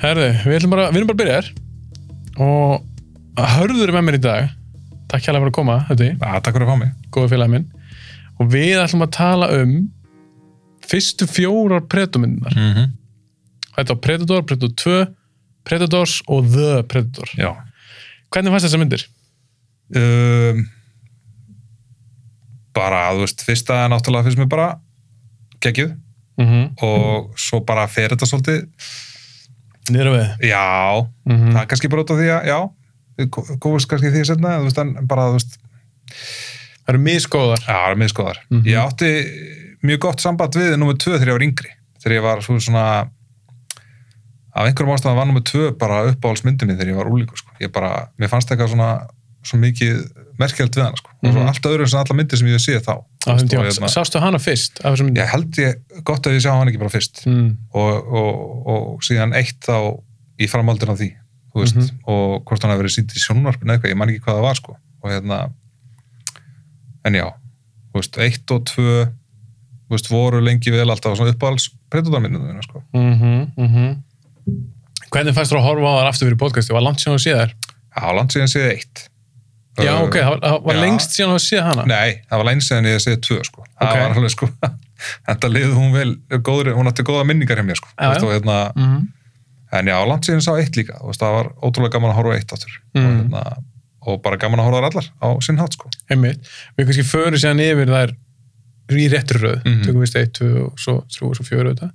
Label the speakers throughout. Speaker 1: Herðu, við, ætlum bara, við erum bara að byrja þér og hörður er með mér í dag takk hérlega fyrir að koma, þetta er
Speaker 2: Já, "Ah, takk fyrir að fá mig.
Speaker 1: góði félagi minn og við ætlum að tala um fyrstu fjórar predomyndunar
Speaker 2: Mm -hmm.
Speaker 1: þetta var Predator, Predator 2 Predators og The Predator
Speaker 2: Já.
Speaker 1: hvernig fannst þessar myndir?
Speaker 2: Um, bara, þú veist, fyrsta er náttúrulega fyrst mér bara geggjuð
Speaker 1: Mm -hmm.
Speaker 2: Mhm. og svo bara fer þetta svolítið.
Speaker 1: Nýra við
Speaker 2: Já,
Speaker 1: mm
Speaker 2: það er kannski bara út af því að, já, við komumst kannski því setna, en þú veist, en bara, þú veist,
Speaker 1: Það eru misgóðar
Speaker 2: já, það er miðskoðar.
Speaker 1: Mhm.
Speaker 2: Ég átti mjög gott samband við nummer 2 þegar ég var yngri. Þegar ég var svo svona, af einhverjum ástæðan var nummer 2 bara uppáhaldsmyndinni þegar ég var úlíku, sko. Ég bara, mér fannst eitthvað svona, svo mikið merkjöld við hana, sko. Og svo
Speaker 1: Mhm.
Speaker 2: allt öðru sem alla myndir sem ég sé þá.
Speaker 1: á þeim
Speaker 2: Og
Speaker 1: tíma
Speaker 2: hérna-
Speaker 1: Sástu hana fyrst af þessar myndir?
Speaker 2: ég held ég gott að ég sjá hann ekki bara fyrst
Speaker 1: Mm.
Speaker 2: og, og, og síðan eitt þá í framhaldin á því þú veist,
Speaker 1: Mhm.
Speaker 2: og hvort hann hafi verið sýnt í sjónvarpinu eða eitthvað, ég man ekki hvað það var sko og hérna en já, þú veist, eitt og tvö þú veist, voru lengi vel alltaf svona uppáhalds predatormyndunum sko.
Speaker 1: Mm Hvernig fannst þú að horfa á þar aftur fyrir podcasti? Var langt síðan að sé þær?
Speaker 2: já, land síðan séð eitt
Speaker 1: Já,
Speaker 2: Uh,
Speaker 1: ok, það var, það var
Speaker 2: já.
Speaker 1: lengst síðan að sé hana.
Speaker 2: Nei, það var lænst síðan ég séð tvö sko. það
Speaker 1: Ok.
Speaker 2: var alveg sko þetta liði hún vel, góðri, hún átti góða minningar hjá mér sko.
Speaker 1: Já,
Speaker 2: Þú veist,
Speaker 1: já.
Speaker 2: og hérna
Speaker 1: Mhm.
Speaker 2: en já, langt síðan sá eitt líka þú veist, það var ótrúlega gaman að horfa á eitt áttur og,
Speaker 1: Mm.
Speaker 2: hérna, og bara gaman að horfa þar allar á sinn hát sko.
Speaker 1: einmitt, við kannski förum síðan yfir þær í réttri röð
Speaker 2: Mhm.
Speaker 1: tökum við steið 2 og svo 3 og svo 4 auðvitað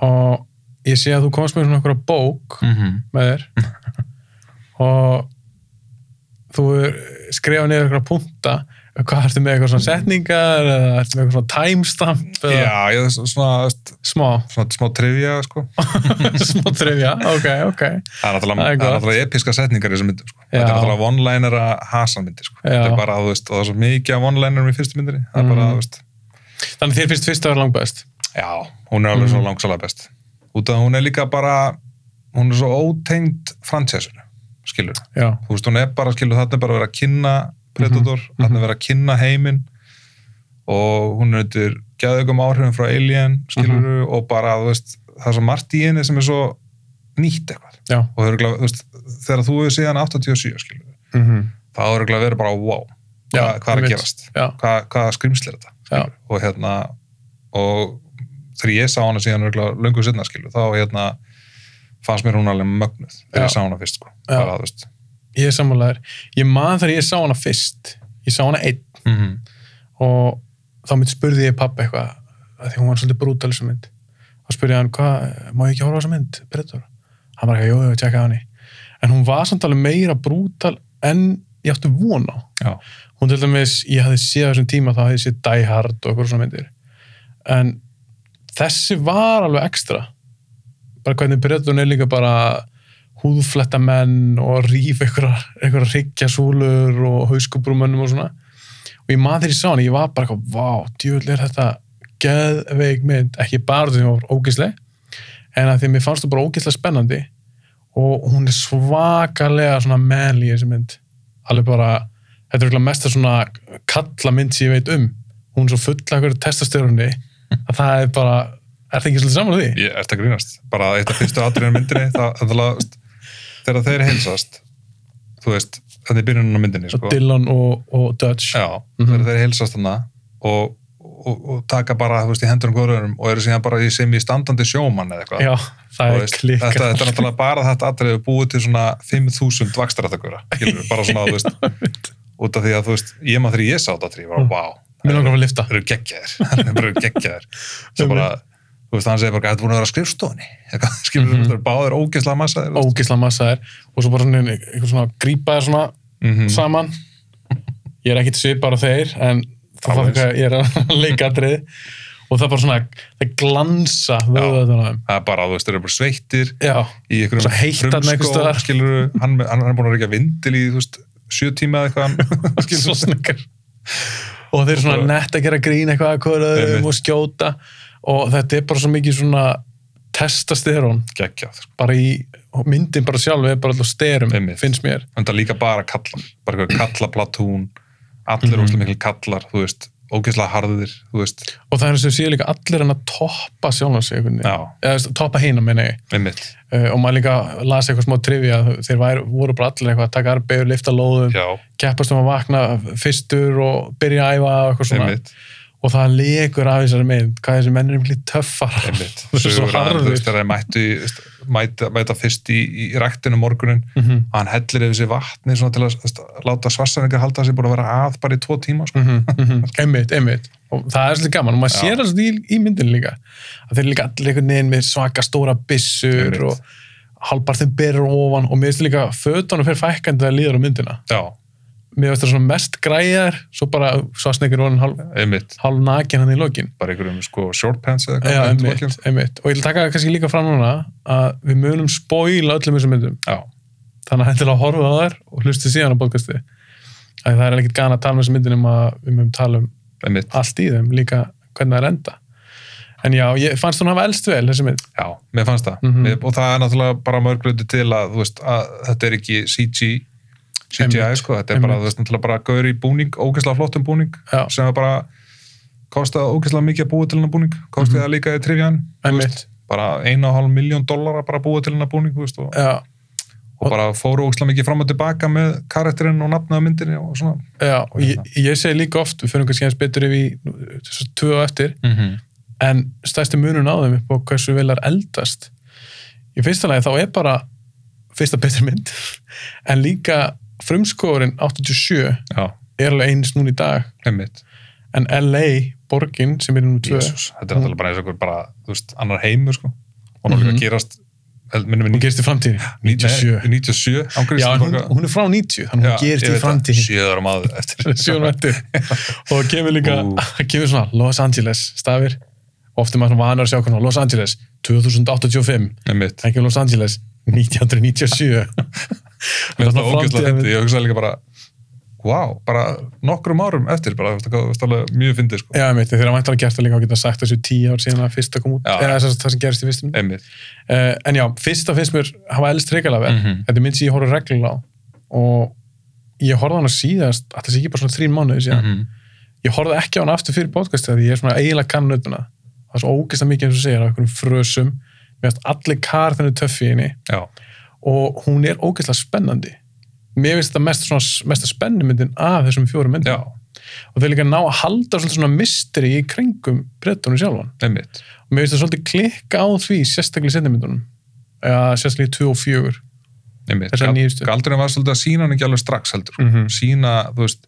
Speaker 1: og ég sé að þú komst með svona okkur bók
Speaker 2: mm -hmm.
Speaker 1: með þér
Speaker 2: Mhm.
Speaker 1: og þú er skrifað niður okkur punta hvað ertu með eitthvað svona setningar eða ertu með eitthvað svona timestamp eða
Speaker 2: já, ég, svona, svona,
Speaker 1: smá,
Speaker 2: svona smá trivia sko.
Speaker 1: smá trivja ok, ok,
Speaker 2: það er náttúrulega,
Speaker 1: Það er
Speaker 2: það er
Speaker 1: gott.
Speaker 2: náttúrulega episka setningar í þessum myndum sko.
Speaker 1: Já.
Speaker 2: þetta er náttúrulega one-liner að hasan myndi sko.
Speaker 1: Já.
Speaker 2: þetta er bara, þú veist, og það er svo mikið af one-liner í fyrstu myndinni, það er bara,
Speaker 1: Mhm.
Speaker 2: þú veist
Speaker 1: þannig þér finnst fyrst að vera langbæst
Speaker 2: já, hún er alveg
Speaker 1: Mhm.
Speaker 2: svo langsalega best út af að hún er líka bara hún er svo ótengd fransesinu skilur,
Speaker 1: já,
Speaker 2: þú veist, hún er bara skilur þarna er bara að vera að kynna Predator
Speaker 1: Mhm,
Speaker 2: þarna er verið að kynna heiminn og hún er undir gæðugum áhrifum frá Alien, skilur
Speaker 1: Mhm.
Speaker 2: og bara, þú veist, það er svo margt í henni sem er svo nýtt eitthvað
Speaker 1: já
Speaker 2: og það er örugglega, þú veist, þegar þú hefur síðan 87, skilur,
Speaker 1: mm
Speaker 2: það er örugglega verið bara wow, hvað,
Speaker 1: Já,
Speaker 2: hvað er að
Speaker 1: einmitt.
Speaker 2: gerast
Speaker 1: já,
Speaker 2: hvað, hvað skrýmsli er þetta
Speaker 1: já,
Speaker 2: og hérna og þegar ég sá hana síðan örugglega löngu setna, skilur, þá hérna fannst mér hún alveg mögnuð þegar ég
Speaker 1: Já.
Speaker 2: sá hana fyrst, sko,
Speaker 1: Já.
Speaker 2: bara, þú veist
Speaker 1: ég er sammálaður ég man þegar ég sá hana fyrst ég sá hana einn
Speaker 2: mm
Speaker 1: og þá mitt spurði ég pappa eitthvað að því hún var svolítið brútal þessu mynd þá spurði ég hann, hvað, má ég ekki horfa á þessa mynd Predator? Hann var ekki, jú, jú, tjekka hann í en hún var samt alveg meira brútal en ég átti von á
Speaker 2: Já.
Speaker 1: hún til dæmis, ég hafði séð á þessum tíma þá hafði ég séð Die Hard og eitthvað svona myndir en þessi var alveg ekstra bara hvernig Predator er líka bara húðfletta menn og ríf einhverjar einhverjar hryggjarsúlur og hauskubrumunum og svona og ég maður þegar ég sá hann, ég var bara eitthvað, vá, djúvill er þetta geðveik mynd, ekki bara því að hún var ógisleg en að því að mér fannst þú bara ógislega spennandi og hún er svakalega svona manly í þessi mynd alveg bara, þetta er örugglega mesta svona kalla mynd sem ég veit um hún er svo full af hverju testastörunni að það er bara, er það ekki svolítið saman á því?
Speaker 2: Ég ert að grínast, bara eitt af fyrstu atriðinu myndinni, það, það, það, þegar þeir heilsast þú veist, þannig í byrjunum á myndinni
Speaker 1: Sko.
Speaker 2: sko.
Speaker 1: Dylan og, og Dutch
Speaker 2: Já,
Speaker 1: Mhm.
Speaker 2: þegar þeir heilsast hana og, og, og taka bara, þú veist, í hendurum góðröðurum og eru síðan bara í sem í standandi sjómann eða eitthvað
Speaker 1: Já,
Speaker 2: Þú
Speaker 1: það er
Speaker 2: veist,
Speaker 1: klika
Speaker 2: þetta, þetta er náttúrulega bara þetta atriði búið til svona 5.000 vakstarættakura, bara svona, þú veist út af því að, þú veist, ég maður þegar ég sá þetta atriði, ég var, wow,
Speaker 1: Mm. Mér langar að fara að lifta
Speaker 2: þeir eru geggjaðir þeir eru bara geggjaðir svo bara, þú veist, hann segir bara, þetta búin að vera á skrifstofunni eitthvað, skilur þú,
Speaker 1: Mhm.
Speaker 2: mm -hmm. báðir ógeðslega massa þeir,
Speaker 1: ógislega massa þær og svo bara svona, einhver svona grípa þær svona
Speaker 2: mm -hmm.
Speaker 1: saman ég er ekkit svipar á þeir en þú
Speaker 2: Alveg
Speaker 1: fattar hvað ég er að leika atrið og það er bara svona það glansa vöðvöðunum á þeim.
Speaker 2: það er bara, þú veist, þeir eru bara sveittir
Speaker 1: já,
Speaker 2: í einhverjum
Speaker 1: Svo heitt þarna einhvers staðar.
Speaker 2: skilur þú, hann, hann, hann er búin að reykja vindil í, þú veist, sjö tíma eða eitthvað hann- skilur
Speaker 1: svo
Speaker 2: þú,
Speaker 1: snikkar og þeir eru svona
Speaker 2: bara-
Speaker 1: nett að gera grín eitthvað að hverju öðrum
Speaker 2: Einmitt.
Speaker 1: og skjóta og þetta er bara svo mikið svona testastyrun
Speaker 2: geggjað sko.
Speaker 1: bara í og myndin bara sjálf er bara alltaf styrum
Speaker 2: Einmitt.
Speaker 1: finnst mér
Speaker 2: en það er líka bara kallar, bara eitthvað kallaplatún allir mm
Speaker 1: Mhm.
Speaker 2: -hmm. óslega mikil kallar, þú veist ógeðslega harðir, þú veist
Speaker 1: og það er eins og séu líka allir hann að toppa sjálfan sig einhvern veginn,
Speaker 2: já,
Speaker 1: eða þú veist, toppa hina minni
Speaker 2: einmitt,
Speaker 1: uh, og maður líka las eitthvað smá trivja þeir væru, voru bara allir eitthvað að taka arbeið, lifta lóðum,
Speaker 2: já,
Speaker 1: keppast um að vakna fyrstur og byrja að æfa og eitthvað svona
Speaker 2: einmitt
Speaker 1: og það lekur af þessari mynd hvað þessi menn er miklu töffar
Speaker 2: einmitt,
Speaker 1: þessi svo
Speaker 2: sögur að hann, þú
Speaker 1: harður
Speaker 2: veist, þegar þeir mættu í- þú veist, mæta, mæta fyrst í, í ræktinu morgunin
Speaker 1: Mhm,
Speaker 2: og hann hellir yfir sér vatni svona til að þú veist, láta svarsanleika halda að sér búin að vera að bara í tvo tíma sko.
Speaker 1: mhm, mhm. einmitt, einmitt og það er svolítið gaman og maður
Speaker 2: Já.
Speaker 1: sér það svolítið í, í myndin líka að þeir eru líka allir einhvern veginn með svaka stóra byssur
Speaker 2: Einmitt.
Speaker 1: og halbarðin berur ofan og mér finnst líka fötunum fyrir fækkandi að líður á myndina
Speaker 2: já,
Speaker 1: mér finnst það svona mest græjar svo bara svarsneikir voru hálf,
Speaker 2: einmitt,
Speaker 1: hálf nakin hann í lokin
Speaker 2: bara einhverjum sko short pants
Speaker 1: Já,
Speaker 2: eða eitthvað,
Speaker 1: einmitt,
Speaker 2: eitthvað
Speaker 1: einmitt. og ég vil taka kannski líka fram núna að við munum spoila öllum þessum myndum
Speaker 2: já,
Speaker 1: þannig að hendilega horfa á þær og hlusti síðan á podcasti að það er ekkert gana að tala um þessu myndin um að við mögum tala um
Speaker 2: einmitt,
Speaker 1: allt í þeim líka hvernig það er enda en já, ég fannst hún hafa elst vel þessi mynd
Speaker 2: já, mér fannst það
Speaker 1: Mhm.
Speaker 2: Mér- og það er náttúrulega bara mörgluti til að, þú veist, að þetta er ekki CG CGI
Speaker 1: Einmitt,
Speaker 2: sko, þetta er bara,
Speaker 1: einmitt.
Speaker 2: þú veist, náttúrulega bara gaur í búning, ógeðslega flottum búning
Speaker 1: Já.
Speaker 2: sem er bara kostaði ógeðslega mikið að búa til hennar búning
Speaker 1: Mhm.
Speaker 2: kostaði það líka í trivjan þú veist,
Speaker 1: einmitt,
Speaker 2: bara 1,5 miljón dollara bara að búa til hennar búning þú veist, og,
Speaker 1: já,
Speaker 2: og bara fóru ógeðslega mikið fram og tilbaka með karakterinn og nafnaða myndinni og hérna. svona
Speaker 1: já og ég, ég segi líka oft, við fyrir kannski hans betur yfir í, nú, þessu tvö og eftir
Speaker 2: mm -hmm.
Speaker 1: en stærsti munun á þeim upp á hversu vel er eldast í fyrsta lagi þá er bara fyrsta betri mynd en líka frumskóðurinn 87
Speaker 2: já,
Speaker 1: er alveg eins núna í dag
Speaker 2: einmitt
Speaker 1: en LA, borgin sem er nú tvö
Speaker 2: Jesus, þetta er náttúrulega bara eins og einhver bara, þú veist, annar heimur sko og náttúrulega
Speaker 1: Mhm.
Speaker 2: mm -hmm. gerast held- minnum
Speaker 1: hún
Speaker 2: við
Speaker 1: gerist í framtíðin
Speaker 2: 97
Speaker 1: já,
Speaker 2: 97
Speaker 1: en hún,
Speaker 2: ángriðslega
Speaker 1: hún er frá 90, þannig hún gerist í framtíðin
Speaker 2: sjöður á maður eftir
Speaker 1: sjónu eftir og það kemur líka,
Speaker 2: Ú.
Speaker 1: það kemur svona Los Angeles stafir, ofta maður svona vanar að sjá hvernig Los Angeles 2085
Speaker 2: einmitt,
Speaker 1: ekki Los Angeles 1997
Speaker 2: mér
Speaker 1: er
Speaker 2: finnst
Speaker 1: svona
Speaker 2: það ógeðslega
Speaker 1: framtíðar-
Speaker 2: fyndið ég hugsaði líka bara, wow bara nokkrum árum eftir, bara, þú veist, það er alveg mjög fyndið sko,
Speaker 1: Já, einmitt, þegar mæntar að gert það líka að geta sagt þessu tíu ár síðan að fyrsta kom út,
Speaker 2: Já.
Speaker 1: eða þess að það sem gerist í fyrstum. Uh,
Speaker 2: einmitt
Speaker 1: en já, fyrsta finnst mér hafa elst reikala vel.
Speaker 2: Mhm.
Speaker 1: Þetta er mynd sem ég horfði reglulega á og ég horfði á hana síðast, að það sé ekki bara svona þrín mánuði síðan.
Speaker 2: Mhm.
Speaker 1: Ég horfði ekki á hana aftur fyrir podcastið því ég er svona eiginlega kannutuna. Það er svo ógeðslega mikið eins og þú segir af einhverjum frösum, mér finnst allir kar þenni töffi í henni
Speaker 2: já,
Speaker 1: og hún er ógeðslega spennandi. Mér finnst þetta mest, svona, mest spennumyndin af þessum fjórum myndum
Speaker 2: já,
Speaker 1: og þeir líka ná að halda svolítið svona misteri í kringum brettunum sjálfan
Speaker 2: einmitt
Speaker 1: og mér finnst það svolítið klikka á því sérstaklega í sendimyndunum eða sérstaklega í 2 og 4
Speaker 2: einmitt,
Speaker 1: Þessar nýjustu.
Speaker 2: galdurinn var svolítið að sína hann ekki alveg strax heldur, mm
Speaker 1: Mhm.
Speaker 2: sína þú veist,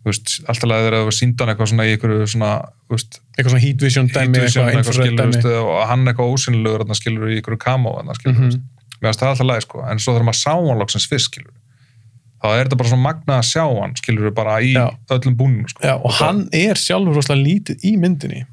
Speaker 2: þú veist alltaf að þeirra þú síndan eitthvað svona í einhverju svona, þú veist,
Speaker 1: eitthvað svona heat vision dæmi,
Speaker 2: Heat
Speaker 1: eitthvað
Speaker 2: Vision eitthvað
Speaker 1: infrared
Speaker 2: skilur,
Speaker 1: dæmi
Speaker 2: veist, og hann eitthvað ósynlegur þarna skilur í ykkur kamó þarna skilur,
Speaker 1: Mhm.
Speaker 2: mm -hmm. mér finnst það alltaf læg sko en svo þegar maður sá hann loksins fyrst skilur þá er þetta bara svona magna að sjá hann skilur bara í
Speaker 1: Já.
Speaker 2: öllum búnum sko.
Speaker 1: Já, og hann er sjálfur rosalega lítið í myndinni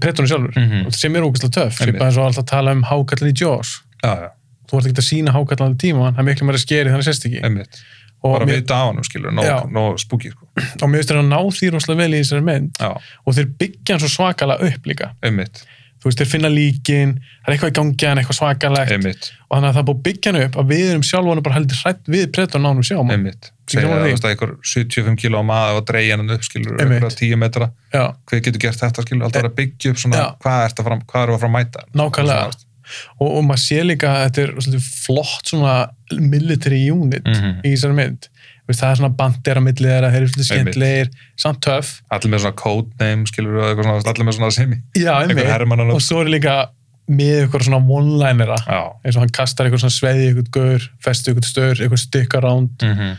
Speaker 1: brettunum sjálfur
Speaker 2: Mhm.
Speaker 1: sem er ógeðslega töff,
Speaker 2: Einmitt.
Speaker 1: svipað eins og alltaf að tala um hákallan í Jaws
Speaker 2: já, já,
Speaker 1: þú ert ekki að sína hákallan í tíma hann er miklu meira skeri þannig sérst ekki
Speaker 2: einmitt,
Speaker 1: og
Speaker 2: bara
Speaker 1: mér,
Speaker 2: vita á hann skilur,
Speaker 1: Já.
Speaker 2: nóg, nóg spooky sko.
Speaker 1: og mér finnst þér að ná því rosalega vel í þessari mynd
Speaker 2: já,
Speaker 1: og þeir byggja hann svo svakalega upp líka
Speaker 2: einmitt,
Speaker 1: þú veist, þeir finna líkin, það er eitthvað í gangi hann, eitthvað svakalegt
Speaker 2: einmitt,
Speaker 1: og þannig að það er búið að byggja hann upp að við erum sjálfanum bara heldur hrætt við pretur nánum sjáum hann.
Speaker 2: einmitt
Speaker 1: Ég
Speaker 2: segja
Speaker 1: gaman því.
Speaker 2: það að einhver 75 kíló maður og dreigja hann upp skilur,
Speaker 1: Einmitt.
Speaker 2: einhverja 10 metra
Speaker 1: Já,
Speaker 2: hver getur gert þetta skilur, alltaf er að byggja upp svona,
Speaker 1: Eh, Já.
Speaker 2: hvað er fram, hvað er að fara að mæta
Speaker 1: nákvæmlega og, og maður sé líka að þetta er svolítið flott svona military unit
Speaker 2: Mhm.
Speaker 1: í þessari mynd Þú veist, það er svona bandera millið þeirra, þeir eru svolítið
Speaker 2: Einmitt.
Speaker 1: skemmtlegir samt töff,
Speaker 2: allir með svona codename skilur og eitthvað svona, allir með svona semi
Speaker 1: já,
Speaker 2: einhver
Speaker 1: einmitt
Speaker 2: hermannan
Speaker 1: og svo er líka með ykkur svona one-linera
Speaker 2: já,
Speaker 1: eins og hann kastar ykkur svona sveiði ykkur gaur, festi ykkur stör, ykkur stykka ránd
Speaker 2: mm -hmm.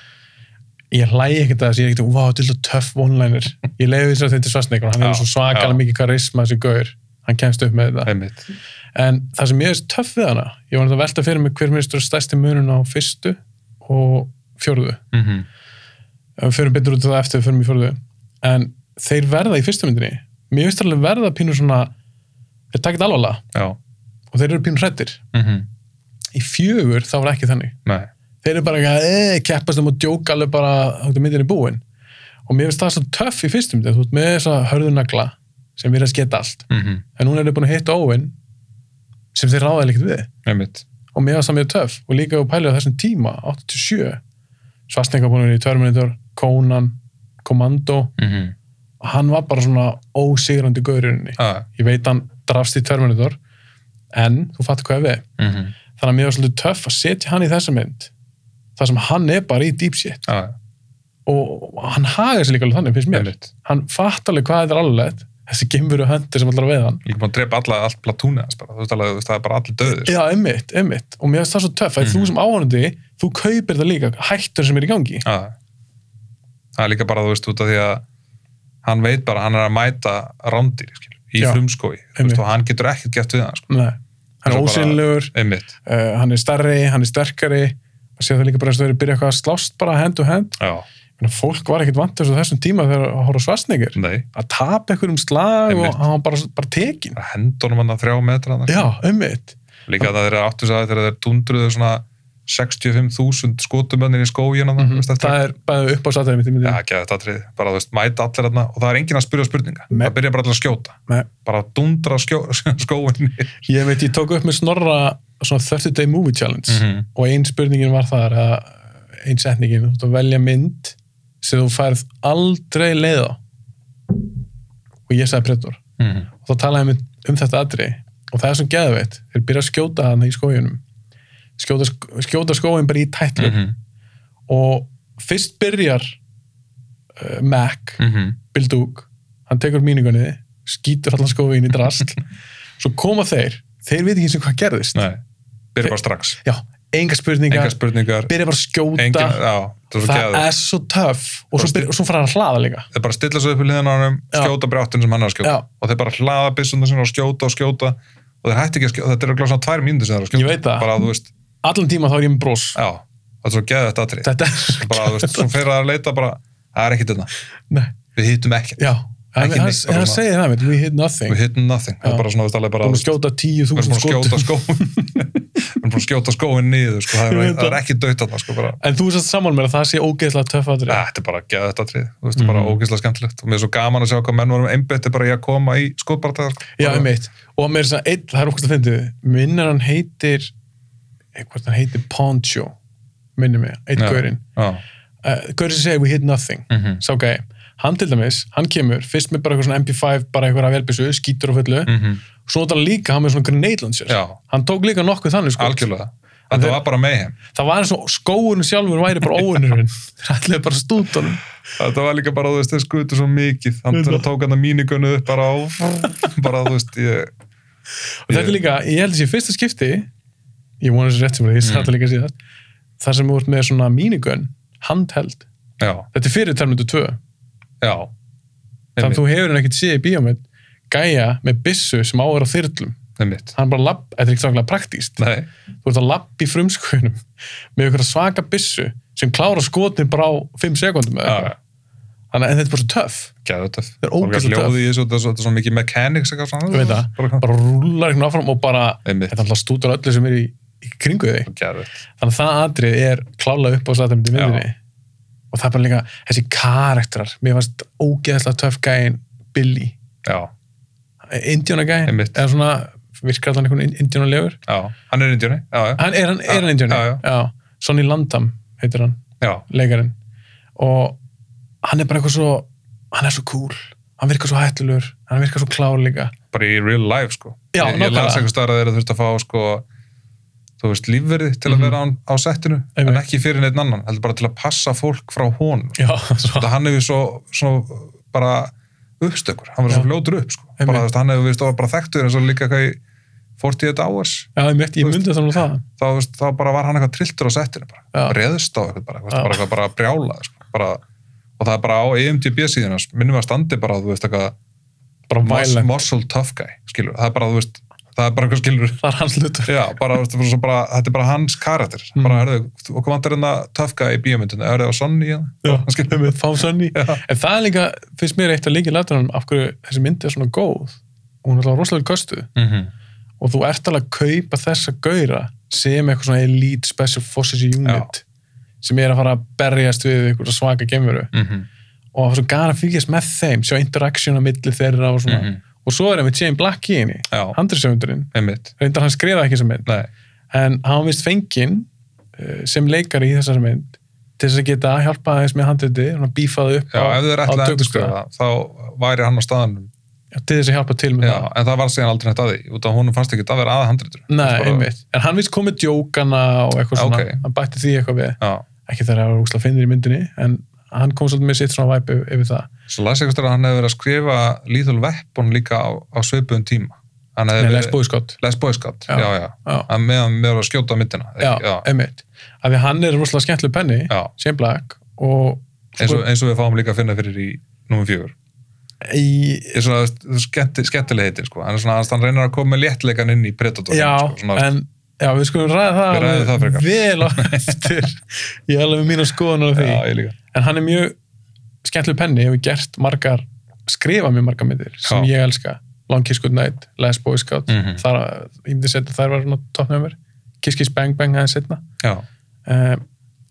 Speaker 1: ég hlægi ekkert að þessu, ég er ekkert, wow, þetta er svo töff one-liner, ég leiði þess að þetta er svarsneikur hann
Speaker 2: Já,
Speaker 1: hefur svo
Speaker 2: já.
Speaker 1: svakalega mikið karisma þessi gaur hann kemst upp með þetta
Speaker 2: einmitt
Speaker 1: en það sem ég er töff við hana, ég var að velta fyrir mig hver minnstur stærsti munun á fyrstu og fjórðu
Speaker 2: mm
Speaker 1: Mhm. Ef við förum betur út af það eftir við förum í fjórðu en þeir verða í fyrstu myndinni mér finnst það alveg verða pínu svona þeir takit alvarlega
Speaker 2: já,
Speaker 1: og þeir eru pínu hrættir
Speaker 2: mm
Speaker 1: í fjögur þá var ekki þannig
Speaker 2: nei,
Speaker 1: þeir eru bara eitthvað eh, keppast um og djóka alveg bara þáttu myndin er búin og mér finnst það svo töff í fyrstum þú ert með þessa hörðunagla sem er að sketa allt
Speaker 2: mm
Speaker 1: en núna er þau búin að hitta óvinn sem þeir ráða ekkert við
Speaker 2: einmitt
Speaker 1: og mér finnst það mjög töff og líka að pæla á þessum tíma 87 svarsninga búin að vera í Terminator, Conan Commando,
Speaker 2: mm -hmm.
Speaker 1: hann var bara svona ósigrandi gaurinni.
Speaker 2: já,
Speaker 1: Ég veit hann drafst í Terminator, en þú fattir hvað er við.
Speaker 2: mhm,
Speaker 1: Þannig að mér var svolítið töff að setja hann í þessa mynd, þar sem hann er bara í deep shit.
Speaker 2: já,
Speaker 1: Og hann hagar sér líka alveg þannig, finnst mér.
Speaker 2: einmitt.
Speaker 1: Hann fattar alveg hvað þetta er alveg, þessi gemveru höndir sem allar veið hann.
Speaker 2: líka búin að drepa alla, allt platúni hans bara, þú veist alveg, þú veist, það er bara allir döðir
Speaker 1: Já, einmitt, einmitt. Og mér finnst það svo töff að
Speaker 2: Mhm.
Speaker 1: þú sem áhörandi, þú kaupir það líka hættur sem er í gangi.
Speaker 2: Já. það er líka bara, þú veist, út af því að hann veit bara, að hann er að mæta rándýr, skilur, í
Speaker 1: Já.
Speaker 2: frumskói þú
Speaker 1: Einmitt.
Speaker 2: veist, og hann getur ekkert gert við hann, sko,
Speaker 1: Nei. Hann er
Speaker 2: Svo bara-
Speaker 1: ósynlegur,
Speaker 2: einmitt
Speaker 1: uh, hann er stærri, hann er sterkari. Það sé það líka bara að stöður byrja eitthvað að slást bara hand to hand.
Speaker 2: já,
Speaker 1: Þannig að fólk var ekkit vant þessu á þessum tíma þegar að horfa svarsningir.
Speaker 2: nei,
Speaker 1: Að tapa einhverjum slag
Speaker 2: Einmitt.
Speaker 1: og hann var bara, bara tekin.
Speaker 2: það hendur hann að þrjá metra þarna,
Speaker 1: Já, um einmitt.
Speaker 2: sko. líka það er áttu sagði þegar þeir tundruðu svona 65.000 skotumönnir í skóin mm -hmm.
Speaker 1: Mhm. Það er bara upp á satæmi til myndið.
Speaker 2: Já, ekki að þetta atrið, bara þú veist, mæta allir þarna og það er enginn að spyrja spurninga,
Speaker 1: Nei.
Speaker 2: það byrja bara allir að skjóta
Speaker 1: Nei.
Speaker 2: bara að dundra skjó, skóin
Speaker 1: Ég veit, ég tók upp með snorra svona 30 day movie challenge.
Speaker 2: -hmm.
Speaker 1: og ein spurningin var þar að ein setningin, þú ert að velja mynd sem þú færð aldrei leið á og ég sagði Predator
Speaker 2: Mm -hmm.
Speaker 1: og þá talaði ég um- um þetta atri og það er svo geðveitt, þeir byrja að skjóta hann í skójunum skjóta, sk- skjóta skóin bara í tætlu
Speaker 2: Mhm.
Speaker 1: og fyrst byrjar uh, Mac,
Speaker 2: Mhm. Mm.
Speaker 1: Bill Duke hann tekur míningunni, skýtur allan skóin í drast, svo koma þeir þeir veit ekki sem hvað gerðist
Speaker 2: Nei, byrja bara strax
Speaker 1: já, enga spurningar,
Speaker 2: engar spurningar,
Speaker 1: byrja bara að skjóta
Speaker 2: engin, já, það er svo
Speaker 1: það
Speaker 2: geðið
Speaker 1: er svo töff og svo, byrja, og svo fara hann að hlaða líka
Speaker 2: þeir bara stilla svo upp í liðan á hann
Speaker 1: Já.
Speaker 2: skjóta bara í áttin sem hann er að skjóta
Speaker 1: Já.
Speaker 2: og þeir bara hlaða byssundar sinna og skjóta og skjóta og þeir hætti ekki að skjóta, þetta er örugglega svona tvær mínútur sem þeir eru að skjóta
Speaker 1: Ég veit það.
Speaker 2: bara, þú veist,
Speaker 1: allan tíma þá er ég með brós
Speaker 2: já, það er svo geðið þetta atrið
Speaker 1: þetta er svo
Speaker 2: bara, þú veist, svo fyrir að leita bara það er ekkit þetta,
Speaker 1: Nei,
Speaker 2: við hittum ekkert
Speaker 1: já, hann,
Speaker 2: Ekki
Speaker 1: hann,
Speaker 2: neitt, bara
Speaker 1: hann
Speaker 2: svona-
Speaker 1: segir það mitt, we hit nothing
Speaker 2: við hittum nothing, það
Speaker 1: Já.
Speaker 2: er bara svona, þú veist, alveg bara
Speaker 1: búin
Speaker 2: þú
Speaker 1: að
Speaker 2: veist,
Speaker 1: skjóta
Speaker 2: við
Speaker 1: 10.000
Speaker 2: erum búin að skjóta
Speaker 1: skotum
Speaker 2: skóin við erum búin að skjóta skóin niður sko, það,
Speaker 1: Ég
Speaker 2: er,
Speaker 1: veit
Speaker 2: það er
Speaker 1: það.
Speaker 2: ekki döitt þarna sko, bara,
Speaker 1: en þú sérst saman mér að það sé ógeðslega töff aðri
Speaker 2: "Ah, þetta er bara geða þetta atrið þú veist, mm. bara ógeðslega skemmtilegt og mér er svo gaman að sjá hvað menn vorum einbytti bara í að koma í skotbarta sko.
Speaker 1: já,
Speaker 2: Bara-
Speaker 1: einmitt, og mér er þess að einn, það er okkur að fyndið minnir hann heitir eitthvað hann heitir Poncho minnir mig, einn
Speaker 2: Já.
Speaker 1: gaurinn
Speaker 2: já,
Speaker 1: uh, gaurinn sem segir we hit nothing
Speaker 2: mhm,
Speaker 1: sá gæi, hann til dæmis, hann kemur fyrst með bara eitthvað svona MP5, bara eitthvað að velbissu skýtur og fullu,
Speaker 2: mhm,
Speaker 1: svo notar hann líka hann með svona grenade launcher
Speaker 2: já,
Speaker 1: hann tók líka nokkuð þannig sko
Speaker 2: algjörlega þetta
Speaker 1: þeir-
Speaker 2: var bara mayhem
Speaker 1: það var eins og skóurinn sjálfur væri bara óunurinn það ætlaði bara stúdunum
Speaker 2: þetta var líka bara, þú veist, þeir skutu svo mikið hann
Speaker 1: Veit það.
Speaker 2: tók hann að mínigunni upp bara á bara, þú veist, ég
Speaker 1: og þetta er líka, ég held að sé fyrsta skipti ég vona þessi rétt sem er, ég sagði
Speaker 2: Mm.
Speaker 1: það líka síðast þar sem við vorum með svona mínigun handheld,
Speaker 2: já,
Speaker 1: þetta er fyrir Terminator 2
Speaker 2: já
Speaker 1: þannig að þú hefur hann ekkert séð í bíómið gæja með byssu sem áver á þyrlum
Speaker 2: einmitt,
Speaker 1: hann bara lapp, þetta er ekki svaklega praktíst
Speaker 2: nei,
Speaker 1: þú ert að lapp í frumskunum með ykkur svaka byssu sem klára skotin bara á 5 sekundum
Speaker 2: já,
Speaker 1: ja. þannig að en þetta er bara svo töff
Speaker 2: geða töff
Speaker 1: Þetta er ógeðslega töff.
Speaker 2: ljóði í þessu, þetta er svo- þetta er svo mikið mechanics eitthvað svona,
Speaker 1: Ég veit það.
Speaker 2: bara,
Speaker 1: bara rúlar einhvern áfram og bara
Speaker 2: einmitt,
Speaker 1: þetta er alltaf stútur öllu sem er í, í kringu þig
Speaker 2: geða
Speaker 1: þannig að það atrið er klálega upp á sættamöndi
Speaker 2: Já.
Speaker 1: myndinni og það er bara líka þessi karakterar, mér fannst ógeðslega töff gæin Billy
Speaker 2: já,
Speaker 1: Indiana gæin,
Speaker 2: Einmitt.
Speaker 1: eða svona virkar allan einhvern Indiana legur
Speaker 2: já, hann er indjóni já, já,
Speaker 1: hann, er hann, er hann Indiana?
Speaker 2: Já,
Speaker 1: Sonny Landham heitir hann,
Speaker 2: já,
Speaker 1: leikarinn og hann er bara eitthvað svo hann er svo cool, hann virkar svo hættulegur hann virkar svo klár líka
Speaker 2: bara í real life sko.
Speaker 1: Já,
Speaker 2: ég, ég las
Speaker 1: nákvæmlega.
Speaker 2: eitthvað starf að þeirra þurft að fá sko, þú veist, lífverði til að
Speaker 1: Mhm.
Speaker 2: vera á, á settinu, en
Speaker 1: Einmitt.
Speaker 2: ekki fyrir neitt annan heldur bara til að passa fólk frá honum
Speaker 1: já, svo,
Speaker 2: þetta hann hefur svo, svo bara uppstökkur, hann verður svo fljótur upp sko. bara,
Speaker 1: Einmitt.
Speaker 2: þú veist, hann hefur verið stóð bara þekktur eins og líka hvað í 48 hours
Speaker 1: já, ég myndi
Speaker 2: Þú veist-
Speaker 1: þannig að það
Speaker 2: þá, þú veist, þá bara var hann eitthvað trilltur á settinu bara,
Speaker 1: Já.
Speaker 2: reðst á eitthvað bara, þú veist,
Speaker 1: Já.
Speaker 2: bara, eitthvað bara brjála sko. bara, og það er bara á IMDb síðan minnum að standi bara, þú veist, eitthvað
Speaker 1: bara
Speaker 2: mus,
Speaker 1: violent,
Speaker 2: muscle tough guy, skilur, það er bara, þú veist það er bara eitthvað skilur
Speaker 1: það er hans hlutur
Speaker 2: Já, bara, þú veist, bara, svo bara, þetta er bara hans karakter
Speaker 1: Mm.
Speaker 2: bara, herðu, okkur vantar hérna tough guy í bíómyndinu, er það á Sonny hérna?
Speaker 1: Já,
Speaker 2: skilur.
Speaker 1: einmitt, fá sann í
Speaker 2: Já.
Speaker 1: En það er líka, finnst mér eitt að líka lætunum af hverju þessi myndi er svona góð og hún er alveg rosalega kostuð
Speaker 2: Mm -hmm.
Speaker 1: og þú ert alveg að kaupa þessa gauðra sem eitthvað svona elite special forces unit sem er að fara að berjast við einhverja svaka gemuru
Speaker 2: Mm -hmm.
Speaker 1: og það var svo gana að fylgjast með þeim sjá interaction á milli þeirra og
Speaker 2: Mhm.
Speaker 1: svona og svo er það með Jane Black í henni
Speaker 2: Já,
Speaker 1: handriðsöfundurinn,
Speaker 2: einmitt
Speaker 1: reyndar hann skrifa ekki þessa mynd
Speaker 2: Nei,
Speaker 1: en hann var vist fenginn eh, sem leikari í þessari mynd til þess að geta að hjálpa aðeins með handriti svona bífaði upp
Speaker 2: Já, ef þau eru
Speaker 1: á
Speaker 2: ætla að
Speaker 1: tökuskrána.
Speaker 2: endurskrifa það, þá væri hann á staðanum.
Speaker 1: Já, til þess að hjálpa til með
Speaker 2: Já,
Speaker 1: það
Speaker 2: en það var síðan aldrei nætt að því, út af honum fannst ekki að vera aða handritur.
Speaker 1: Nei, einmitt, en hann vist komið djókana og eitthvað
Speaker 2: Já,
Speaker 1: svona,
Speaker 2: ok.
Speaker 1: hann bætti því eitthvað við
Speaker 2: Já,
Speaker 1: ekki þegar það var úsla finnir í myndinni en hann kom svolítið með sitt svona væp yfir, yfir það
Speaker 2: svo læs ég að hann hefði verið að skrifa Lethal Weapon líka á, á svipuðum tíma. Hann hefði
Speaker 1: Nei,
Speaker 2: verið-
Speaker 1: Les Bóðskott
Speaker 2: Les Boy Scout,
Speaker 1: Já.
Speaker 2: já, já.
Speaker 1: Já.
Speaker 2: Að meðan með að skjóta á myndina.
Speaker 1: Já,
Speaker 2: Ekki? Ah, já.
Speaker 1: einmitt af því hann er rosalega skemmtileg penni
Speaker 2: já.
Speaker 1: Shane Black og sko,
Speaker 2: Eins, og, eins og við fáum líka að finna fyrir í nummer fjögur.
Speaker 1: í,
Speaker 2: Ég er svona þú veist, skemmti, skemmtileg heitin, sko. Hann, er svona, hann reynir að koma með léttleikan inn í Predator.
Speaker 1: já,
Speaker 2: sko, svona,
Speaker 1: en já, við skulum ræða það,
Speaker 2: Við ræðum það
Speaker 1: alveg
Speaker 2: frekar.
Speaker 1: vel á eftir ég er alveg með mína skoðan á því
Speaker 2: já, ég líka.
Speaker 1: en hann er mjög skemmtileg penni hefur gert margar, skrifa mjög margar myndir sem
Speaker 2: Já.
Speaker 1: ég elska Long Kiss Good Night, Les Boy Scout
Speaker 2: Mhm.
Speaker 1: þar, ég myndi setja þær var toppnum mér Kiss Kiss Bang Bang aðeins setna
Speaker 2: Já,
Speaker 1: um,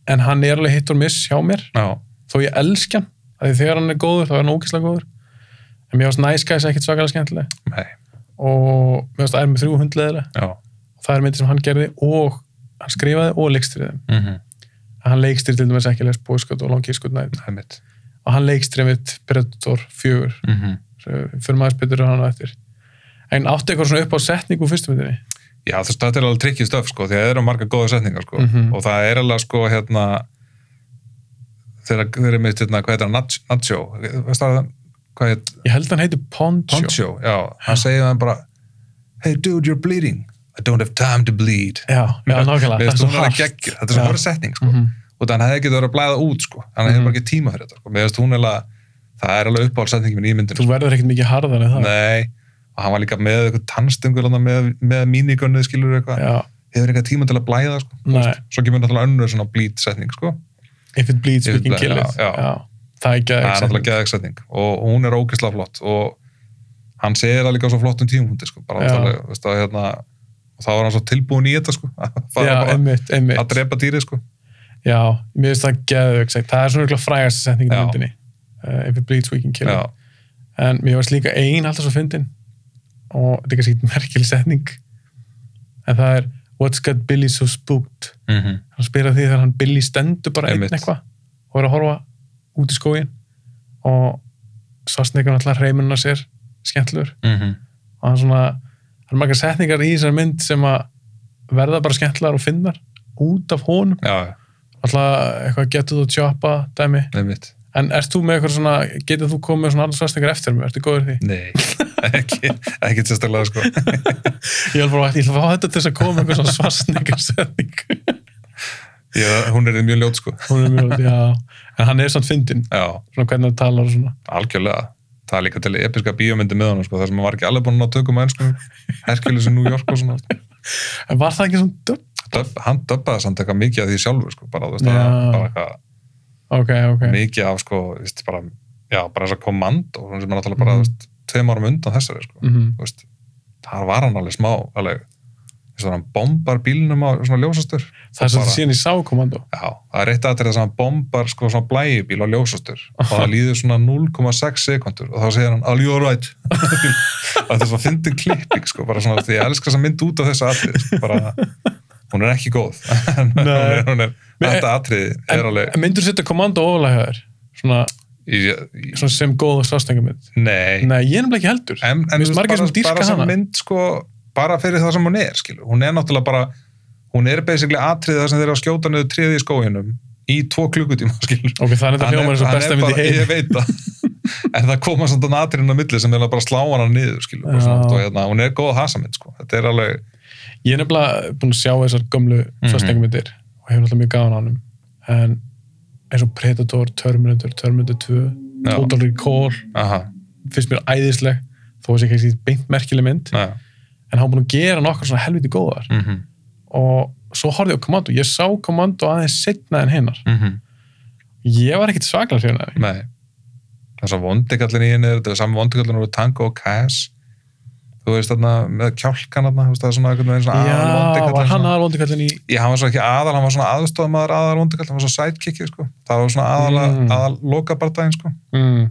Speaker 1: en hann er alveg hitt og miss hjá mér
Speaker 2: já,
Speaker 1: þó ég elska hann, af því þegar hann er góður þá er hann ókislega góður en mér varst næskæs ekkit svakalega skemmtileg
Speaker 2: nei,
Speaker 1: og mér varst ærmi 300 leðilega
Speaker 2: já.
Speaker 1: það er myndir sem hann gerði og hann skrifaði og leikstýrði þeim.
Speaker 2: Mm -hmm.
Speaker 1: hann leikstýrði til dæmis ekki les bóðsköld og langískutnæð
Speaker 2: Það er mitt.
Speaker 1: og hann leikstýrði mitt Predator 4
Speaker 2: Mm -hmm.
Speaker 1: fyrir maður spytur hann á eftir en átti eitthvað svona upp á setningu úr fyrstu myndinni
Speaker 2: Já, þú veist, þetta er alveg trikkið stöf, sko, því að það eru marga góða setningar, sko,
Speaker 1: Mhm.
Speaker 2: og það er alveg, sko, hérna, þegar þeir eru mitt, hérna, hvað heitir hann, Nach- Nacho, veist það, hvað heit,
Speaker 1: ég held hann heiti Poncho,
Speaker 2: Poncho, já, hann segir hann bara, hey dude, you're bleeding, I don't have time to bleed.
Speaker 1: já, já, nákvæmlega, það
Speaker 2: Mér
Speaker 1: er
Speaker 2: finnst
Speaker 1: svo
Speaker 2: hún alveg
Speaker 1: hart
Speaker 2: geggjur, þetta er svo
Speaker 1: Já.
Speaker 2: hörð setning, sko,
Speaker 1: Mhm.
Speaker 2: og þannig hefði ekki verið að blæða út, sko, hann hefði
Speaker 1: Mhm.
Speaker 2: bara ekki tíma fyrir þetta, sko, mér finnst hún alveg, það er alveg uppáhaldsetningin minn í myndinu,
Speaker 1: þú verður ekkert mikið harðan en það
Speaker 2: Nei, og hann var líka með eitthvað tannstungur þarna með, með mínigunni skilur eitthvað,
Speaker 1: já,
Speaker 2: hefur eitthvað tíma til að blæða sko. Þú
Speaker 1: Nei.
Speaker 2: veist, svo kemur náttúrulega önnur svona blít setning sko.
Speaker 1: if it bleeds,
Speaker 2: If
Speaker 1: we
Speaker 2: it
Speaker 1: can
Speaker 2: bleeds,
Speaker 1: kill
Speaker 2: já,
Speaker 1: it
Speaker 2: já.
Speaker 1: það er ekki
Speaker 2: það er náttúrulega geðæg setning og hún er ógeðslega flott og hann segir það líka á svo flottum tímhundi sko. bara
Speaker 1: Já.
Speaker 2: náttúrulega, veist að hérna og þá var hann svo tilbúin í þetta sko. að fara
Speaker 1: já,
Speaker 2: bara
Speaker 1: einmitt,
Speaker 2: að
Speaker 1: einmitt
Speaker 2: drepa dýri sko.
Speaker 1: já, mér finnst það geðvögt það er svona frægast setning í
Speaker 2: Já.
Speaker 1: myndinni uh, if it bleeds, we can kill it
Speaker 2: já,
Speaker 1: en mér varst líka ein alltaf svo fyndin og þetta er kannski merkileg setning en það er What's got Billy so spooked
Speaker 2: mm
Speaker 1: hann spyr að því þegar hann Billy stendur bara einn
Speaker 2: Einmitt.
Speaker 1: eitthvað og er að horfa út í skógin og svarsneikar alltaf hreiminna sér skemmtlur og hann svona það er margar setningar í þessar mynd sem að verða bara skemmtlar og finnar út af honum
Speaker 2: já, já,
Speaker 1: alltaf eitthvað getur þú tjópa dæmi
Speaker 2: nefnitt
Speaker 1: en ert þú með eitthvað svona getur þú komið með svona annars svarsneikar eftir mig ertu góður í því
Speaker 2: nei, ekki, ekki sérstaklega sko.
Speaker 1: Ég vil bara, ég vil fá þetta til þess að koma eitthvað svona svarsningarsetning.
Speaker 2: ég, hún er mjög ljót sko.
Speaker 1: Hún er mjög, já, en hann er samt fyndin,
Speaker 2: já,
Speaker 1: svona hvernig hann talar og svona.
Speaker 2: algjörlega það er líka til episka bíómyndi með honum sko, þar sem hann var ekki alveg búinn að ná tökum að ennskum Herkulis í New York og svona
Speaker 1: En var það ekki svona dubb?
Speaker 2: Döb, hann döbbaði samt eitthvað mikið af því sjálfur sko, bara, þú veist,
Speaker 1: Já.
Speaker 2: það, bara eitthvað
Speaker 1: Ok, ok.
Speaker 2: mikið af sko, veist, bara, já, bara þess að kommand og sem er náttúrulega bara
Speaker 1: Mhm.
Speaker 2: mm. veist, tveim árum undan þessari sko.
Speaker 1: Mm
Speaker 2: Þú veist, þar var hann alveg smá alveg, þess að hann bombar bílnum á svona ljósastur
Speaker 1: Það er
Speaker 2: Og bara-
Speaker 1: svolítið síðan í sákomando.
Speaker 2: Já, það er rétt aðtrið þess að hann bombar sko, svona blæjubíl á ljósastur og það líður svona 0,6 sekundur og þá segir hann, all you alright og þetta er svona fyndin klipping sko, bara svona því ég elskar þess að mynd út af þess aðtrið sko, bara, hún er ekki góð En hún er, hún er,
Speaker 1: Men-
Speaker 2: þetta aðtrið
Speaker 1: En,
Speaker 2: er alveg
Speaker 1: en myndur setja komando ofalega þér? Svona,
Speaker 2: ég, ég,
Speaker 1: svona sem góða svarsningarmynd?
Speaker 2: nei,
Speaker 1: Nei, ég er nefnilega ekki heldur.
Speaker 2: en,
Speaker 1: Mér
Speaker 2: en
Speaker 1: finnst
Speaker 2: þú veist,
Speaker 1: margir sem dýrka
Speaker 2: bara sem
Speaker 1: hana.
Speaker 2: mynd sko, bara fyrir það sem hún er skilur. hún er náttúrulega bara hún er basically aðtrið það sem þeir eru að skjóta niður tríði í skóginum í tvo klukkutíma skilur
Speaker 1: Ok, það er þetta
Speaker 2: Hann
Speaker 1: hljómar eins og
Speaker 2: hann
Speaker 1: besta mynd í
Speaker 2: bara-
Speaker 1: heim.
Speaker 2: Ég veit það. en það koma samt að natrinn á milli sem vilja bara slá hana niður, skilur.
Speaker 1: Já.
Speaker 2: Og svona, og hérna, hún er góð hasamind, sko. Þetta er alveg,
Speaker 1: Ég er nefnilega búin að sjá þessar gömlu
Speaker 2: Mhm.
Speaker 1: svarsningarmyndir og hefur alltaf mjög gaman á hann. En eins og Predator, Terminator, Terminator 2,
Speaker 2: Já.
Speaker 1: Total Recall,
Speaker 2: aha,
Speaker 1: finnst mér æðisleg þó að sé kannski beint merkileg mynd
Speaker 2: næja.
Speaker 1: en hann var búin að gera nokkar svona helviti góðar
Speaker 2: Mm -hmm.
Speaker 1: og svo horfði ég á komando ég sá komando aðeins setna en hinnar ég var ekkit svaklega fyrir hennar
Speaker 2: Mhm. Nei. Þessar vondikallin í henni, þetta er sami vondikallin úr Tango og Cass. Þú veist þarna, með kjálkan þarna, þú veist það er svona einhvern veginn svona aðal
Speaker 1: já, var hann
Speaker 2: svona.
Speaker 1: aðal vondikallin í
Speaker 2: Ég, hann var svo ekki aðal, hann var svona aðstofamaður aðal vondikall, hann var svo sidekickið, sko. Það var svona aðal,
Speaker 1: Mm.
Speaker 2: aðal lokabardaginn, sko.
Speaker 1: mm.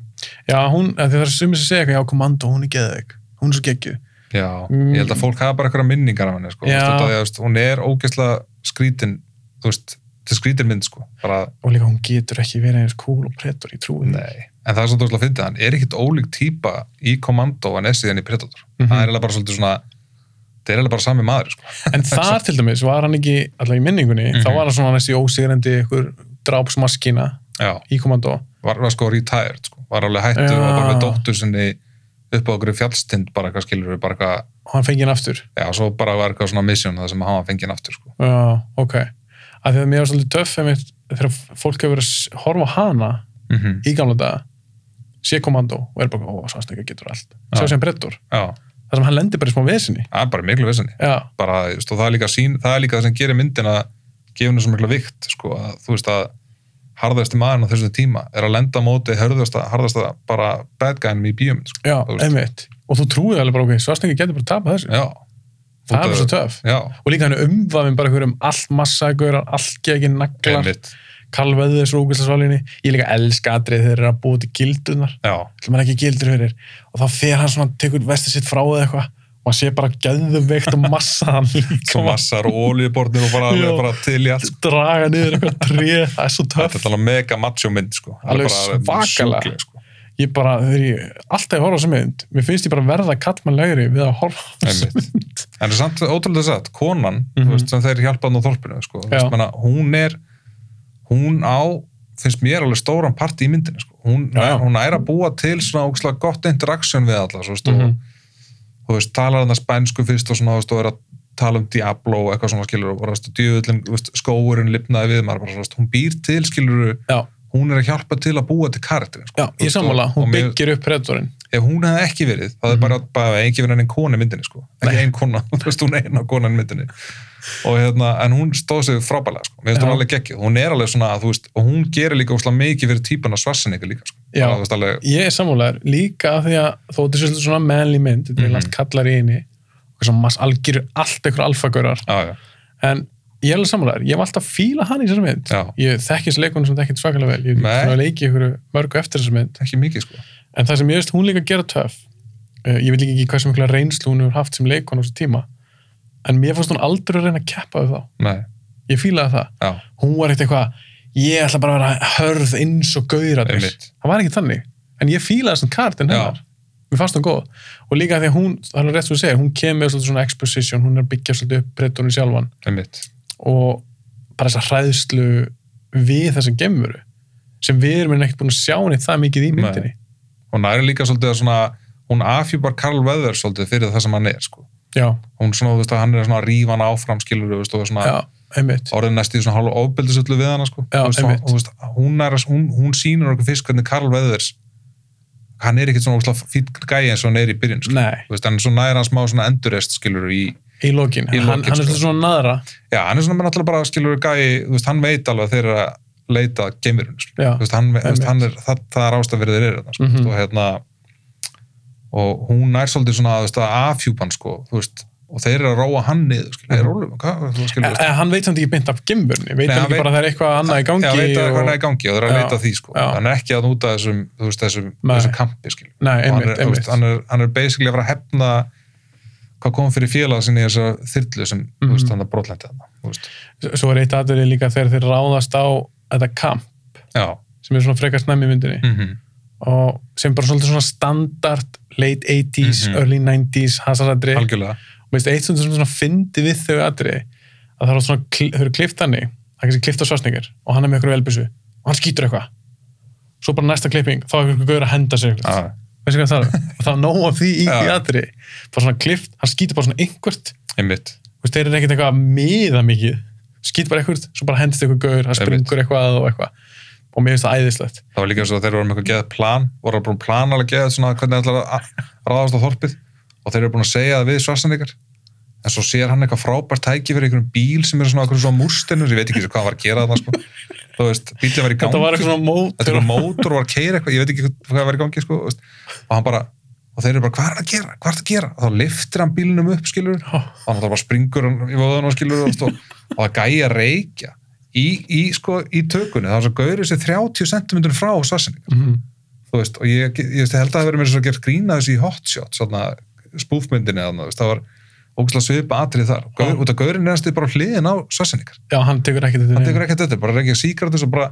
Speaker 1: já, hún, af því það er sumið sem segja eitthvað já, komando, hún er geðveik, hún er svo geggju
Speaker 2: Já,
Speaker 1: Mm.
Speaker 2: ég held að fólk hafa bara eitthvað minningar af henni, sko,
Speaker 1: Já.
Speaker 2: Þú veist, þetta, þú veist, hún er ógeðslega skrítin, þú veist, til skrítir mynd sko bara,
Speaker 1: og líka hún getur ekki verið eins cool og pretor í trúin
Speaker 2: nei. en það er svolítið óslega að finna hann er ekkit ólík típa í Commando en Essi en í Predator
Speaker 1: Mhm.
Speaker 2: það er eiginlega bara svolítið svona það er eiginlega bara sami maður sko.
Speaker 1: en þar til dæmis var hann ekki allavega í minningunni, þá
Speaker 2: Mhm.
Speaker 1: var hann svona þessi ósigrandi ykkur drápsmaskina
Speaker 2: já,
Speaker 1: í komandó
Speaker 2: var, var sko retired sko. var alveg hættur
Speaker 1: Já.
Speaker 2: og var bara með dóttur sinni upp á okkur fjallstind bara hvað skilur við bara hvað
Speaker 1: og hann fengi hann aftur
Speaker 2: já, svo bara var eitthvað svona mission það sem hann var fengið aftur sko.
Speaker 1: Já, ok. Af því að mér var svolítið töff einmitt, þegar fólk hefur verið að horfa á hana
Speaker 2: mm
Speaker 1: í gamla daga sé komandó og er bara, ó, svarsnega getur allt
Speaker 2: Já.
Speaker 1: sjá sem brettur,
Speaker 2: já,
Speaker 1: þar sem hann lendir bara í smá vesinni
Speaker 2: það er bara miklu vissinni
Speaker 1: Já,
Speaker 2: bara, þú veist, og það er líka sín, það er líka það sem gerir myndina gefinu svo mikla vikt sko, að þú veist að harðasti maðurinn á þessu tíma er að lenda á móti hörðasta, harðasta bara bad guynum í bíómynd sko.
Speaker 1: já,
Speaker 2: Þú veist.
Speaker 1: einmitt og þú trúið alveg bara, ok, svarsnega getur bara tapað þessu
Speaker 2: já,
Speaker 1: það er
Speaker 2: Út
Speaker 1: svo
Speaker 2: af-
Speaker 1: töff
Speaker 2: já,
Speaker 1: og líka hann umvafin bara einhverjum allt massa ykkur, allt gegin naglar
Speaker 2: einmitt
Speaker 1: kalveðu þessu úkvæslasvalinni ég líka elska atrið þegar þeir eru að búa til gildunar
Speaker 2: já,
Speaker 1: til maður ekki gildur fyrir og þá fer hann svona, tekur vestið sitt frá eða eitthvað og hann sé bara geðveikt og massa hann
Speaker 2: svo
Speaker 1: líka
Speaker 2: massar og olíubornir og bara,
Speaker 1: Já.
Speaker 2: alveg bara til í allt sko.
Speaker 1: draga niður eitthvað tré, það er svo
Speaker 2: þetta
Speaker 1: töff
Speaker 2: er talað mega macho mynd sko. Það er
Speaker 1: Alveg
Speaker 2: bara
Speaker 1: svakalega.
Speaker 2: sjúkleg, sko.
Speaker 1: ég bara, þegar ég alltaf ég horfa á þessu mynd mér finnst ég bara verða kallmannlegri við að horfa á þessu
Speaker 2: Einmitt.
Speaker 1: mynd
Speaker 2: en það er samt ótrúlega satt, konan mm
Speaker 1: Mhm.
Speaker 2: veist, sem þeir hjálpaðan á þorpinu sko. Þú
Speaker 1: Já.
Speaker 2: veist, menna, hún er hún á, finnst mér alveg stóran part í myndinu sko. hún,
Speaker 1: Já.
Speaker 2: hún er að búa til svona ógeðslega gott interaction við alla, svo veist, mm
Speaker 1: Mhm.
Speaker 2: og þú veist, talar hann að spænsku fyrst og svona, þú veist, og er að tala um Diablo og eitthvað svona skilur og bara, þú veist, djöfullin, þú veist, skóurinn lipnaði við maður bara, svo veist, hún býr til skilur
Speaker 1: já,
Speaker 2: hún er að hjálpa til að búa til karakterin sko.
Speaker 1: já,
Speaker 2: Þú
Speaker 1: ég
Speaker 2: veist,
Speaker 1: sammála,
Speaker 2: og- og
Speaker 1: hún
Speaker 2: mér-
Speaker 1: byggir upp predatorin
Speaker 2: ef hún hefði ekki verið, það
Speaker 1: Mhm.
Speaker 2: er bara, bara ekki verið enn kona í myndinni sko, ekki ein kona þú veist, hún er eina kona í myndinni og hérna, en hún stóð sig frábælega sko, mér finnst
Speaker 1: Já.
Speaker 2: hún alveg geggið, hún er alveg svona þú veist, og hún gerir líka úslega mikið fyrir típan að svarsin ykkur líka sko,
Speaker 1: Já.
Speaker 2: Bara, þú veist alveg
Speaker 1: ég er sammálaður, líka af því að þó þetta er svolítið svona manly mynd, þetta er
Speaker 2: Mhm.
Speaker 1: mm -hmm. kallar í inni og svona mass algjör allt ykkur alfagörar
Speaker 2: já, já,
Speaker 1: en ég er alveg sammálaður, ég hef alltaf fíla hann í þessari mynd
Speaker 2: já,
Speaker 1: ég þekkist leikunum sem þekkist svakalega vel ég
Speaker 2: Nei.
Speaker 1: hef leikið ykkur mörgu eftir þessari mynd
Speaker 2: ekki mikið sko
Speaker 1: en það sem ég veist hún líka gera töf uh, ég veit líka ekki hvað sem mikla reynslu hún hefur haft sem leikon á þessu tíma en mér fannst hún aldrei að reyna að keppa við þá
Speaker 2: nei,
Speaker 1: ég fílaði það,
Speaker 2: já,
Speaker 1: hún var ekkert eitthvað ég ætla bara að vera hörð eins og gauðrættir
Speaker 2: Einmitt.
Speaker 1: það var ekki þannig en ég fílaði þessan kartin
Speaker 2: Já.
Speaker 1: hennar mér fannst hún góð og líka því að hún, það er alveg rétt svo að segja hún kemur svolítið svona exposition, hún er að byggja svolítið upp brettunni sjálfan
Speaker 2: einmitt
Speaker 1: og bara þessa hræðslu við þessa gemuru sem við erum ekkert búin að sjá neitt það mikið í
Speaker 2: Nei.
Speaker 1: myndinni
Speaker 2: hún er líka svolítið að svona hún afhjúpar Karl Weathers svolítið fyrir það sem hann er sko,
Speaker 1: já,
Speaker 2: hún svona, þú veist, að hann er svona að rífa hann áfram skilur, þú veist, og er svona
Speaker 1: já, einmitt
Speaker 2: orðin næst í svona hálf ofbeldisöllu við hana sko.
Speaker 1: Já,
Speaker 2: Þú veist,
Speaker 1: einmitt.
Speaker 2: hún, þú veist, hún, er, að- hún, hún sýnur okkur fyrst hvernig Karl Veðurs hann er ekkert svona óslega fýtt gæi eins og hann er í byrjun sko.
Speaker 1: Nei,
Speaker 2: Þú veist, en svo næra hann smá svona endurest skilur í
Speaker 1: í lokin,
Speaker 2: Í
Speaker 1: hann, hann er
Speaker 2: lokin, sko.
Speaker 1: svolítið svona naðra
Speaker 2: já, hann er svona með náttúrulega bara skilur gæi þú veist, hann veit alveg að þeir eru að leita geimurinn sko.
Speaker 1: Já,
Speaker 2: Þú veist, hann, þú veist,
Speaker 1: einmitt.
Speaker 2: hann er, það, það er ástafverðir er þetta sko.
Speaker 1: Mhm.
Speaker 2: og hérna og hún nær svolítið svona þú veist, að afhjúpan sko, þú veist, og þeir eru að róa hann niður skilur, mm -hmm. rólu, hvað, þú skilur
Speaker 1: Mhm. en, en Eh, hann veit samt ekki beint af gimburni veit
Speaker 2: Nei,
Speaker 1: hann
Speaker 2: hann
Speaker 1: ekki
Speaker 2: veit-
Speaker 1: bara að það er eitthvað annað í gangi
Speaker 2: Já, veit að
Speaker 1: og...
Speaker 2: hvað hann er í gangi og þeir eru að
Speaker 1: Já,
Speaker 2: leita að því sko.
Speaker 1: já.
Speaker 2: hann er ekki að út af þessum, þú veist, þessum,
Speaker 1: Nei.
Speaker 2: þessum kampi skil.
Speaker 1: Nei, einmitt,
Speaker 2: hann, er, þú
Speaker 1: einmitt
Speaker 2: veist, hann, er, hann er basically að vera að hefna hvað kom fyrir félag sinni í þessa þyrlu sem, þú veist,
Speaker 1: Mhm.
Speaker 2: hann er brotlendi þarna, þú veist.
Speaker 1: Svo er eitt aðrið líka þegar þeir ráðast á þetta kamp
Speaker 2: Já,
Speaker 1: sem er svona frekar snemmi í myndinni
Speaker 2: mm
Speaker 1: og sem bara svolítið svona standard late 80s,
Speaker 2: Mhm.
Speaker 1: early 90s hasaradri
Speaker 2: algjörlega
Speaker 1: og veist, eitt sem svona fyndi við þau aðrið að það eru svona, kl- þau eru klift hann í það er kannski klift á svarsningar og hann er með eitthvað velbissu og hann skýtur eitthvað svo bara næsta klipping, þá er eitthvað gaur að henda sér eitthvað
Speaker 2: Já,
Speaker 1: veistu hvað það er og það er nóg af því í
Speaker 2: Ah. Já.
Speaker 1: því aðri bara svona klift, hann skýtur bara svona einhvert
Speaker 2: einmitt,
Speaker 1: þú veist, þeir eru ekkert eitthvað að miða mikið skýt bara einhvert, svo bara hendist eitthvað gaur hann
Speaker 2: Einmitt.
Speaker 1: springur eitthvað og eitthvað og mér finnst það æðislegt
Speaker 2: það var líka eins og þeir voru með eitthvað geðað plan voru búin að plana alveg geðað svona hvernig ætlar að að ráðast á þorpið og þeir eru búin að segja það við svarsanleikar en svo sér hann eitthvað frábært tæki fyrir einhverjum bíl sem er svona okkur svona múrstennur ég veit ekki hvað hann var að gera þarna sko. þú veist, bílinn var í gangi sko.
Speaker 1: þetta var eitthvað svona
Speaker 2: þetta
Speaker 1: mótur
Speaker 2: var mótor og var að keira eitthvað, ég veit ekki hvað var í gangi sko, veist. og hann bara, og þeir eru bara hvað er það að gera, hvað er það að gera, og þá liftir hann bílnum upp skilur,
Speaker 1: Já.
Speaker 2: og hann þá bara springur hann í vöðan og skilur, og, og, og það gæja reykja í, í, sko, í tökunni, það var svo gaurið sér 30 cm frá svarsinni,
Speaker 1: Mhm.
Speaker 2: þú veist, og ég, ég, ég held að það hafi verið mér svo að gera grína þessu í hotshot, svona spúfmyndinni, þannig, það var ógæslega svipa atrið þar Gaur,
Speaker 1: Já.
Speaker 2: út af gaurinn er næstu bara hliðin á sassinningar
Speaker 1: já, hann tekur ekkert þetta
Speaker 2: hann
Speaker 1: niður.
Speaker 2: tekur ekkert þetta, bara reykja síkratus og bara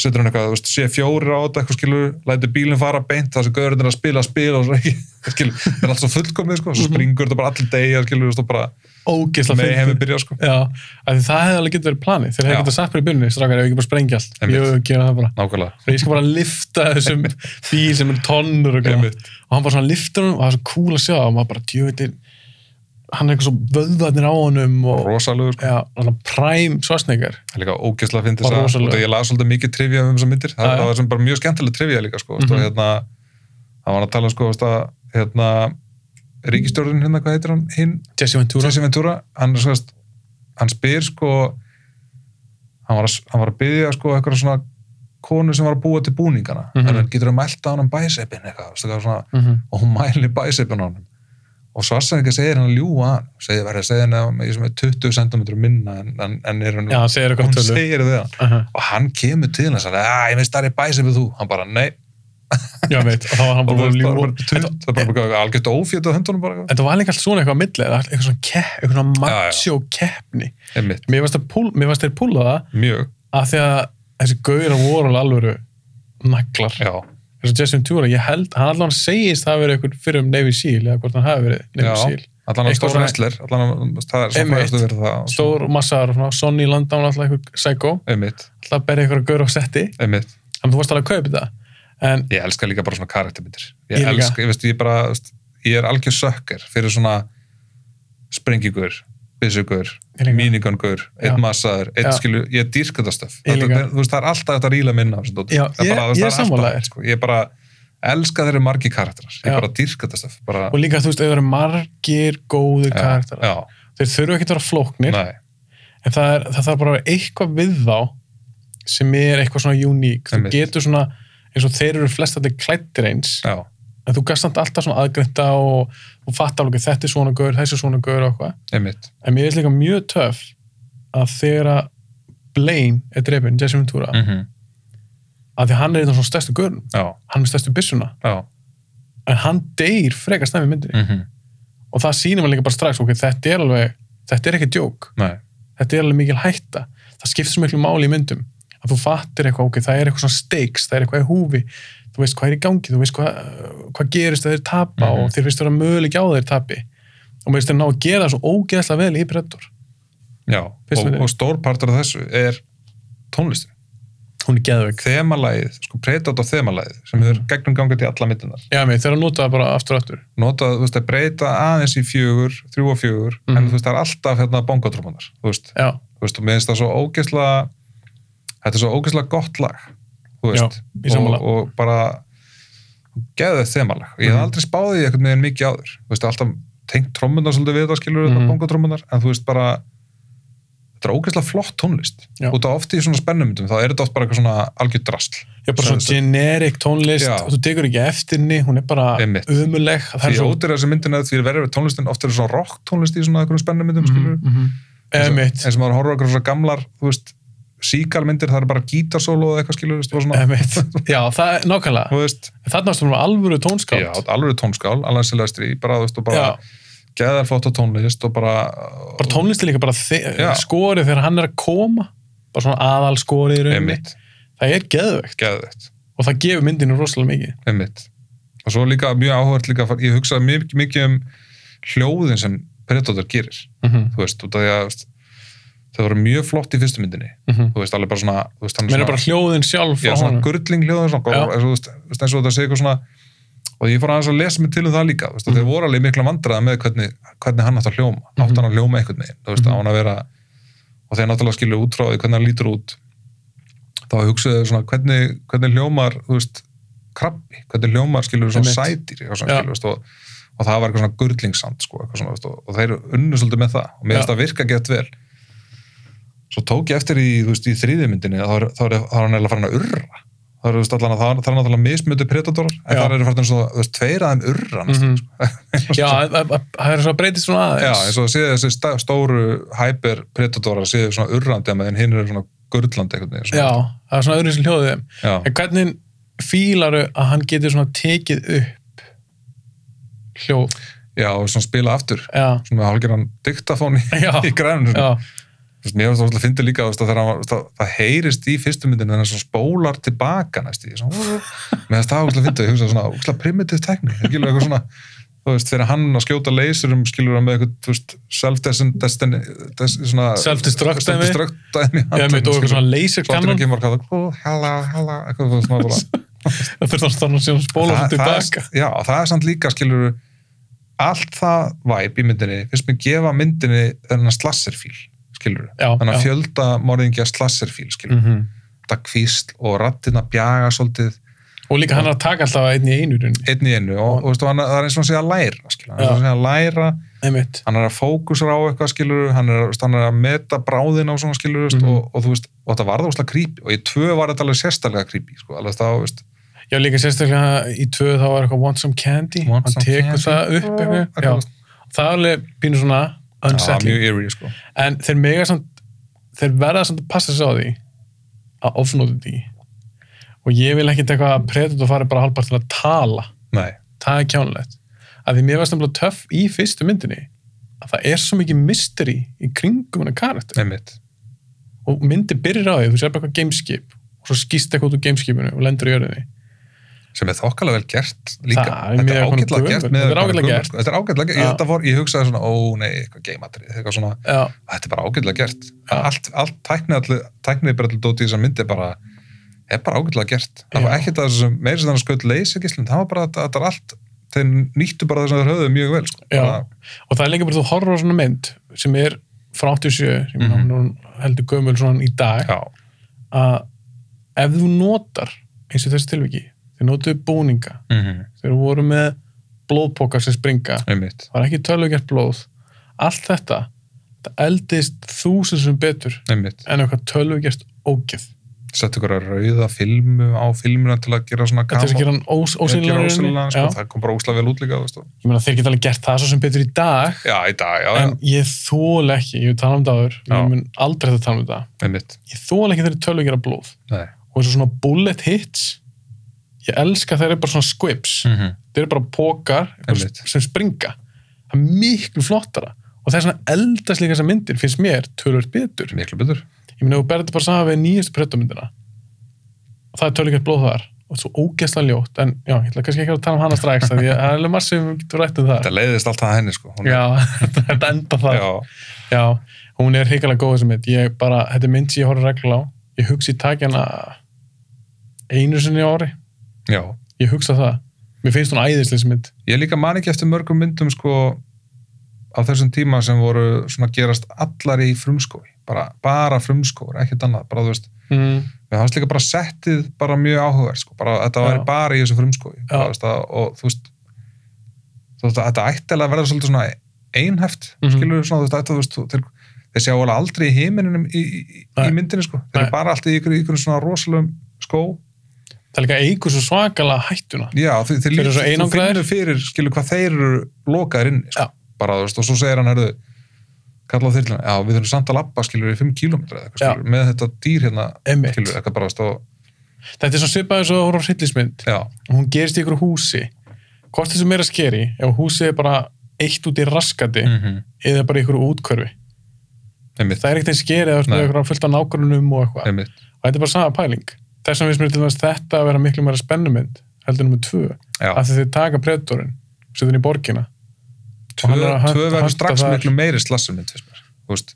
Speaker 2: setur hann eitthvað, þú veist, sé fjórir á þetta eitthvað skilur, lætur bílinn fara beint þar sem gaurinn er að spila, spila og svo ekki skilur, það er allt svo fullkomið sko,
Speaker 1: Mhm.
Speaker 2: svo springur þetta bara allir degja skilur, þú veist, og bara
Speaker 1: ógeðslega
Speaker 2: með
Speaker 1: fyndið.
Speaker 2: hefði byrja sko
Speaker 1: Já, af því það hefði alveg getið verið planið. Þeir hefði
Speaker 2: Já.
Speaker 1: getið sagt mér í byrjunni, strákar, ef ég ekki bara sprengja allt.
Speaker 2: Einmitt.
Speaker 1: Ég gera það bara.
Speaker 2: nákvæmlega,
Speaker 1: Ég skal bara lifta þessum bíl sem er tonnur og gæma.
Speaker 2: Einmitt.
Speaker 1: Og hann bara svona liftur hann og það er svo cool að sjá og maður bara, djöðir, hann er eitthvað svo vöðvarnir á honum og
Speaker 2: rosalegu sko,
Speaker 1: já, alltaf præm svarsneikar.
Speaker 2: það er líka ógæslega fyndi
Speaker 1: Bara
Speaker 2: þess
Speaker 1: rosalega.
Speaker 2: að ég las svolítið mikið trivja um þessar myndir,
Speaker 1: Já,
Speaker 2: það,
Speaker 1: já.
Speaker 2: það var sem bara mjög skemmtilega trivja líka sko, mm
Speaker 1: Mhm.
Speaker 2: og hérna það var að tala sko, þú veist, að, hérna ríkistjórnin hérna, hvað heitir hann, hinn
Speaker 1: Jesse Ventura.
Speaker 2: Jesse Ventura, hann, er, svo veist, hann spyr sko hann var að, hann var að byggja sko eitthvað svona konu sem var að búa til búningana mm
Speaker 1: Mhm.
Speaker 2: hann getur að melta hann um bæseppin eitthvað, veistu, eitthvað svona,
Speaker 1: Mhm.
Speaker 2: og hún mæli bæseppin á hann og Svarsengar segir hann að ljúga að hann segir verið að segja hann að ég sem er 20 cm minna en, en, en er hann
Speaker 1: Já, hann segir eitthvað
Speaker 2: hún
Speaker 1: um tölu.
Speaker 2: segir það hann
Speaker 1: Aha.
Speaker 2: og hann kemur til hans að ég veist það er bæseppin þú hann bara nei
Speaker 1: Já, veit, og þá var hann
Speaker 2: Og
Speaker 1: bara
Speaker 2: þú
Speaker 1: búin að
Speaker 2: veist, það er
Speaker 1: ljúa.
Speaker 2: bara tutt- það er bara eitthvað algjört ófjöld á höndunum bara
Speaker 1: En það var líka allt svona eitthvað að milli, eða eitthvað svona, kepp, eitthvað svona
Speaker 2: Já, já.
Speaker 1: macho keppni.
Speaker 2: Einmitt.
Speaker 1: Mér varst, að púl, mér varst þeir púla það
Speaker 2: mjög
Speaker 1: að því að þessi gauðir voru alveg alvöru naglar
Speaker 2: já
Speaker 1: eins og Justin Tura, ég held, hann allan segist það hafi verið einhver fyrir um Navy Seal eða hvort hann hafi verið Navy
Speaker 2: Já,
Speaker 1: Seal
Speaker 2: allan að
Speaker 1: Eitthvað
Speaker 2: stóra
Speaker 1: svona-
Speaker 2: wrestler allan að það
Speaker 1: Einmitt.
Speaker 2: er svona fræðastu verið það
Speaker 1: stór massar, svona, Sonny Landau alltaf einhver psycho,
Speaker 2: einmitt,
Speaker 1: alltaf berið einhver gaur á setti
Speaker 2: einmitt,
Speaker 1: þannig þú varst alveg að kaupa þetta en
Speaker 2: ég elska líka bara svona karaktermyndir
Speaker 1: Ég
Speaker 2: ég
Speaker 1: líka.
Speaker 2: elska, ég veist, ég bara þú veist, ég er algjör sökkar fyrir svona sprengigur, byssugur
Speaker 1: Ég líka.
Speaker 2: mínigangur,
Speaker 1: Já.
Speaker 2: einn massaður einn
Speaker 1: Já.
Speaker 2: skilu, ég dýrka það stöf
Speaker 1: Ég
Speaker 2: þetta,
Speaker 1: líka.
Speaker 2: er- þú veist, það er alltaf þetta ríla minna það
Speaker 1: Já,
Speaker 2: er
Speaker 1: ég-
Speaker 2: bara, þú veist,
Speaker 1: ég
Speaker 2: það
Speaker 1: er
Speaker 2: er
Speaker 1: sammála þér.
Speaker 2: alltaf sko. ég bara elska þeirri margi karakterar ég
Speaker 1: Já.
Speaker 2: bara dýrka það stöf bara,
Speaker 1: og líka þú veist, þau eru margir góðir karakterar,
Speaker 2: já,
Speaker 1: þeir þurfu ekki að vera flóknir
Speaker 2: nei,
Speaker 1: en það, er, það þarf bara að vera eitthvað við þá sem er eitthvað svona uník þú
Speaker 2: Einmitt.
Speaker 1: getur svona, eins og þeir eru flest allir klættir eins
Speaker 2: já,
Speaker 1: en þú gast samt alltaf svona aðgrynda og, og fatta alveg þetta er svona gaur, þessi er svona gaur og eitthvað
Speaker 2: einmitt
Speaker 1: en mér finnst líka mjög töff að þegar að Blaine er drefin, Jesse Ventura
Speaker 2: mm
Speaker 1: að því að hann er einn af svona stærstu görnum
Speaker 2: já,
Speaker 1: hann er með stærstu byssuna,
Speaker 2: já,
Speaker 1: en hann deyr frekar snemma í myndinni
Speaker 2: mhm
Speaker 1: og það sýnir maður líka bara strax, ok, þetta er alveg þetta er ekki djók,
Speaker 2: nei,
Speaker 1: þetta er alveg mikil hætta það skiptir svo miklu máli í myndum að þú fattir eitthvað, ok, það er eitthvað svona stakes það er eitthvað í húfi, þú veist hvað er í gangi þú veist hvað, hvað gerist að þeir tapa
Speaker 2: Mhm.
Speaker 1: og þeir finnst vera möguleik á að þeir tapi og mér finnst þeir ná að gera það svo ógeðslega vel í Predator,
Speaker 2: Já,
Speaker 1: Fyrst
Speaker 2: og,
Speaker 1: með þig.
Speaker 2: og stór partur af þessu er tónlistin.
Speaker 1: hún er geðveik
Speaker 2: Þemalægið, sko Predator þemalægið sem
Speaker 1: Mhm.
Speaker 2: hefur gegnum gangið í alla myndunar.
Speaker 1: já, mér, þeir eru að nota það bara aftur og aftur
Speaker 2: Notað, þú veist, að breyta aðeins í fjögur, þrjú og fjögur, en
Speaker 1: Mhm.
Speaker 2: þú veist, það er alltaf hérna bongotrumunar, þú veist,
Speaker 1: já,
Speaker 2: þú veist, og mér finnst það svo ógeðslega, þetta er svo ógeðslega gott lag, þú
Speaker 1: Já,
Speaker 2: veist,
Speaker 1: ég sammála.
Speaker 2: og, og bara geðið þemalag. Ég hef
Speaker 1: Mhm.
Speaker 2: aldrei spáðið eitthvað með mikið áður, þú veist, alltaf tengt trommunar svolítið við það skilur, mm
Speaker 1: Mhm.
Speaker 2: -hmm. bongotrumunar, en þú veist, bara þetta er ógeðslega flott tónlist
Speaker 1: Já.
Speaker 2: út af oft í svona spennumyndum þá er þetta oft bara eitthvað svona algjör drasl
Speaker 1: Já, bara svona
Speaker 2: Sem-
Speaker 1: generic tónlist
Speaker 2: Já.
Speaker 1: og þú tekur ekki eftirni, hún er bara
Speaker 2: Einmitt.
Speaker 1: umuleg það er
Speaker 2: því
Speaker 1: svo
Speaker 2: ótir þessi myndin að því er verið við tónlistin oft er svona rock tónlist í svona einhverjum spennumyndum mm -hmm.
Speaker 1: Mhm.
Speaker 2: eins,
Speaker 1: emitt,
Speaker 2: og- eins og maður horfður eitthvað svona gamlar þú veist, síkalmyndir það er bara gítarsólo eða eitthvað skilur veist, og svona,
Speaker 1: emitt já, það er nákvæmlega,
Speaker 2: þú veist,
Speaker 1: þarna varstu með alvöru tónskáld
Speaker 2: já, alveg tónskál alveg silvestri, bara þú veist og
Speaker 1: Já.
Speaker 2: bara geðar flott á tónlist og bara,
Speaker 1: bara tónlisti líka bara þe-
Speaker 2: Já.
Speaker 1: skorið þegar hann er að koma bara svona aðal skorið í rauninni
Speaker 2: einmitt,
Speaker 1: það er geðvegt
Speaker 2: geðveitt,
Speaker 1: og það gefur myndinu rosalega mikið
Speaker 2: einmitt og svo líka mjög áhugert líka, að fara- ég hugsaði mjög mikið um hljóðin sem Predator gerir
Speaker 1: Mhm,
Speaker 2: þú veist, út af því að þú veist, þau voru mjög flott í fyrstu myndinni
Speaker 1: mhm.
Speaker 2: þú veist, alveg bara svona þú veist, hann
Speaker 1: mér er bara hljóðin sjálf
Speaker 2: já,
Speaker 1: frá
Speaker 2: svona
Speaker 1: honum.
Speaker 2: gurling hljóðan
Speaker 1: Já.
Speaker 2: svona, gor- eins og þú veist, þú veist, eins og þetta segir eitthvað svona og ég fór aðeins að lesa mig til um það líka þú veist, mm
Speaker 1: Mhm.
Speaker 2: þeir voru alveg mikla vandræða með hvernig, hvernig hann átt að hljóma, átt hann að hljóma einhvern veginn þú veist,
Speaker 1: Mhm.
Speaker 2: á hann að vera og þeir náttúrulega skilur út frá því hvernig hann lítur út þá hugsaðu svona hvernig, hvernig hljómar, þú veist krabbi, hvernig hljómar skilur svona
Speaker 1: Einmitt.
Speaker 2: sætir eitthvað svona,
Speaker 1: Já.
Speaker 2: skilur, þú veist, og, og það var eitthvað svona gurlingsand sko, eitthvað svona, þú veist, og, og þeir unnu svolítið með það og mér
Speaker 1: Já.
Speaker 2: finnst það virka gett vel svo tók ég eftir í, þú veist, í þriðjumyndinni þá er, þá er, þá er hann eða farin að urra þá er, þú veist, allan að það, það er náttúrulega mismötu predatorar en
Speaker 1: Já.
Speaker 2: það eru farin svo, þú veist, tveir að þeim urra mm
Speaker 1: Mhm. já, að- að- að- það er svo að breytist svona
Speaker 2: já,
Speaker 1: aðeins
Speaker 2: eins og séu þessi stá, stóru hyper predatorar séu svona urrandi en hinn eru svona gurlandi einhvern veginn svona.
Speaker 1: já, það er svona öðru sem hljóðið þeim
Speaker 2: Já.
Speaker 1: En hvernig fílaru að hann getur svona tekið upp hljóð?
Speaker 2: já, og svona spila aftur
Speaker 1: já,
Speaker 2: svona með hálfgerðan diktafón í,
Speaker 1: já,
Speaker 2: í grænum
Speaker 1: já,
Speaker 2: Þú veist, mér finnst það alltaf að fyndi líka þú veist, að þegar hann var- það, það heyrist í fyrstu myndinu þannig að hann spólar tilbaka næst í svona, mér finnst það alltaf að fyndi ég hugsa svona, alltaf primitive tekni skilur eitthvað svona, þú veist, þegar hann að skjóta leysurum skilur hann með eitthvað, þú veist self-destiny
Speaker 1: Self-destruct dæmi.
Speaker 2: self-destruct-dæmi
Speaker 1: já, mitt og eitthvað svona laser
Speaker 2: Slátturinn
Speaker 1: cannon,
Speaker 2: kemur að kalla, hella, hella, eitthvað þú veist, svona bara
Speaker 1: það fyrir þannig að síðan spóla
Speaker 2: Það-
Speaker 1: svo
Speaker 2: það er-
Speaker 1: tilbaka.
Speaker 2: Já, það er samt líka, skilur allt það væp í myndinni finnst mér gefa myndinni þennan slasserfíl, skilur
Speaker 1: Já,
Speaker 2: þannig að
Speaker 1: já.
Speaker 2: fjölda morðingja slasserfíl, skilur mm.
Speaker 1: Mhm.
Speaker 2: það kvísl og rattina bjaga svolítið
Speaker 1: Og líka hann er að taka alltaf einn í einu runni,
Speaker 2: einn í einu og, og veistu, hann, það er eins og hann sé að læra, skilur hann
Speaker 1: Já.
Speaker 2: er eins og hann sé að læra,
Speaker 1: einmitt,
Speaker 2: hann er að fókusra á eitthvað, skilur hann er, veistu, hann er að meta bráðin á svona, skilur mm
Speaker 1: Mhm.
Speaker 2: og, og þú veist, og þetta var það úslega creepy og í tvö var þetta alveg sérstaklega creepy, sko, alveg það, þú veist
Speaker 1: já, líka sérstaklega í tvö þá var eitthvað want some candy,
Speaker 2: Want
Speaker 1: hann
Speaker 2: some
Speaker 1: tekur
Speaker 2: candy.
Speaker 1: það upp,
Speaker 2: Það
Speaker 1: eitthvað,
Speaker 2: er
Speaker 1: já, það er alveg pínu svona
Speaker 2: það
Speaker 1: unsettling.
Speaker 2: mjög eerie, sko
Speaker 1: en þeir mega samt þeir verða samt að passa sig á því að ofnóta því og ég vil ekkert eitthvað að predut og fari bara halvpart til að tala,
Speaker 2: Nei.
Speaker 1: það er kjánulegt að því mér varst nefnilega töff í fyrstu myndinni að það er svo mikið mystery í kringum hennar karakter
Speaker 2: einmitt
Speaker 1: og myndi byrjar á því, þú sér bara eitthvað gameskip og svo skýst eitthvað út úr gameskipinu og lendur í jörðinni
Speaker 2: sem er þokkalega vel gert líka
Speaker 1: Það er
Speaker 2: þetta
Speaker 1: mjög
Speaker 2: er
Speaker 1: konar
Speaker 2: ágætlega
Speaker 1: gömul.
Speaker 2: gert
Speaker 1: Þetta er
Speaker 2: með-
Speaker 1: ágætlega gert.
Speaker 2: þetta er ágætlega gert
Speaker 1: Já.
Speaker 2: ég, þetta fór, ég hugsaði svona, ó nei, eitthvað geimatrið eitthvað svona,
Speaker 1: já,
Speaker 2: þetta er bara ágætlega gert
Speaker 1: Já.
Speaker 2: allt, allt tæknið allir tæknið bara allir dóti í þessar myndi er bara er bara ágætlega gert það var
Speaker 1: Já.
Speaker 2: ekkert að þessum meira sem þannig skaut leysigislum það var bara að þetta er allt þeir nýttu bara þess að þeir höfðu mjög vel sko.
Speaker 1: Já.
Speaker 2: bara,
Speaker 1: og það er líka bara þú horfur á svona mynd sem er frá 87 sem mm
Speaker 2: Mhm.
Speaker 1: -hmm. heldur gömul svona í dag
Speaker 2: já,
Speaker 1: að ef þú notar eins og þessi tilviki, þeir notuðu búninga
Speaker 2: mm -hmm.
Speaker 1: þeir voru með blóðpokar sem springa,
Speaker 2: einmitt,
Speaker 1: það var ekki tölvugert blóð allt þetta það eldist þúsundum betur
Speaker 2: einmitt.
Speaker 1: en eitthvað tölvugert ógeð
Speaker 2: sett ykkur að rauða filmu á filmuna til að gera svona
Speaker 1: þetta er
Speaker 2: gamall-
Speaker 1: að gera hann ós,
Speaker 2: gera
Speaker 1: ósynlega
Speaker 2: ósynlegan, sko.
Speaker 1: ég
Speaker 2: það kom bara óslega vel út líka þú veist.
Speaker 1: meina þeir geta alveg gert það svo sem betur í dag
Speaker 2: já, í dag, já,
Speaker 1: en ég þól ekki, ég vil tala um það áður
Speaker 2: Já.
Speaker 1: ég mun aldrei þetta tala um það
Speaker 2: já, einmitt
Speaker 1: ég þól ekki þeirri tölvugera blóð
Speaker 2: nei
Speaker 1: og eins og svona bullet hits ég elska þeir eru bara svona squips
Speaker 2: mm -hmm.
Speaker 1: þeir eru bara pókar
Speaker 2: Einmitt.
Speaker 1: sem springa það er miklu flottara og það er svona eldast líka þessar myndir finnst mér tölvöld betur
Speaker 2: miklu betur
Speaker 1: ég meina, þú berði þetta bara saman við nýjastu pretumyndina og það er tölvöld blóð þar og svo ógeðslega ljótt en já, ég ætla kannski ekki að tala um hana strax af því að það er alveg margt sem við getum rætt um það
Speaker 2: þetta leiðist alltaf að henni sko Hún
Speaker 1: já, þetta enda
Speaker 2: er,
Speaker 1: það
Speaker 2: já,
Speaker 1: já, hún er hrikalega góð sem mynd ég bara, þetta er mynd sem ég horfði reglulega á ég hugsi í takjana einu sinni á ári,
Speaker 2: já.
Speaker 1: ég hugsa það mér finnst hún æðislega sem mynd
Speaker 2: ég líka man ekki eftir mörgum myndum sko á þessum tíma sem voru svona gerast allar í frumskói bara, bara frumskói, ekkert annað bara þú veist,
Speaker 1: mm.
Speaker 2: við hafðist líka bara settið bara mjög áhugað sko, bara þetta
Speaker 1: Já.
Speaker 2: væri bara í þessu frumskói
Speaker 1: Já.
Speaker 2: bara, þú veist, að, og þú veist þú veist, að þetta ætti alveg að verða svolítið svona einhæft, mm
Speaker 1: Mhm.
Speaker 2: svona, þú veist, að, þú veist þú, þeir, þeir sjá alveg aldrei í heiminum í, í, í
Speaker 1: Nei.
Speaker 2: myndinni sko, þeir
Speaker 1: Nei.
Speaker 2: eru bara alltaf í ykkur, ykkur svona rosalum skó
Speaker 1: það er líka eigur svo svakalega hættuna
Speaker 2: Já, þeir, þeir,
Speaker 1: Þeir eru svo
Speaker 2: þú
Speaker 1: einangraðir.
Speaker 2: finnur fyrir, skilur, hvað þeir eru lokaðir inni, sko.
Speaker 1: Já.
Speaker 2: Bara, þú veist, og svo segir hann, herðu, kalla á þyrluna, já, við þurfum samt að labba, skilur, í 5 km eða eitthvað,
Speaker 1: Já.
Speaker 2: skilur, með þetta dýr hérna,
Speaker 1: Einmitt.
Speaker 2: skilur, eitthvað bara, þú veist,
Speaker 1: þetta er svo svipað eins og að horfa á hryllismynd
Speaker 2: og, já,
Speaker 1: hún gerist í ykkur húsi hvort þessu meira skeri ef húsið er bara eitt út í raskati
Speaker 2: mm -hmm.
Speaker 1: eða bara í ykkur útkörfi
Speaker 2: einmitt,
Speaker 1: það er ekkert einn skeri eða
Speaker 2: Nei.
Speaker 1: ykkur fullt af nágrunum og eitthvað
Speaker 2: einmitt,
Speaker 1: og þetta er bara sama pæling þess vegna finnst mér til dæmis þetta að vera miklu meira spennumynd heldur nummer tvö
Speaker 2: já,
Speaker 1: af því þeir taka predatorin setja hann í borgina
Speaker 2: tvö,
Speaker 1: hann er að
Speaker 2: tvö
Speaker 1: hanta-
Speaker 2: verður
Speaker 1: hanta
Speaker 2: strax
Speaker 1: þar.
Speaker 2: miklu meiri slassumind, fyrst mér, þú veist,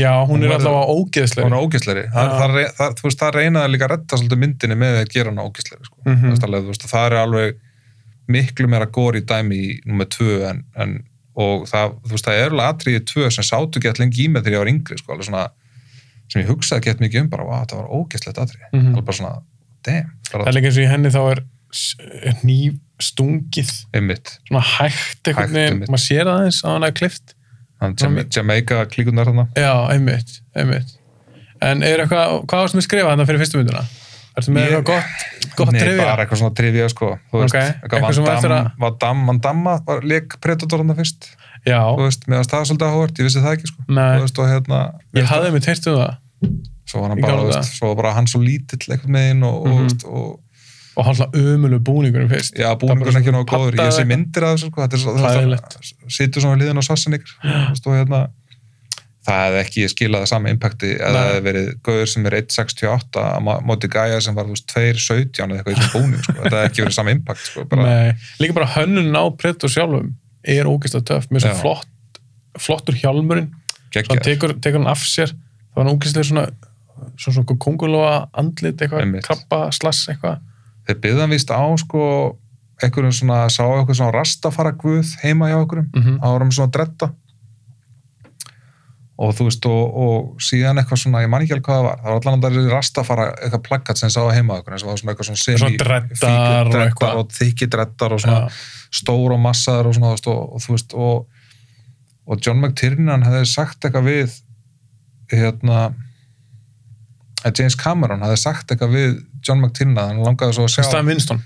Speaker 1: já, hún,
Speaker 2: Hún
Speaker 1: er
Speaker 2: verður-
Speaker 1: allavega
Speaker 2: hún
Speaker 1: ógeðslega
Speaker 2: er ógæsleiri, það,
Speaker 1: Já.
Speaker 2: það, re- það, þú veist, það reynaði líka að retta svolítið myndinni með því að gera hana ógæsleiri, sko,
Speaker 1: Mhm.
Speaker 2: þú veist, alveg, þú veist, og það er alveg miklu meira góri dæmi í nummer tvö en, en og það, þú veist, það er alveg atriðið tvö sem sátu gett lengi í með þegar ég var yngri, sko, alveg svona sem ég hugsaði gett mikið um bara, vá, það var ógæslegt atrið,
Speaker 1: Mhm.
Speaker 2: alveg bara svona, damn, bara
Speaker 1: það er líka eins og í henni þá er s- er hníf stungið
Speaker 2: einmitt,
Speaker 1: svona hægt
Speaker 2: Hægt,
Speaker 1: einhvern veginn,
Speaker 2: einmitt.
Speaker 1: maður sér það aðeins að hann er klift
Speaker 2: hann
Speaker 1: Svona
Speaker 2: Jama-
Speaker 1: mi-
Speaker 2: Jamaica klíkunar þarna,
Speaker 1: já, einmitt, einmitt en er eitthvað, hvað varst með skrifa þetta fyrir fyrstu myndina? Ertu með
Speaker 2: Ég-
Speaker 1: eitthvað gott, gott
Speaker 2: Nei,
Speaker 1: trivia?
Speaker 2: bara eitthvað svona trivia, sko, þú
Speaker 1: Ok,
Speaker 2: veist,
Speaker 1: eitthvað sem var
Speaker 2: eitthvað
Speaker 1: eftir
Speaker 2: vandam,
Speaker 1: að-
Speaker 2: vandam, vandamma, var leik Predator þarna fyrst, þú
Speaker 1: Já,
Speaker 2: veist, meðan það svolítið áhvert, ég vissi það ekki, sko,
Speaker 1: Nei.
Speaker 2: þú veist, og hérna,
Speaker 1: ég hafði með teirt um það
Speaker 2: svo var hann
Speaker 1: Ég
Speaker 2: bara,
Speaker 1: gáði
Speaker 2: þú
Speaker 1: það.
Speaker 2: veist, svo var bara hann svo lítill eitthvað megin og, mm
Speaker 1: Mhm.
Speaker 2: -hmm. og, og
Speaker 1: og og hann alltaf ömulegu búningunum fyrst
Speaker 2: Já, búningur er ekki nóg góður, ég sé myndir af þessu sko, þetta er svo- þetta
Speaker 1: Hræðilegt.
Speaker 2: er svo, situr svona liðin á sassin ykkur, stóð hérna það hefði ekki skilað það sama impacti eða
Speaker 1: Nei.
Speaker 2: það hefði verið gauður sem er 1.68 á má- móti gæja sem var þú veist 2.17 eða eitthvað í þessum búning, sko, þetta hefði ekki verið sama impact sko, bara,
Speaker 1: Nei, líka bara hönnun á Predator sjálfum er ógeðslega töff, með svo
Speaker 2: Já.
Speaker 1: flott flottur hjálmurinn, svo hann
Speaker 2: geggjað
Speaker 1: tekur, tekur hann af sér, þá er hann ógeðslega svona svona svona kongulóa andlit eitthvað,
Speaker 2: Einmitt.
Speaker 1: krabba, slass eitthvað
Speaker 2: þeir byggðan víst á sko einhverjum svona, sá eitthvað svona rastafara guð heima hjá okkurum
Speaker 1: mm
Speaker 2: þá var hann svona að dretta og þú veist og, og síðan eitthvað svona, ég man ekki alveg hvað það var það var allan að það er rastafara eitthvað plakkat sem sá heima okkur, sem var svona eitthvað svona, semi-
Speaker 1: Svona dreddar
Speaker 2: fíkir
Speaker 1: og
Speaker 2: dreddar
Speaker 1: eitthvað.
Speaker 2: og þykki dreddar og svona
Speaker 1: Já,
Speaker 2: stór og massaðar og svona þú veist, og, og þú veist og, og John McTiernan hefði sagt eitthvað við hérna að James Cameron hefði sagt eitthvað við John McTiernan, hann langaði svo að sjá
Speaker 1: Stan Winston,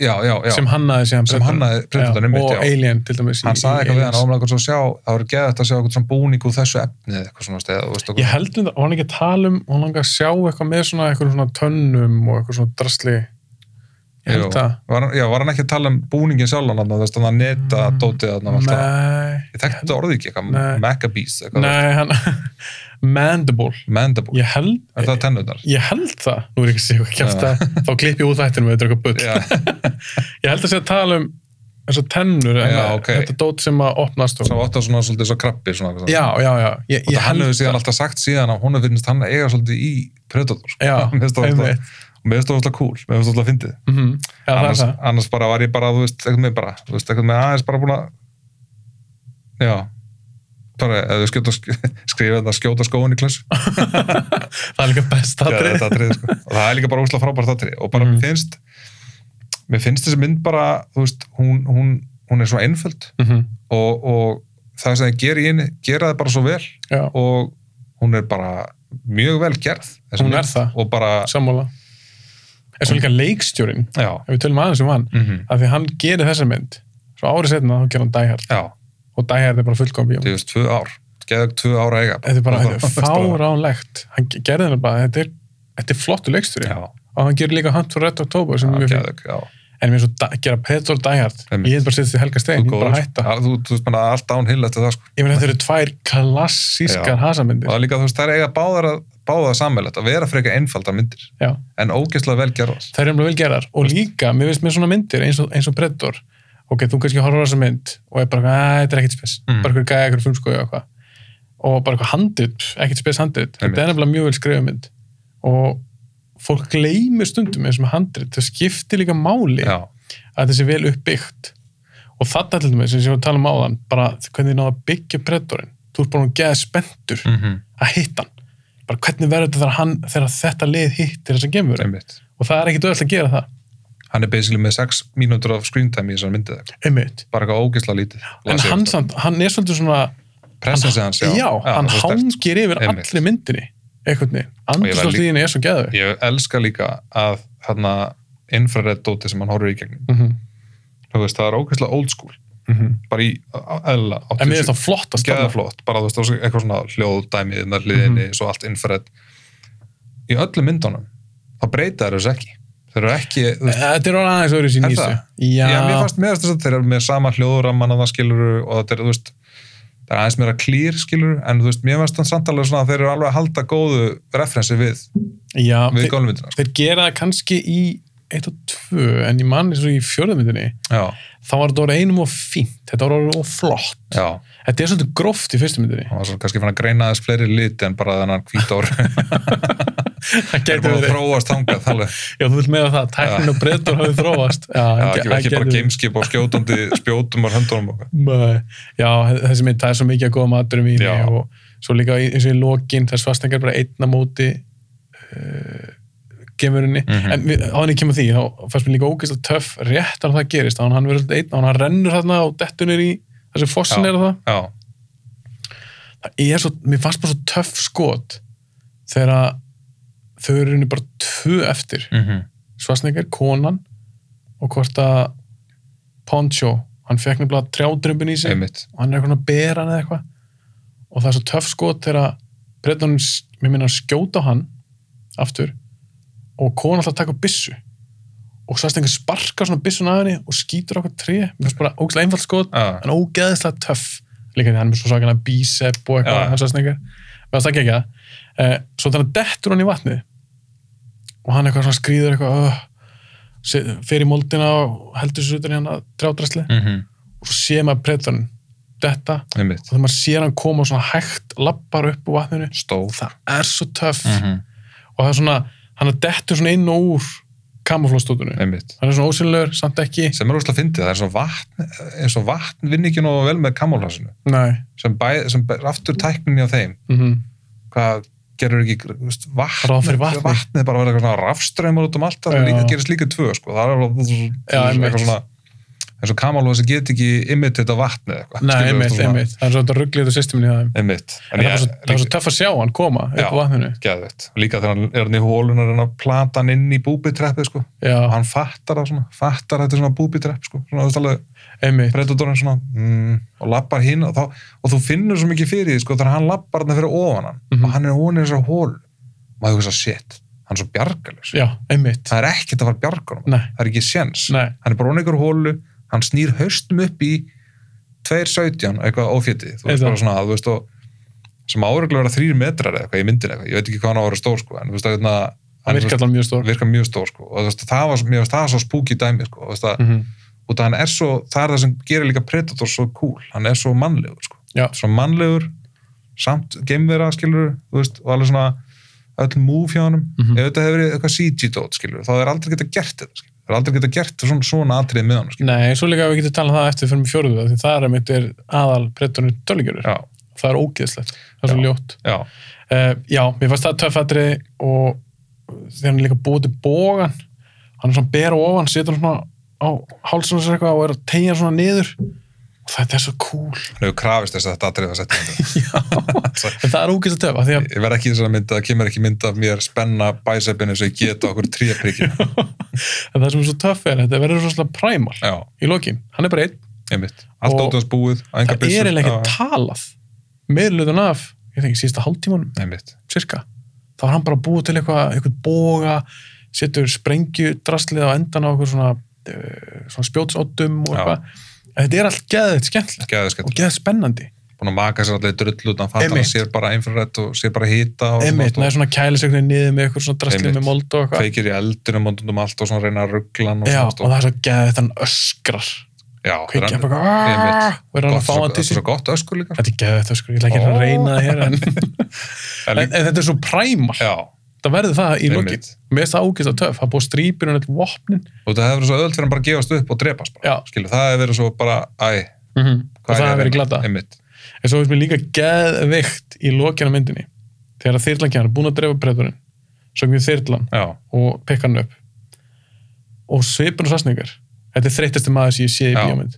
Speaker 2: já, já, já,
Speaker 1: sem hannaði síðan
Speaker 2: Sem
Speaker 1: Predator.
Speaker 2: hannaði Predator,
Speaker 1: Já,
Speaker 2: einmitt,
Speaker 1: og
Speaker 2: já.
Speaker 1: Alien til dæmis í-
Speaker 2: hann
Speaker 1: í
Speaker 2: sagði eitthvað við hann
Speaker 1: Aliens.
Speaker 2: ámlagur svo að sjá það voru geðið að sjá eitthvað svona búning úr þessu efni eða eitthvað svona steð veist,
Speaker 1: Ég
Speaker 2: okkur,
Speaker 1: held um það, var hann ekki að tala um hún langar að sjá eitthvað með svona eitthvað svona tönnum og eitthvað svona drasli Ég
Speaker 2: Jú.
Speaker 1: held það
Speaker 2: var, hann- já, var hann ekki að tala um búningin sjálfan þarna, þú veist, þannig að neta
Speaker 1: Mm,
Speaker 2: dótið þarna og allt það.
Speaker 1: Nei,
Speaker 2: ég þekkti þetta orðið ekki,
Speaker 1: Nei.
Speaker 2: eitthvað Macabees eitthvað,
Speaker 1: nei hann, Mandible
Speaker 2: Mandible,
Speaker 1: Ég held,
Speaker 2: er það tennurnar?
Speaker 1: ég held það Nú er ekki sér ekki kæft að þá klipp ég út þættinum eða eitthvað bull
Speaker 2: Já,
Speaker 1: Ég held að sé að tala um eins og tennur en
Speaker 2: Já, ok.
Speaker 1: þetta dót sem að opnast og...
Speaker 2: svo átt að svona svolítið svo krabbi svona, eitthvað
Speaker 1: Já,
Speaker 2: svona.
Speaker 1: já, já Ég, ég
Speaker 2: og það hann
Speaker 1: held
Speaker 2: hefur síðan
Speaker 1: það.
Speaker 2: alltaf sagt síðan að hún finnst hann eiga svolítið í Predator sko.
Speaker 1: Já,
Speaker 2: Mér finnst það alltaf-
Speaker 1: einmitt.
Speaker 2: og mér finnst það alltaf cool, mér finnst það alltaf fyndið
Speaker 1: Mhm. Já, það er
Speaker 2: annars,
Speaker 1: það
Speaker 2: annars bara var ég bara, þú veist, eitthvað með bara, þú veist, eitthvað með aðeins bara búin að já bara, eða við skjóta skrifa þetta skjóta skóin í klassu Já,
Speaker 1: Það er líka best aðrið
Speaker 2: þetta atrið, sko. og það er líka bara úsla frábært atrið og bara
Speaker 1: Mhm.
Speaker 2: mér finnst mér finnst þessi mynd bara, þú veist hún, hún, hún er svo einföld
Speaker 1: Mhm.
Speaker 2: og, og það sem þið gerir í henni gera það bara svo vel
Speaker 1: Já,
Speaker 2: og hún er bara mjög vel gerð þessi
Speaker 1: Hún er það.
Speaker 2: og bara,
Speaker 1: sammála En svo líka leikstjórin
Speaker 2: já
Speaker 1: ef við tölum aðeins um hann
Speaker 2: mm
Speaker 1: af því hann gerir þessa mynd svo árið setna þá gerir hann Die Hard
Speaker 2: já,
Speaker 1: og Die Hard er bara fullkom bíó
Speaker 2: þú veist, tvö ár geðug tvö ára eiga
Speaker 1: þetta er bara
Speaker 2: Og
Speaker 1: þetta er fáránlegt hann ge- gerði hann bara, þetta er, þetta er flottu leikstur
Speaker 2: já,
Speaker 1: og hann gerir líka Hunt for Red October sem er mjög fyrir,
Speaker 2: geðug, já
Speaker 1: en mér er svo da- gera Petor Die Hard,
Speaker 2: Einmitt.
Speaker 1: ég hef bara setið til Helga Stein ég er bara að hætta,
Speaker 2: Al- þú, þú veist bara allt án hill eftir það sko.
Speaker 1: ég meina þetta eru tvær klassískar
Speaker 2: Já. og
Speaker 1: hasamyndir
Speaker 2: það er líka þú veist það er eiga báðar að báða sammeilegt að vera frekar einfaldar myndir
Speaker 1: Já.
Speaker 2: en ógeðslega vel gerðar
Speaker 1: það er umlega vel gerar og líka, mér finnst mér svona myndir eins og, eins og Predator ok, þú kannski horfður á þessa mynd og er bara, að þetta er ekkit spes
Speaker 2: Mm.
Speaker 1: bara eitthvað gæja, eitthvað frumskoði og eitthvað og bara eitthvað handrit, ekkit spes handrit
Speaker 2: Einmitt.
Speaker 1: þetta er nefnilega mjög vel skrifa mynd og fólk gleymir stundum eins og með handrit, það skiptir líka máli
Speaker 2: já,
Speaker 1: að þetta sé vel uppbyggt og þetta til dæmis, eins og ég var að tala um áðan bara hvernig þið náðu að byggja Predatorin þú ert bara að geða spenntur
Speaker 2: mm -hmm.
Speaker 1: að hitta hann bara hvernig verður þetta þegar, hann, þegar þetta lið hittir þessa gemur
Speaker 2: einmitt
Speaker 1: og það er ekkit öll að gera það
Speaker 2: hann er basically með 6 mínútur af screen time í þessar myndið eitthvað.
Speaker 1: einmitt,
Speaker 2: bara eitthvað ógeðslega lítið
Speaker 1: en
Speaker 2: Las ég
Speaker 1: hann,
Speaker 2: eftir.
Speaker 1: samt, hann er svolítið svona
Speaker 2: presence hans
Speaker 1: já, hann
Speaker 2: svo sterkt.
Speaker 1: hangir yfir
Speaker 2: Einmitt.
Speaker 1: allri myndinni einhvern veginn,
Speaker 2: ég verð
Speaker 1: andurslótt í
Speaker 2: líka-
Speaker 1: henni er svo geðvig
Speaker 2: ég elska líka að hann infrared dóti sem hann horfir í gegnum
Speaker 1: mm -hmm.
Speaker 2: þú veist það er ógeðslega old school bara í eðla
Speaker 1: en mér er það flott að standa
Speaker 2: geða flott, bara Mhm. þú veist, og svo eitthvað svona hljóðdæmið með liðinni, svo allt innfærið í öllum myndunum þá breyta þeir þessu ekki þeir eru ekki, þú veist,
Speaker 1: Eh, þetta er orðið aðeins öðru sín
Speaker 2: Er
Speaker 1: nýsu
Speaker 2: það?
Speaker 1: já,
Speaker 2: ég mér fannst meðast þess að þeir eru með sama hljóðramman að það skiluru og þetta er, þú veist það er aðeins meira klýr skiluru, en þú veist, mér fannst þann samtalið svona að þeir eru alveg að halda góðu referensi við,
Speaker 1: já
Speaker 2: við
Speaker 1: þeir,
Speaker 2: gólmyndina, sko.
Speaker 1: þeir gera það kannski í eitt og tvö, en ég mann eins og í fjörðmyndinni
Speaker 2: Já,
Speaker 1: þá var þetta orðið einum og fínt þetta var orðið og flott
Speaker 2: já,
Speaker 1: þetta er svolítið gróft í fyrstu myndinni
Speaker 2: það var svona kannski fann að greina þess fleiri lit en bara þennan hvítór
Speaker 1: það
Speaker 2: þeir eru
Speaker 1: getur
Speaker 2: búin að
Speaker 1: verið,
Speaker 2: þróast þangað, þannig
Speaker 1: já þú vilt meða það tæknin og breytur hafið þróast já,
Speaker 2: Já,
Speaker 1: það
Speaker 2: ekki,
Speaker 1: gæti
Speaker 2: ekki bara
Speaker 1: verið.
Speaker 2: gameskip og skjótandi spjótum og höndunum og
Speaker 1: Nei, Já, þessi mynd, það er svo mikið að góða maturum í
Speaker 2: Já.
Speaker 1: henni og svo líka í- eins og í lokin, það er svarstengar bara einna móti uh, gemurinni,
Speaker 2: Mhm.
Speaker 1: en við, á henni kemur því þá fannst mér líka ógeðslega töff rétt að það gerist, þá hann verður alltaf einn og hann rennur þarna og dettunir í þessi fossin
Speaker 2: Já.
Speaker 1: er það,
Speaker 2: Já,
Speaker 1: það er svo, mér fannst bara svo töff skot þegar að þau eru í rauninni bara tvö eftir
Speaker 2: mhm
Speaker 1: svarstengar, konan og hvort að Poncho, hann fekk nefnilega trjádrömbin í sig
Speaker 2: einmitt,
Speaker 1: og hann er eitthvað að bera hann eða eitthvað og það er svo töff skot þegar breytanum, mér minna að skjóta á hann aftur og kona alltaf að taka upp byssu og svo erst einhver sparka svona byssun að henni og skýtur okkur tré mér finnst bara ógæðslega einfalt skot
Speaker 2: Já.
Speaker 1: en ógeðslega töff líka því hann er með svo svakana bísepp og
Speaker 2: Já.
Speaker 1: eitthvað hans aðsningar með það ekki ekki það svo þannig dettur hann í vatnið og hann eitthvað svona skrýður eitthvað uh, fer í moldina og heldur sér utan í hann að trjádrasli
Speaker 2: mm -hmm.
Speaker 1: og svo sé maður predatorn detta og
Speaker 2: einmitt,
Speaker 1: þegar maður sér hann koma svona hægt lappar upp úr vatninu
Speaker 2: stór
Speaker 1: og það er svo töff
Speaker 2: mm -hmm.
Speaker 1: og það er svona, hann er dettur svona inn og úr kamuflóstótunum
Speaker 2: einmitt
Speaker 1: hann er svona ósynlegur, samt ekki
Speaker 2: sem er óslega fyndið, það er svo vatn eins og vatn vinn ekki nógu vel með kamálhásinu
Speaker 1: Nei.
Speaker 2: sem, bæ, sem bæ, aftur tækninni á þeim
Speaker 1: Mm
Speaker 2: hvað gerur ekki þú veist, vatn,
Speaker 1: Ráð fyrir vatni.
Speaker 2: vatnið bara verður eitthvað rafströymur út um allt það
Speaker 1: Já.
Speaker 2: líka, gerist líka tvö sko. það er alveg
Speaker 1: Já, einmitt.
Speaker 2: eitthvað svona eins og kamálhósi get ekki imitið á vatnið eitthvað
Speaker 1: Nei,
Speaker 2: Skilur þú,
Speaker 1: einmitt,
Speaker 2: svona-
Speaker 1: einmitt það er svona þetta rugglið og systeminu hjá þeim
Speaker 2: einmitt.
Speaker 1: en það var svo, það var svo töff að sjá hann koma upp
Speaker 2: Já.
Speaker 1: á vatninu
Speaker 2: geðveitt Og líka þegar hann er hann í hólunar en að plata hann inn í búbitreppið sko. og
Speaker 1: Já,
Speaker 2: hann fattar það svona fattar að þetta er svona búbitrepp sko. svona, þú veist alveg,
Speaker 1: einmitt,
Speaker 2: predatorinn svona mm, og lappar hinn og, þá, og þú finnur svo mikið fyrir því sko þegar hann lappar hann fyrir ofan hann
Speaker 1: Mhm.
Speaker 2: og hann er ofan í þessar hól maður hugsa shit, hann er svo bjargalus
Speaker 1: já, einmitt
Speaker 2: það er ekkert að fara bjargunum
Speaker 1: Nei,
Speaker 2: það er ekki séns,
Speaker 1: nei,
Speaker 2: hann er bara ofan í ykkur hólu hann snýr haustum upp í 2.17 eitthvað ófjötið þú veist
Speaker 1: Eitthvað.
Speaker 2: bara svona, þú veist og sem áreglega vera þrýr metrar eða eitthvað í myndin eitthvað, ég veit ekki hvað hann á að vera stór sko en þú veist að hérna,
Speaker 1: það
Speaker 2: hann
Speaker 1: virka allan mjög stór
Speaker 2: virka mjög stór sko og þú veist það var, mér veist það svo spúki dæmi sko, og þú veist að
Speaker 1: Mhm.
Speaker 2: út að hann er svo, það er það sem gerir líka Predator svo cool, hann er svo mannlegur sko.
Speaker 1: Já.
Speaker 2: svo mannlegur samt geimvera skilur, þú veist og alveg svona öll move hjá hann
Speaker 1: Mhm.
Speaker 2: ef þetta hefur verið eitthvað CG-dót skilur þá er aldrei geta gert þetta, skilur, það er aldrei geta gert svona, svona atrið með hann, skilur
Speaker 1: Nei, svo líka við getum talað um það eftir fyrir mig fjóruðu því það er einmitt er aðal predatorinn tölgjörur
Speaker 2: já,
Speaker 1: það er ógeðslegt, það er svo
Speaker 2: Já.
Speaker 1: ljótt
Speaker 2: já,
Speaker 1: Uh, já, mér fannst það töffatri og þegar hann er líka búið til bógan hann er svona bera ofan setur hann svona á hálsum sér eitthvað og er að tegja hann svona niður og þetta er svo cool
Speaker 2: hann hefur krafist þess að þetta atrið að setja þetta.
Speaker 1: en það er ógeðslega töf af því að
Speaker 2: ég verð ekki í þessari mynd, það kemur ekki mynd af mér spenna bæsepinu eins og ég geta okkur tríaprikið,
Speaker 1: en það sem er svo töff er að þetta verður svona primal
Speaker 2: já,
Speaker 1: í lokin, hann er bara einn
Speaker 2: einmitt allt
Speaker 1: Og
Speaker 2: út hans búið, á engar
Speaker 1: það
Speaker 2: byssur,
Speaker 1: er eiginlega
Speaker 2: já,
Speaker 1: ekki talað meirluðun af, ég þengi, síðasta hálftímanum
Speaker 2: einmitt,
Speaker 1: cirka, þá var hann bara búið til eitthvað eitthvað boga, setur sprengjudraslið á endan á eitthvað svona, uh, svona spjótsóttum og
Speaker 2: Já.
Speaker 1: eitthvað en þetta er allt geðið skemmtilegt
Speaker 2: geðiskett
Speaker 1: og geðið spennandi,
Speaker 2: búin að maka sér allir drull út hann fattar að
Speaker 1: Einmitt.
Speaker 2: hann sér bara einfrarett og sér bara hýta og
Speaker 1: einmitt,
Speaker 2: svona,
Speaker 1: neður svona kælis eitthvað niður með eitthvað svona draslið
Speaker 2: Einmitt.
Speaker 1: með mold og
Speaker 2: og
Speaker 1: eitthvað
Speaker 2: kveikir í eldunum og um allt og svona reyna að ruggla hann og
Speaker 1: Já, og
Speaker 2: svona,
Speaker 1: það er svo geðið þetta hann öskrar
Speaker 2: já,
Speaker 1: kveikja
Speaker 2: þetta
Speaker 1: bara eitthvað,
Speaker 2: Einmitt.
Speaker 1: og er hann
Speaker 2: gott,
Speaker 1: að fá hann
Speaker 2: þetta
Speaker 1: til
Speaker 2: er
Speaker 1: sín
Speaker 2: svo gott öskur líka
Speaker 1: þetta er geðið þetta öskur, ég ætla ekki að reyna það hér en,
Speaker 2: En
Speaker 1: en, en
Speaker 2: líka-
Speaker 1: þetta er svo præmal
Speaker 2: já,
Speaker 1: það verður það í
Speaker 2: Einmitt.
Speaker 1: lokin, mér finnst það ógeðslega töff það er búið strýpir og neitt vopnin
Speaker 2: og það hefur verið svo öðvöld fyrir hann bara að gefast upp og drepast bara,
Speaker 1: Já.
Speaker 2: skilu, það hefur verið svo bara, æ Mhm.
Speaker 1: og það hefur verið glata
Speaker 2: einmitt,
Speaker 1: En svo finnst mér líka geðveikt í lokjana myndinni. Þegar að þyrlan kemur, búin að drefa breyðurinn, svo kemur þyrlan
Speaker 2: já,
Speaker 1: og pekka hann upp. Og svipun og svarsningar, þetta er þreyttasti maður sem ég sé í
Speaker 2: Já.
Speaker 1: bíómynd.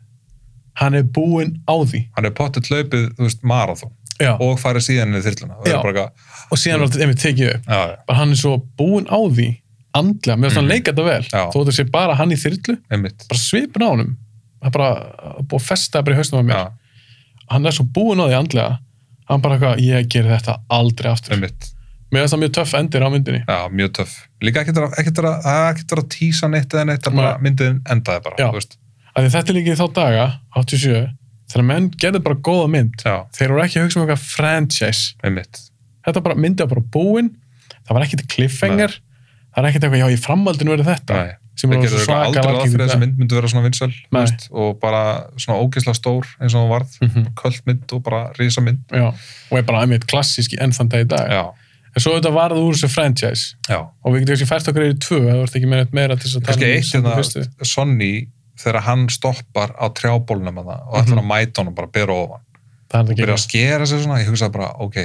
Speaker 1: Hann er búinn á því.
Speaker 2: hann hefur pottet hlaupið þú veist, marathon
Speaker 1: Já. Og,
Speaker 2: og farið síðan inn í þyrluna það
Speaker 1: Já.
Speaker 2: er bara eitthvað,
Speaker 1: síðan var þetta einmitt tekið upp.
Speaker 2: já, já,
Speaker 1: Bara hann er svo búinn á því, andlega, með þess að hann
Speaker 2: Mhm.
Speaker 1: leika þetta vel.
Speaker 2: Já.
Speaker 1: Þó þetta sé bara hann í þyrlu,
Speaker 2: einmitt
Speaker 1: bara svipun á honum. Það er bara að búið að festa bara í hausnum á mér.
Speaker 2: já,
Speaker 1: Hann er svo búinn á því andlega, hann bara eitthvað, ég gerir þetta aldrei aftur.
Speaker 2: einmitt,
Speaker 1: Mér finnst það mjög töff endir á myndinni.
Speaker 2: já, mjög töff líka ekkert að, ekkert að, það er ekkert að tísa neitt eða neitt, það er bara myndin endaði bara
Speaker 1: Já.
Speaker 2: þú veist,
Speaker 1: Af því þetta er líka í þá daga, 87, þegar menn gerðu bara góða mynd.
Speaker 2: já,
Speaker 1: Þeir voru ekki að hugsa um eitthvað franchise.
Speaker 2: einmitt
Speaker 1: Þetta bara myndi var bara búin, það var ekkit cliffhanger, það er ekkit eitthvað, já, í framaldinu verið þetta.
Speaker 2: Nei,
Speaker 1: sem
Speaker 2: það
Speaker 1: er
Speaker 2: gerður
Speaker 1: svo
Speaker 2: eitthvað
Speaker 1: svaka
Speaker 2: aldrei ráð fyrir að þessi mynd myndi vera svona vinsæl þú
Speaker 1: Nei.
Speaker 2: veist, og bara svona ógeðslega stór eins og hún varð,
Speaker 1: Mm -hmm.
Speaker 2: köld mynd og bara risa mynd
Speaker 1: Já, og er bara aðmið klassíski enn þann dag í dag.
Speaker 2: já,
Speaker 1: En svo þetta varð úr þessu franchise
Speaker 2: já,
Speaker 1: og við getum kannski fært okkur yfir tvö, það vart ekki meira, meira til þess að
Speaker 2: kannski eitt
Speaker 1: tala um
Speaker 2: hérna, Sonny þegar hann stoppar á trjábólnum hana, og ætlar að mæta honum bara að bera ofan
Speaker 1: Mhm. Það er
Speaker 2: og
Speaker 1: ekki
Speaker 2: byrja að skera sig svona, ég hugsa bara, ok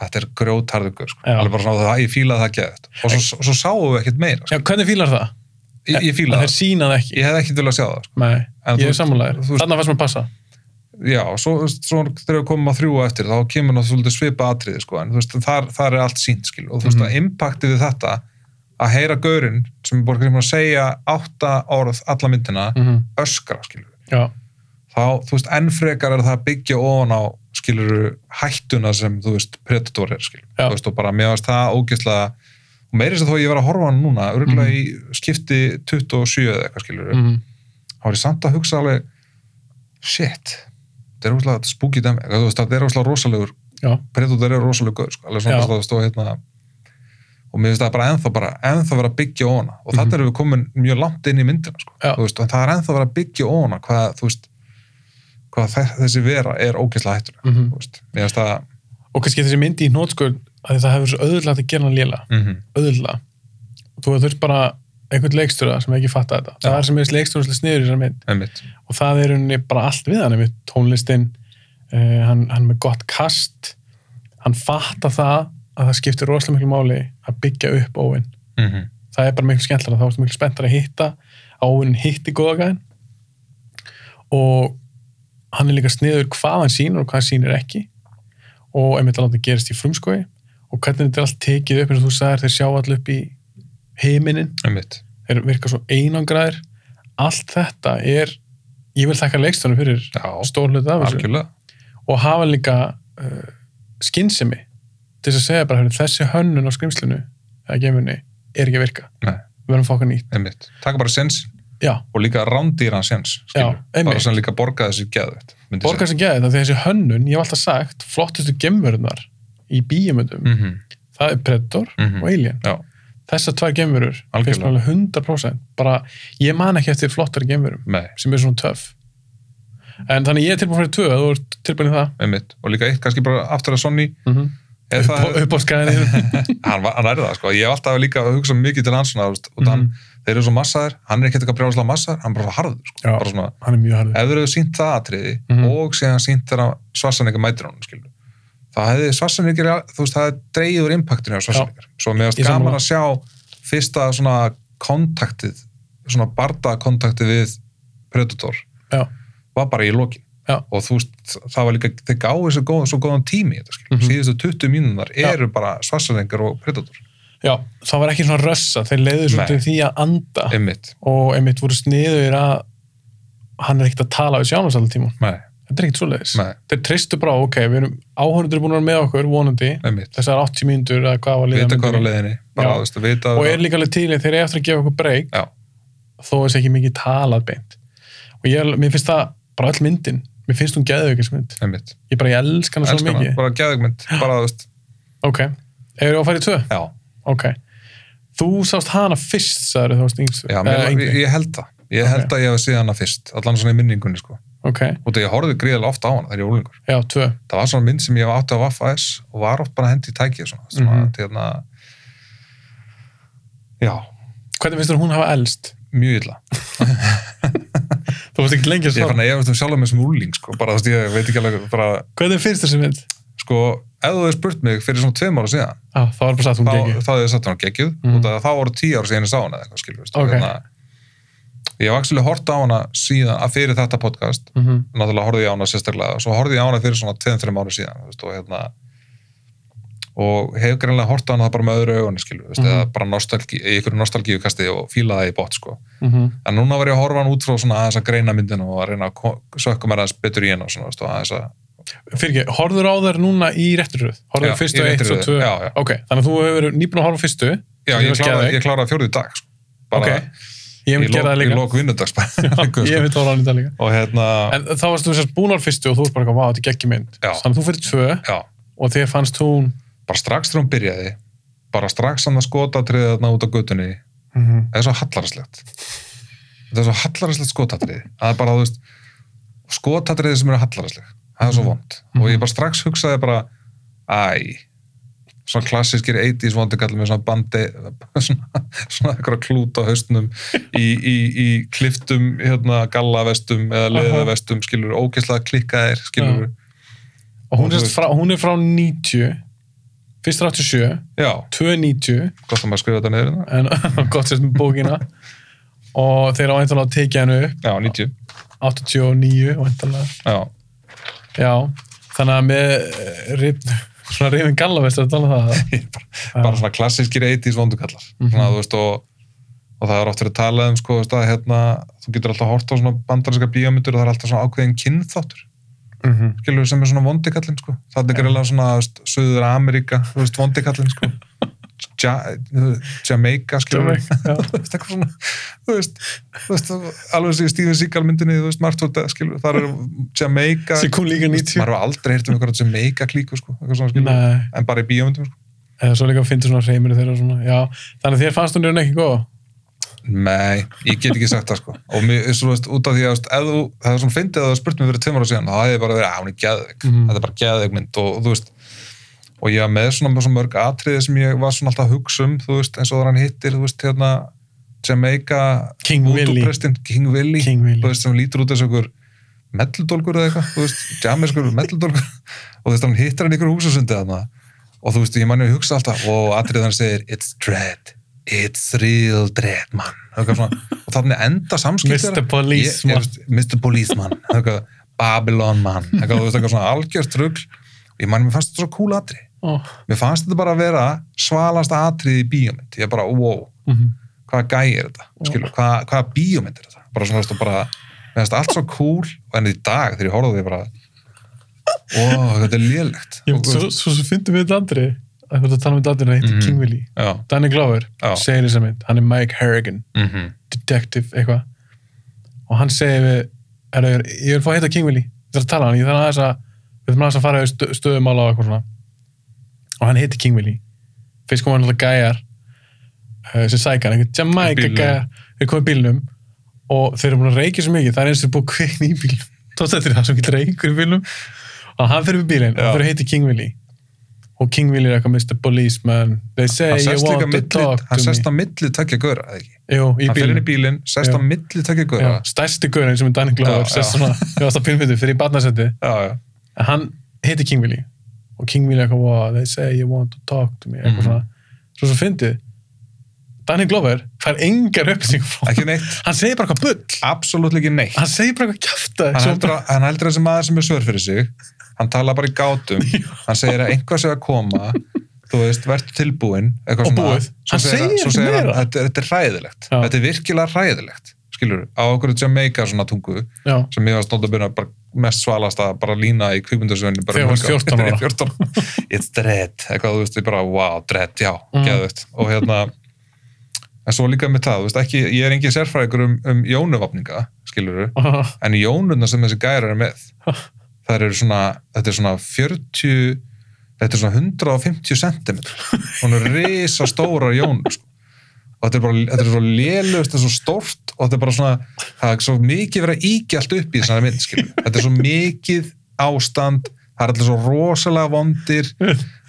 Speaker 2: þetta er grjótarðugur sko.
Speaker 1: Já.
Speaker 2: alveg bara svona, það, ég fílaði það geðt og svo, svo sáum við ekkert meira sko.
Speaker 1: Já, hvernig fílar það?
Speaker 2: ég, ég
Speaker 1: Að Þeir
Speaker 2: fílaði það,
Speaker 1: sína það ekki.
Speaker 2: ég hefði ekkert viljað sjá það sko.
Speaker 1: Nei,
Speaker 2: En
Speaker 1: ég
Speaker 2: þú-
Speaker 1: er sammálaðir.
Speaker 2: þú veist-
Speaker 1: Þannig að fannst mér passa.
Speaker 2: já, svo, svo þegar við komum að þrjú á eftir þá kemur náttúrulega svolítið svipa atriði sko, en þú veist, þar, þar er allt sínt skil og þú veist,
Speaker 1: Mhm.
Speaker 2: að impactið við þetta að heyra gaurinn sem er borgar sem að segja átta orð alla myndina
Speaker 1: Mm
Speaker 2: öskra skilur
Speaker 1: Já,
Speaker 2: þá, þú veist, enn frekar er það að byggja ofan á skilur hættuna sem, þú veist, predator er skilur,
Speaker 1: Já.
Speaker 2: þú veist, og bara meðast það ógeðslega og meiri þess að þó ég var að horfa á hann núna örgulega
Speaker 1: Mhm.
Speaker 2: í skipti 27 eða eitthvað skilur
Speaker 1: mm.
Speaker 2: þá var ég samt að hugsa alveg shit, þetta er óslega spooky dæmi, Eða, þú veist, þetta er óslega rosalegur
Speaker 1: já,
Speaker 2: Predator er rosalegur gaur, sko, alveg
Speaker 1: Já.
Speaker 2: svona þess að það stóð hérna og mér finnst það bara ennþá bara ennþá vera að byggja óna og
Speaker 1: Mhm.
Speaker 2: þetta erum við komin mjög langt inn í myndina sko,
Speaker 1: Já.
Speaker 2: Þú veist, en það er ennþá vera að byggja óna hvað, þú veist, hvað þe- þessi vera er ógeðslega hættuleg
Speaker 1: mhm.
Speaker 2: þú veist, mér finnst það
Speaker 1: og kannski þessi myndi í nótskjöld að það hefur svo auðvitað að gera hann léla
Speaker 2: mm
Speaker 1: auðvitað þú þurft bara einhvern leikstjóra sem ekki fatta þetta það
Speaker 2: Já.
Speaker 1: er sem er leikstjóra sniður í þessar mynd
Speaker 2: einmitt,
Speaker 1: og það er henni bara allt við hann einmitt tónlistin, uh, hann, hann er með gott kast hann fattar það að það skiptir rosalega miklu máli að byggja upp óvinn
Speaker 2: mm
Speaker 1: það er bara miklu skemmtilega, þá ertu miklu spenntar að hitta áinn hitti góðagæðin og hann er líka sniður hvað hann sýnir og hvað hann sýnir ekki og einmitt að láta gerast í frumskoði og hvernig þetta er allt tekið upp eins og þú sagðir þeir sjá allir upp í heiminin
Speaker 2: einmitt
Speaker 1: þeir virka svo einangraðir allt þetta er ég vil þakka leikstunum fyrir
Speaker 2: já,
Speaker 1: stór hluta af þessu
Speaker 2: algjörlega
Speaker 1: og hafa líka uh, skynsemi til þess að segja bara "Heyrðu, þessi hönnun á skrimslinu eða gemunni er ekki að virka
Speaker 2: Nei.
Speaker 1: við verðum að fá okkur nýtt
Speaker 2: einmitt, taka bara sens
Speaker 1: já,
Speaker 2: og líka rándýran sens skilur.
Speaker 1: Já, einmitt.
Speaker 2: bara sem líka borga þessi geðvett
Speaker 1: borgar sem geði þetta því að þessi hönnun, ég hef alltaf sagt flottustu gemverunar í bíumöndum
Speaker 2: mm -hmm.
Speaker 1: það er Predator
Speaker 2: Mhm.
Speaker 1: og Alien
Speaker 2: já,
Speaker 1: þessar tvær gemverur finnst
Speaker 2: Algjörlega.
Speaker 1: mér alveg 100% bara, ég man ekki eftir flottari gemverum
Speaker 2: nei,
Speaker 1: sem er svona töff en þannig ég er tilbúin fyrir tvö ef þú ert tilbúin í það
Speaker 2: einmitt og líka eitt kannski bara aftur að Sonny
Speaker 1: mm
Speaker 2: ef það-
Speaker 1: upp á skæðinu
Speaker 2: hann, var- hann er það sko, ég hef alltaf líka að hugsa mikið til hans svona, þú veist,
Speaker 1: Mhm.
Speaker 2: og hann,
Speaker 1: Mm.
Speaker 2: þeir eru svo massaðir hann er ekki eitthvað brjálislega massaðir, hann er bara svo harður sko,
Speaker 1: Já.
Speaker 2: bara svona,
Speaker 1: hann er mjög harður
Speaker 2: ef þeir eru sínt það atriði
Speaker 1: Mhm.
Speaker 2: og síðan sínt þegar svarsanleika mætir honum skilur, þá hefði svarsanleikir þú veist, það hefði dreigður impactinu á svarsanleikar, svo mér
Speaker 1: Ég
Speaker 2: finnst
Speaker 1: sammála.
Speaker 2: gaman að sjá fyrsta svona kontaktið svona bardakontaktið við Predator
Speaker 1: Já.
Speaker 2: var bara í lokin
Speaker 1: Já.
Speaker 2: og þú veist, það var líka, þeir gáði svo, góð, svo góðan tími í þetta, mm
Speaker 1: Mhm.
Speaker 2: síðustu 20 mínunar
Speaker 1: Já.
Speaker 2: eru bara svarsanleikar og Predator
Speaker 1: já, það var ekki svona rössa þeir leiðu svolítið
Speaker 2: Nei.
Speaker 1: því að anda
Speaker 2: einmitt,
Speaker 1: og einmitt voru sniður að hann er ekkert að tala við sjánum alltaf tíma
Speaker 2: nei,
Speaker 1: þetta er ekkert svoleiðis
Speaker 2: nei,
Speaker 1: þeir tristu bara, ok, við erum áhörundur búin að vera með okkur, vonandi
Speaker 2: einmitt
Speaker 1: þessar 80 mínútur eða hvað var liðið
Speaker 2: vita
Speaker 1: á
Speaker 2: hvað er á
Speaker 1: myndinni.
Speaker 2: leiðinni, bara
Speaker 1: Já.
Speaker 2: þú veist, vita
Speaker 1: og er líka alveg til í þeir eru eftir að gefa okkur breyk
Speaker 2: Já.
Speaker 1: þó þessi ekki mikið talað beint og ég, er- mér finnst það bara öll myndin mér finnst hún geðveikismynd
Speaker 2: einmitt,
Speaker 1: ég bara, ég elska hana svo
Speaker 2: elskan
Speaker 1: mikið
Speaker 2: það, bara geðugmynd bara þú veist,
Speaker 1: Ok, eru að fara í tvö?
Speaker 2: já,
Speaker 1: Ok. Þú sást hana fyrst, sagður þú varst yngst.
Speaker 2: já mér, ég, ég held það ég
Speaker 1: Eh, Ok.
Speaker 2: held að ég hef séð hana fyrst, allan svona í minningunni sko,
Speaker 1: Ok,
Speaker 2: og það ég horfði gríðilega ofta á hana þegar ég var úlingur,
Speaker 1: já, tvö.
Speaker 2: það var svona mynd sem ég átti á Vaffa S og var oft bara hendi í tækið svona, svona mm
Speaker 1: Mhm.
Speaker 2: hérna já,
Speaker 1: Hvernig finnst þú hún hafa elst?
Speaker 2: mjög illa
Speaker 1: Þú varst ekki lengi að
Speaker 2: ég
Speaker 1: svara.
Speaker 2: fann að ég veist um sjálf með sem úling sko, bara þú veist, ég veit ekki alveg bara,
Speaker 1: Hvernig finnst þessi mynd?
Speaker 2: sko, ef þú hefði spurt mig fyrir svona tveim ára síðan
Speaker 1: Á, það var Ah, bara sagt hún
Speaker 2: þá,
Speaker 1: geggjur.
Speaker 2: þá hefði satt hann á geggjuð
Speaker 1: Mhm.
Speaker 2: mm. út af að þá voru tíu ára síðan ég sá hana eða eitthvað skilur
Speaker 1: Ok.
Speaker 2: ég hef actually hort á hana síðan að fyrir þetta podcast
Speaker 1: Mm -hmm.
Speaker 2: náttúrulega horfði ég á hana sérstaklega og svo horfði ég á hana fyrir svona 2-3 ára síðan þú veist, og, hérna, og hef greinlega hort á hana það bara með öðru augunni skilur mm.
Speaker 1: Mhm.
Speaker 2: eða bara nostalgí, í ykkur nostalgíukasti og fílaði í bótt sko
Speaker 1: mhm.
Speaker 2: en núna var ég að horfa hann út frá svona aðeins að greina myndina og að reyna að ko- sökka mér aðeins betur í henn og svona þú veist, og aðeins að
Speaker 1: Fyrir ekki, horður á þær núna í rétturöð? Horður
Speaker 2: Já,
Speaker 1: á fyrstu
Speaker 2: í réttri
Speaker 1: eitt og
Speaker 2: röð,
Speaker 1: tvö?
Speaker 2: já, já.
Speaker 1: Ok, þannig að þú hefur nýbúin að horfa á fyrstu.
Speaker 2: já,
Speaker 1: sem
Speaker 2: ég
Speaker 1: var
Speaker 2: kláraði,
Speaker 1: geðveik.
Speaker 2: ég kláraði fjórði dag sko.
Speaker 1: Ok,
Speaker 2: bara
Speaker 1: ég
Speaker 2: í
Speaker 1: hef gerað það
Speaker 2: lok- í
Speaker 1: líka.
Speaker 2: lok vinnudags bara. sko.
Speaker 1: Já, Ég hef þetta orðan í dag líka.
Speaker 2: og hérna
Speaker 1: En þá varst þú sérst búin á fyrstu og þú varst bara eitthvað, vá, þetta er geggjum mynd.
Speaker 2: Já.
Speaker 1: Þannig að þú fyrir tvö
Speaker 2: já,
Speaker 1: og þér fannst hún...
Speaker 2: bara strax þegar hún byrjaði bara strax hann að skotatriði þarna út á götunni það
Speaker 1: Mm -hmm.
Speaker 2: er svo hallarslegt það er svo hallarslegt skotatriði það er bara, þú veist skotatriði sem eru hallarsleg, það er svo vond og ég bara strax hugsaði bara æ, svona klassískir 80s vondikallar með svona bandi svona, svona einhverja klút á haustnum í, í, í kliftum hérna gallavestum eða leðavestum skilur, ógeðslega klikkaðir skilur,
Speaker 1: og hún
Speaker 2: Og
Speaker 1: er,
Speaker 2: þú
Speaker 1: sem sagt frá, hún er frá 90 fyrst er 87,
Speaker 2: já,
Speaker 1: 290
Speaker 2: gott að maður skrifa þetta niður hérna.
Speaker 1: en gott sérst með bókina og þeir á eintalega að tekið hennu upp
Speaker 2: já, 90,
Speaker 1: 89 eintalega
Speaker 2: já
Speaker 1: já, þannig að með eh, rip, svona rifin gallavest er að tala um það
Speaker 2: bara svona klassískir 80s vondukallar
Speaker 1: Mhm.
Speaker 2: svona, þú veist, og, og það er oft verið að tala um sko, þú veist, að hérna, þú getur alltaf hort á svona bandarinska bíómyndur og það er alltaf svona ákveðin kynþáttur,
Speaker 1: mm -hmm.
Speaker 2: skilur sem er svona vondikallin, sko, það er greiðlega svona þú veist, Suður Ameríka, þú veist, vondikallin sko. ja, Jamaica skilur
Speaker 1: Jamaica, já.
Speaker 2: þú veist, eitthvað svona þú veist, þú veist, alveg sem í Steven Seagal myndinni, þú veist, Marthold skilur, þar er Jamaica
Speaker 1: sem kom líka
Speaker 2: Þú veist,
Speaker 1: 90
Speaker 2: maður hefur aldrei hirt um einhverja Jamaica klíku sko, eitthvað svona skilur,
Speaker 1: Nei,
Speaker 2: en bara í bíómyndum sko.
Speaker 1: eða svo líka að finna svona hreiminu þeirra og svona, já, þannig að þér fannst hún er ekki góð
Speaker 2: Nei, ég get ekki sagt það sko og mér, svo, veist, út af því að þú veist, ef þú, það er svona fyndið að það spurt mér fyrir tveimur ára síðan þá hefði ég bara verið, að hún er geðveik
Speaker 1: Mhm.
Speaker 2: þetta er bara geðveik mynd og, og þú veist og ég var með svona, með svona mörg atriði sem ég var svona alltaf að hugsa um, þú veist, eins og það hann hittir þú veist, hérna, Jamaica
Speaker 1: King Willy.
Speaker 2: Prestin, King Willy,
Speaker 1: King Willy.
Speaker 2: þú veist, sem lítur út eins og einhver melludólgur eða eitthvað, þú veist, jamiskur melludólgur og þú veist, hann hittir hann í einhverju húsasundi þarna og þú veist, ég manni að hugsa alltaf og atrið hann segir, it's dread it's real dread, man Eitthvað svona, og þannig enda samskiptir
Speaker 1: Mr. Policeman.
Speaker 2: Mr. Policeman eitthvað, Babylon man eitthvað, þú veist, eitthvað svona algjört rugl og ég manni, mér fannst þetta svo cool atri
Speaker 1: Ó,
Speaker 2: mér fannst þetta bara að vera svalasta atrið í bíómynd, ég bara, wow
Speaker 1: mhm.
Speaker 2: hvaða gæi er þetta, skilur, hvað, hvaða bíómynd er þetta, bara svona, þú veist, og bara mér finnst allt svo cool, og enn í dag þegar ég horfði á því bara ó, þetta er lélegt
Speaker 1: Ég,
Speaker 2: Og,
Speaker 1: svo, svo, svo fyndum við þetta andri að þú ert að tala um þetta andri, hann heitir
Speaker 2: Mhm.
Speaker 1: King Willy
Speaker 2: já,
Speaker 1: Danny Glover,
Speaker 2: Já.
Speaker 1: segir þess að mynd hann er Mike Harrigan,
Speaker 2: mhm
Speaker 1: detective eitthvað og hann segir við er, ég vil fá að heita King Willy, ég þarf að tala við hann ég þarf aðeins að, við þurfum aðeins að fara yfir stö, stöðumála og eitthvað svona og hann heitir King Willy fyrst kom hann alltaf gæjar eh, sem sækar, einhvern Jamaica
Speaker 2: Bílnum.
Speaker 1: gæjar þeir komið bílnum og þeir eru búin að reykja svo mikið, það er eins og búið að kvikna í bílnum tótt eftir það sem getur reykur í bílnum og hann fyrir við bílinn og
Speaker 2: Já.
Speaker 1: hann fyrir að heita King Willy og King Willy er eitthvað Mr. Policeman they say
Speaker 2: hann
Speaker 1: you
Speaker 2: sest
Speaker 1: want
Speaker 2: líka
Speaker 1: to
Speaker 2: milli,
Speaker 1: talk
Speaker 2: hann
Speaker 1: to me
Speaker 2: sest á milli tökja góra, eða ekki
Speaker 1: Jú, í
Speaker 2: hann fyrir
Speaker 1: bílnum
Speaker 2: inn í bílinn, sest
Speaker 1: Já.
Speaker 2: á milli tökja góra
Speaker 1: já, stærsti gaurinn sem er Danny Glover
Speaker 2: Já,
Speaker 1: sest
Speaker 2: já.
Speaker 1: svona, ég varst að pinnfyndu fyrir í barnasetti
Speaker 2: já, já,
Speaker 1: en hann heiti King Willy og King Willy er eitthvað, wow, they say you want to talk to me eitthvað
Speaker 2: Mhm.
Speaker 1: svona, svo svo fyndið Danny Glover fær engar upplýsing frá
Speaker 2: ekki neitt
Speaker 1: hann segir bara eitthvað bull
Speaker 2: absolutt ekki neitt
Speaker 1: hann segir bara eitthvað kjafta
Speaker 2: hann heldur, að, hann heldur að þessi maður sem er svör fyrir sig hann tala bara í gátum hann segir að einhvað sé að koma þú veist, verður tilbúinn eitthvað
Speaker 1: Og
Speaker 2: svona.
Speaker 1: búið.
Speaker 2: Svo
Speaker 1: Hann segir ekki
Speaker 2: svo segir hann,
Speaker 1: meira.
Speaker 2: þetta, þetta er hræðilegt
Speaker 1: Já.
Speaker 2: þetta er virkilega hræðilegt skilur, á okkur Jamaica svona tungu
Speaker 1: já,
Speaker 2: sem ég var stónd að byrja bara mest svalast að bara lína í kvikmyndasöðinu
Speaker 1: Þegar þú varst 14 ára.
Speaker 2: 14 ára. it's dread, eitthvað þú veist, ég bara wow, dread, já,
Speaker 1: Mm.
Speaker 2: mm. geðvett og hérna, en svo líka með það þú veist, ekki, ég er engin sérfræðikur um, um jónuvapninga, skilur en jónurnar sem þessi gærar er með það eru svona, þetta er svona 40, þetta er svona 150 cm, hún er risa stórar jónur sko. og þetta er bara, þetta er svo lélust þetta er svo stórt og þetta er bara svona það er svo mikið verið að íkja allt upp í þessari mynd skilur. þetta er svo mikið ástand það er allir svo rosalega vondir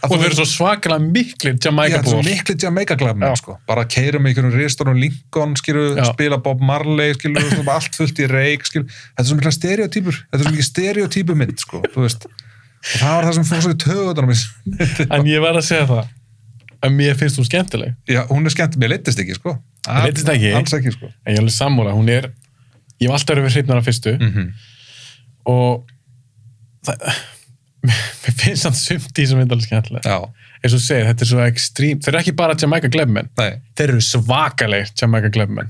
Speaker 1: og þeir eru svo svakalega miklir Jamaica
Speaker 2: Já, þetta er svo
Speaker 1: búar
Speaker 2: miklu Jamaica glæm
Speaker 1: Já.
Speaker 2: sko. bara keirum í einhverjum ristórum Lincoln skilu,
Speaker 1: Já.
Speaker 2: spila Bob Marley skilu, og svona allt fullt í reik skilu. þetta er svo mikla stereotypur þetta er svo mikið stereotypu mynd sko, þú veist. og það var það sem fór svo í töðunum
Speaker 1: en ég verð að segja það að mér finnst hún skemmtileg
Speaker 2: já, hún er skemmt, mér leittist ekki sko.
Speaker 1: Mér leiddist ekki.
Speaker 2: alls ekki sko.
Speaker 1: en ég er alveg sammála, hún er ég hef alltaf verið hreifnar af fyrstu
Speaker 2: mm -hmm.
Speaker 1: og það, mér finnst hann sumt í þessum myndalins skemmtilega
Speaker 2: já,
Speaker 1: eins og þú segir, þetta er svo ekstrím þeir eru ekki bara Jamaica glefmenn
Speaker 2: nei,
Speaker 1: þeir eru svakalegir Jamaica glefmenn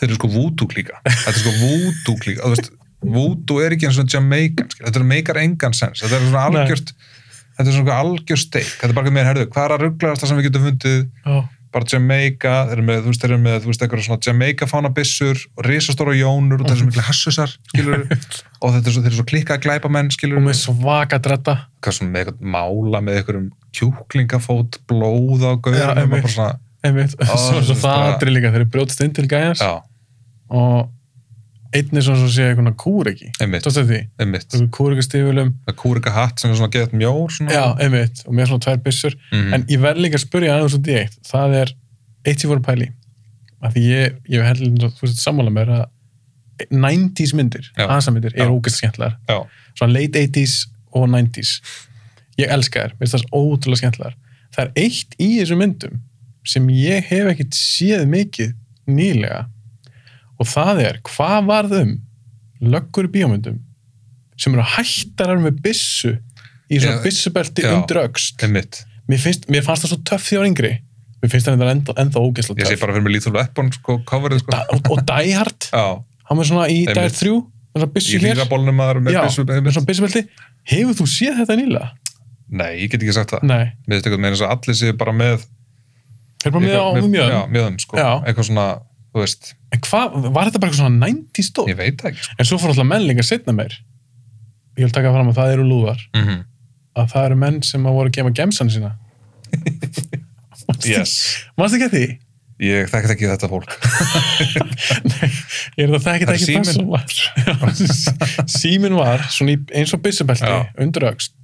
Speaker 2: þeir eru sko voodoo klíka þetta er sko voodoo klíka Þú veist, voodoo er ekki eins og Jamaican skilu. þetta er meikar engan sens, þetta er svona
Speaker 1: Nei.
Speaker 2: algjört þetta er svona algjör steik þetta er bara mér, herðu, hvað er að rugglaðast það sem við getum fundið
Speaker 1: oh.
Speaker 2: bara Jamaica, þeir eru með, þú veist, þeir eru með, þú veist, eitthvað svona Jamaica fánabissur og risastóra jónur og þeir eru
Speaker 1: Mhm.
Speaker 2: svo miklu hassusar, skilur og þetta er svo, þeir eru svo klikkað glæpamenn, skilur
Speaker 1: og með svaka dretta
Speaker 2: hvað svona með eitthvað mála með einhverjum kjúklingafót, blóð á gauður
Speaker 1: Já, einmitt.
Speaker 2: bara svona,
Speaker 1: einmitt,
Speaker 2: Ó,
Speaker 1: svo, svo
Speaker 2: þetta er
Speaker 1: það
Speaker 2: bara-
Speaker 1: andri líka þeir eru brjótst inn til gæjans
Speaker 2: já,
Speaker 1: og einn er svona svo sé eitthvað kúriki
Speaker 2: einmitt,
Speaker 1: tókst þetta því,
Speaker 2: einmitt
Speaker 1: kúriki stífulum
Speaker 2: með kúrika hatt sem er svona gett mjór svona.
Speaker 1: já, einmitt, og með svona tvær byssur
Speaker 2: Mhm.
Speaker 1: en ég verð líka að spyrja aðeins út í eitt það er eitt ég voru að pæli af því ég, ég heldur þú veist sammála mér að 90s myndir,
Speaker 2: Já.
Speaker 1: aðsamyndir
Speaker 2: Já.
Speaker 1: eru ógæst skemmtlar,
Speaker 2: já,
Speaker 1: svona late 80s og 90s ég elska þær, minnst það er ótrúlega skemmtlar það er eitt í þessum myndum sem ég hef ekkit séð mikið nýlega og það er hvað varð um löggur í bíómyndum sem eru hættarar með byssu í svona
Speaker 2: Já,
Speaker 1: byssubelti
Speaker 2: já.
Speaker 1: undir öxt
Speaker 2: einmitt
Speaker 1: mér, finnst, mér fannst það svo töff því á yngri mér finnst það ennþá, ennþá
Speaker 2: ég
Speaker 1: ógeðslega
Speaker 2: sé
Speaker 1: töff
Speaker 2: bara fyrir mig líþúlega eppon, sko, coverið, sko
Speaker 1: da, og, og Die Hard
Speaker 2: já,
Speaker 1: hann var svona í
Speaker 2: Einmitt.
Speaker 1: Die Hard 3 með svona
Speaker 2: í
Speaker 1: byssu hér
Speaker 2: hlýrabólnum maður með
Speaker 1: Já,
Speaker 2: byssu,
Speaker 1: með
Speaker 2: einmitt.
Speaker 1: svona byssubelti hefur þú séð þetta nýla?
Speaker 2: nei, ég get ekki sagt það
Speaker 1: Nei,
Speaker 2: mér finnst eitthvað meira eins og allir séu bara með
Speaker 1: Þeir bara með á
Speaker 2: Eitthvað-
Speaker 1: mjög.
Speaker 2: Já, mjöðum, sko.
Speaker 1: Já.
Speaker 2: Eitthvað svona, þú veist,
Speaker 1: En hvað, var þetta bara eitthvað svona 90 stóð?
Speaker 2: ég veit það ekki, sko.
Speaker 1: En svo fór alltaf menn líka setna meir. Ég vil taka fram að það eru lúðar.
Speaker 2: Mm
Speaker 1: Að það eru menn sem að voru að gema gemsan sína.
Speaker 2: Yes.
Speaker 1: Mást ekki að því?
Speaker 2: Ég þekkit ekki þetta fólk.
Speaker 1: Nei, ég er það þekkit
Speaker 2: Það er
Speaker 1: ekki
Speaker 2: síminn.
Speaker 1: persónlega. Símin var svona í, eins og byssubelti,
Speaker 2: Já.
Speaker 1: undir öxt.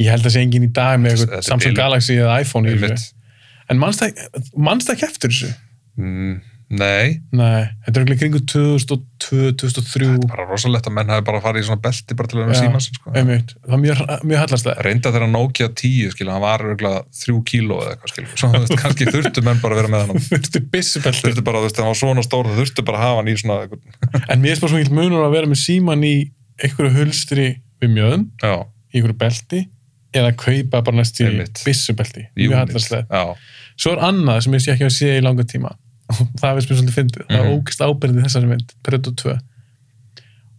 Speaker 1: Ég held að sé engin í dag með
Speaker 2: Þetta-
Speaker 1: eitthvað
Speaker 2: þetta er
Speaker 1: Samsung
Speaker 2: bilun.
Speaker 1: Galaxy eða iPhone í þessu.
Speaker 2: Einmitt.
Speaker 1: En manst það ekki eftir þessu?
Speaker 2: Mm, Nei,
Speaker 1: Nei, þetta er ekki kringu 2002, 2003.
Speaker 2: bara rosalegt að menn hafi bara farið í svona belti bara til að vera
Speaker 1: Já.
Speaker 2: síma sig, sko.
Speaker 1: Einmitt, það er mjög, mjög hallast það.
Speaker 2: reynda þegar Nokia 10, skilja, hann var örgulega 3 kíló eða eitthvað, skilja, svo þú veist, kannski þurftu menn bara að vera með hann,
Speaker 1: Fyrstu byssubelti.
Speaker 2: þurftu bara, þú veist, hann var svona stór, þú þurftu bara að hafa hann í svona, einhvern-
Speaker 1: En mér er bara svo mjög munur að vera með síman í einhverju hulstri við mjöðum,
Speaker 2: já,
Speaker 1: í einhverju belti, eða kaupa bara næst í
Speaker 2: Einmitt.
Speaker 1: byssubelti. Mjög
Speaker 2: unit.
Speaker 1: hallarslega.
Speaker 2: já,
Speaker 1: Svo er annað sem ég sé ekki að sé í langa tíma. það er spyrsum svolítið fyndið. Það er
Speaker 2: Mhm.
Speaker 1: ógist ábyrðið þessari mynd, Predator 2.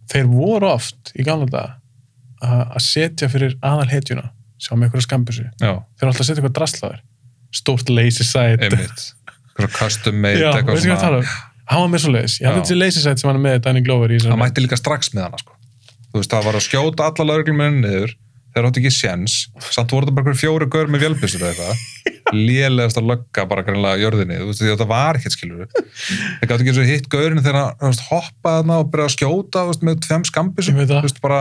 Speaker 1: Þeir voru oft í gamla daga að að setja fyrir aðal hetjuna, sjá með einhverju skambussu.
Speaker 2: já,
Speaker 1: Þeir eru alltaf að setja eitthvað drastlaður. Stórt lazy side,
Speaker 2: einmitt svona custom made,
Speaker 1: Já,
Speaker 2: eitthvað
Speaker 1: veistu hvað ég tala
Speaker 2: svona
Speaker 1: um? Hann var með svo leiðis. Ég hafði
Speaker 2: Já.
Speaker 1: þessi leysisætt sem hann er með Danny Glover í þessari
Speaker 2: hann mætti líka strax með hann, sko þú veist, það var að skjóta alla lauruglumennin niður þeir áttu ekki séns, samt voru það bara einhver fjóri gaur með vélbissur eða eitthvað lélegast að lögga bara greinlega jörðinni þú veist, því að þetta var ekkert skilur þeir gáttu ekki eins og hitt gaurinu þegar hann þú veist, hoppaði þarna og byrjaði að skjóta þú veist, með tveim
Speaker 1: Ég
Speaker 2: skambissum,
Speaker 1: veit
Speaker 2: þú
Speaker 1: það.
Speaker 2: veist, bara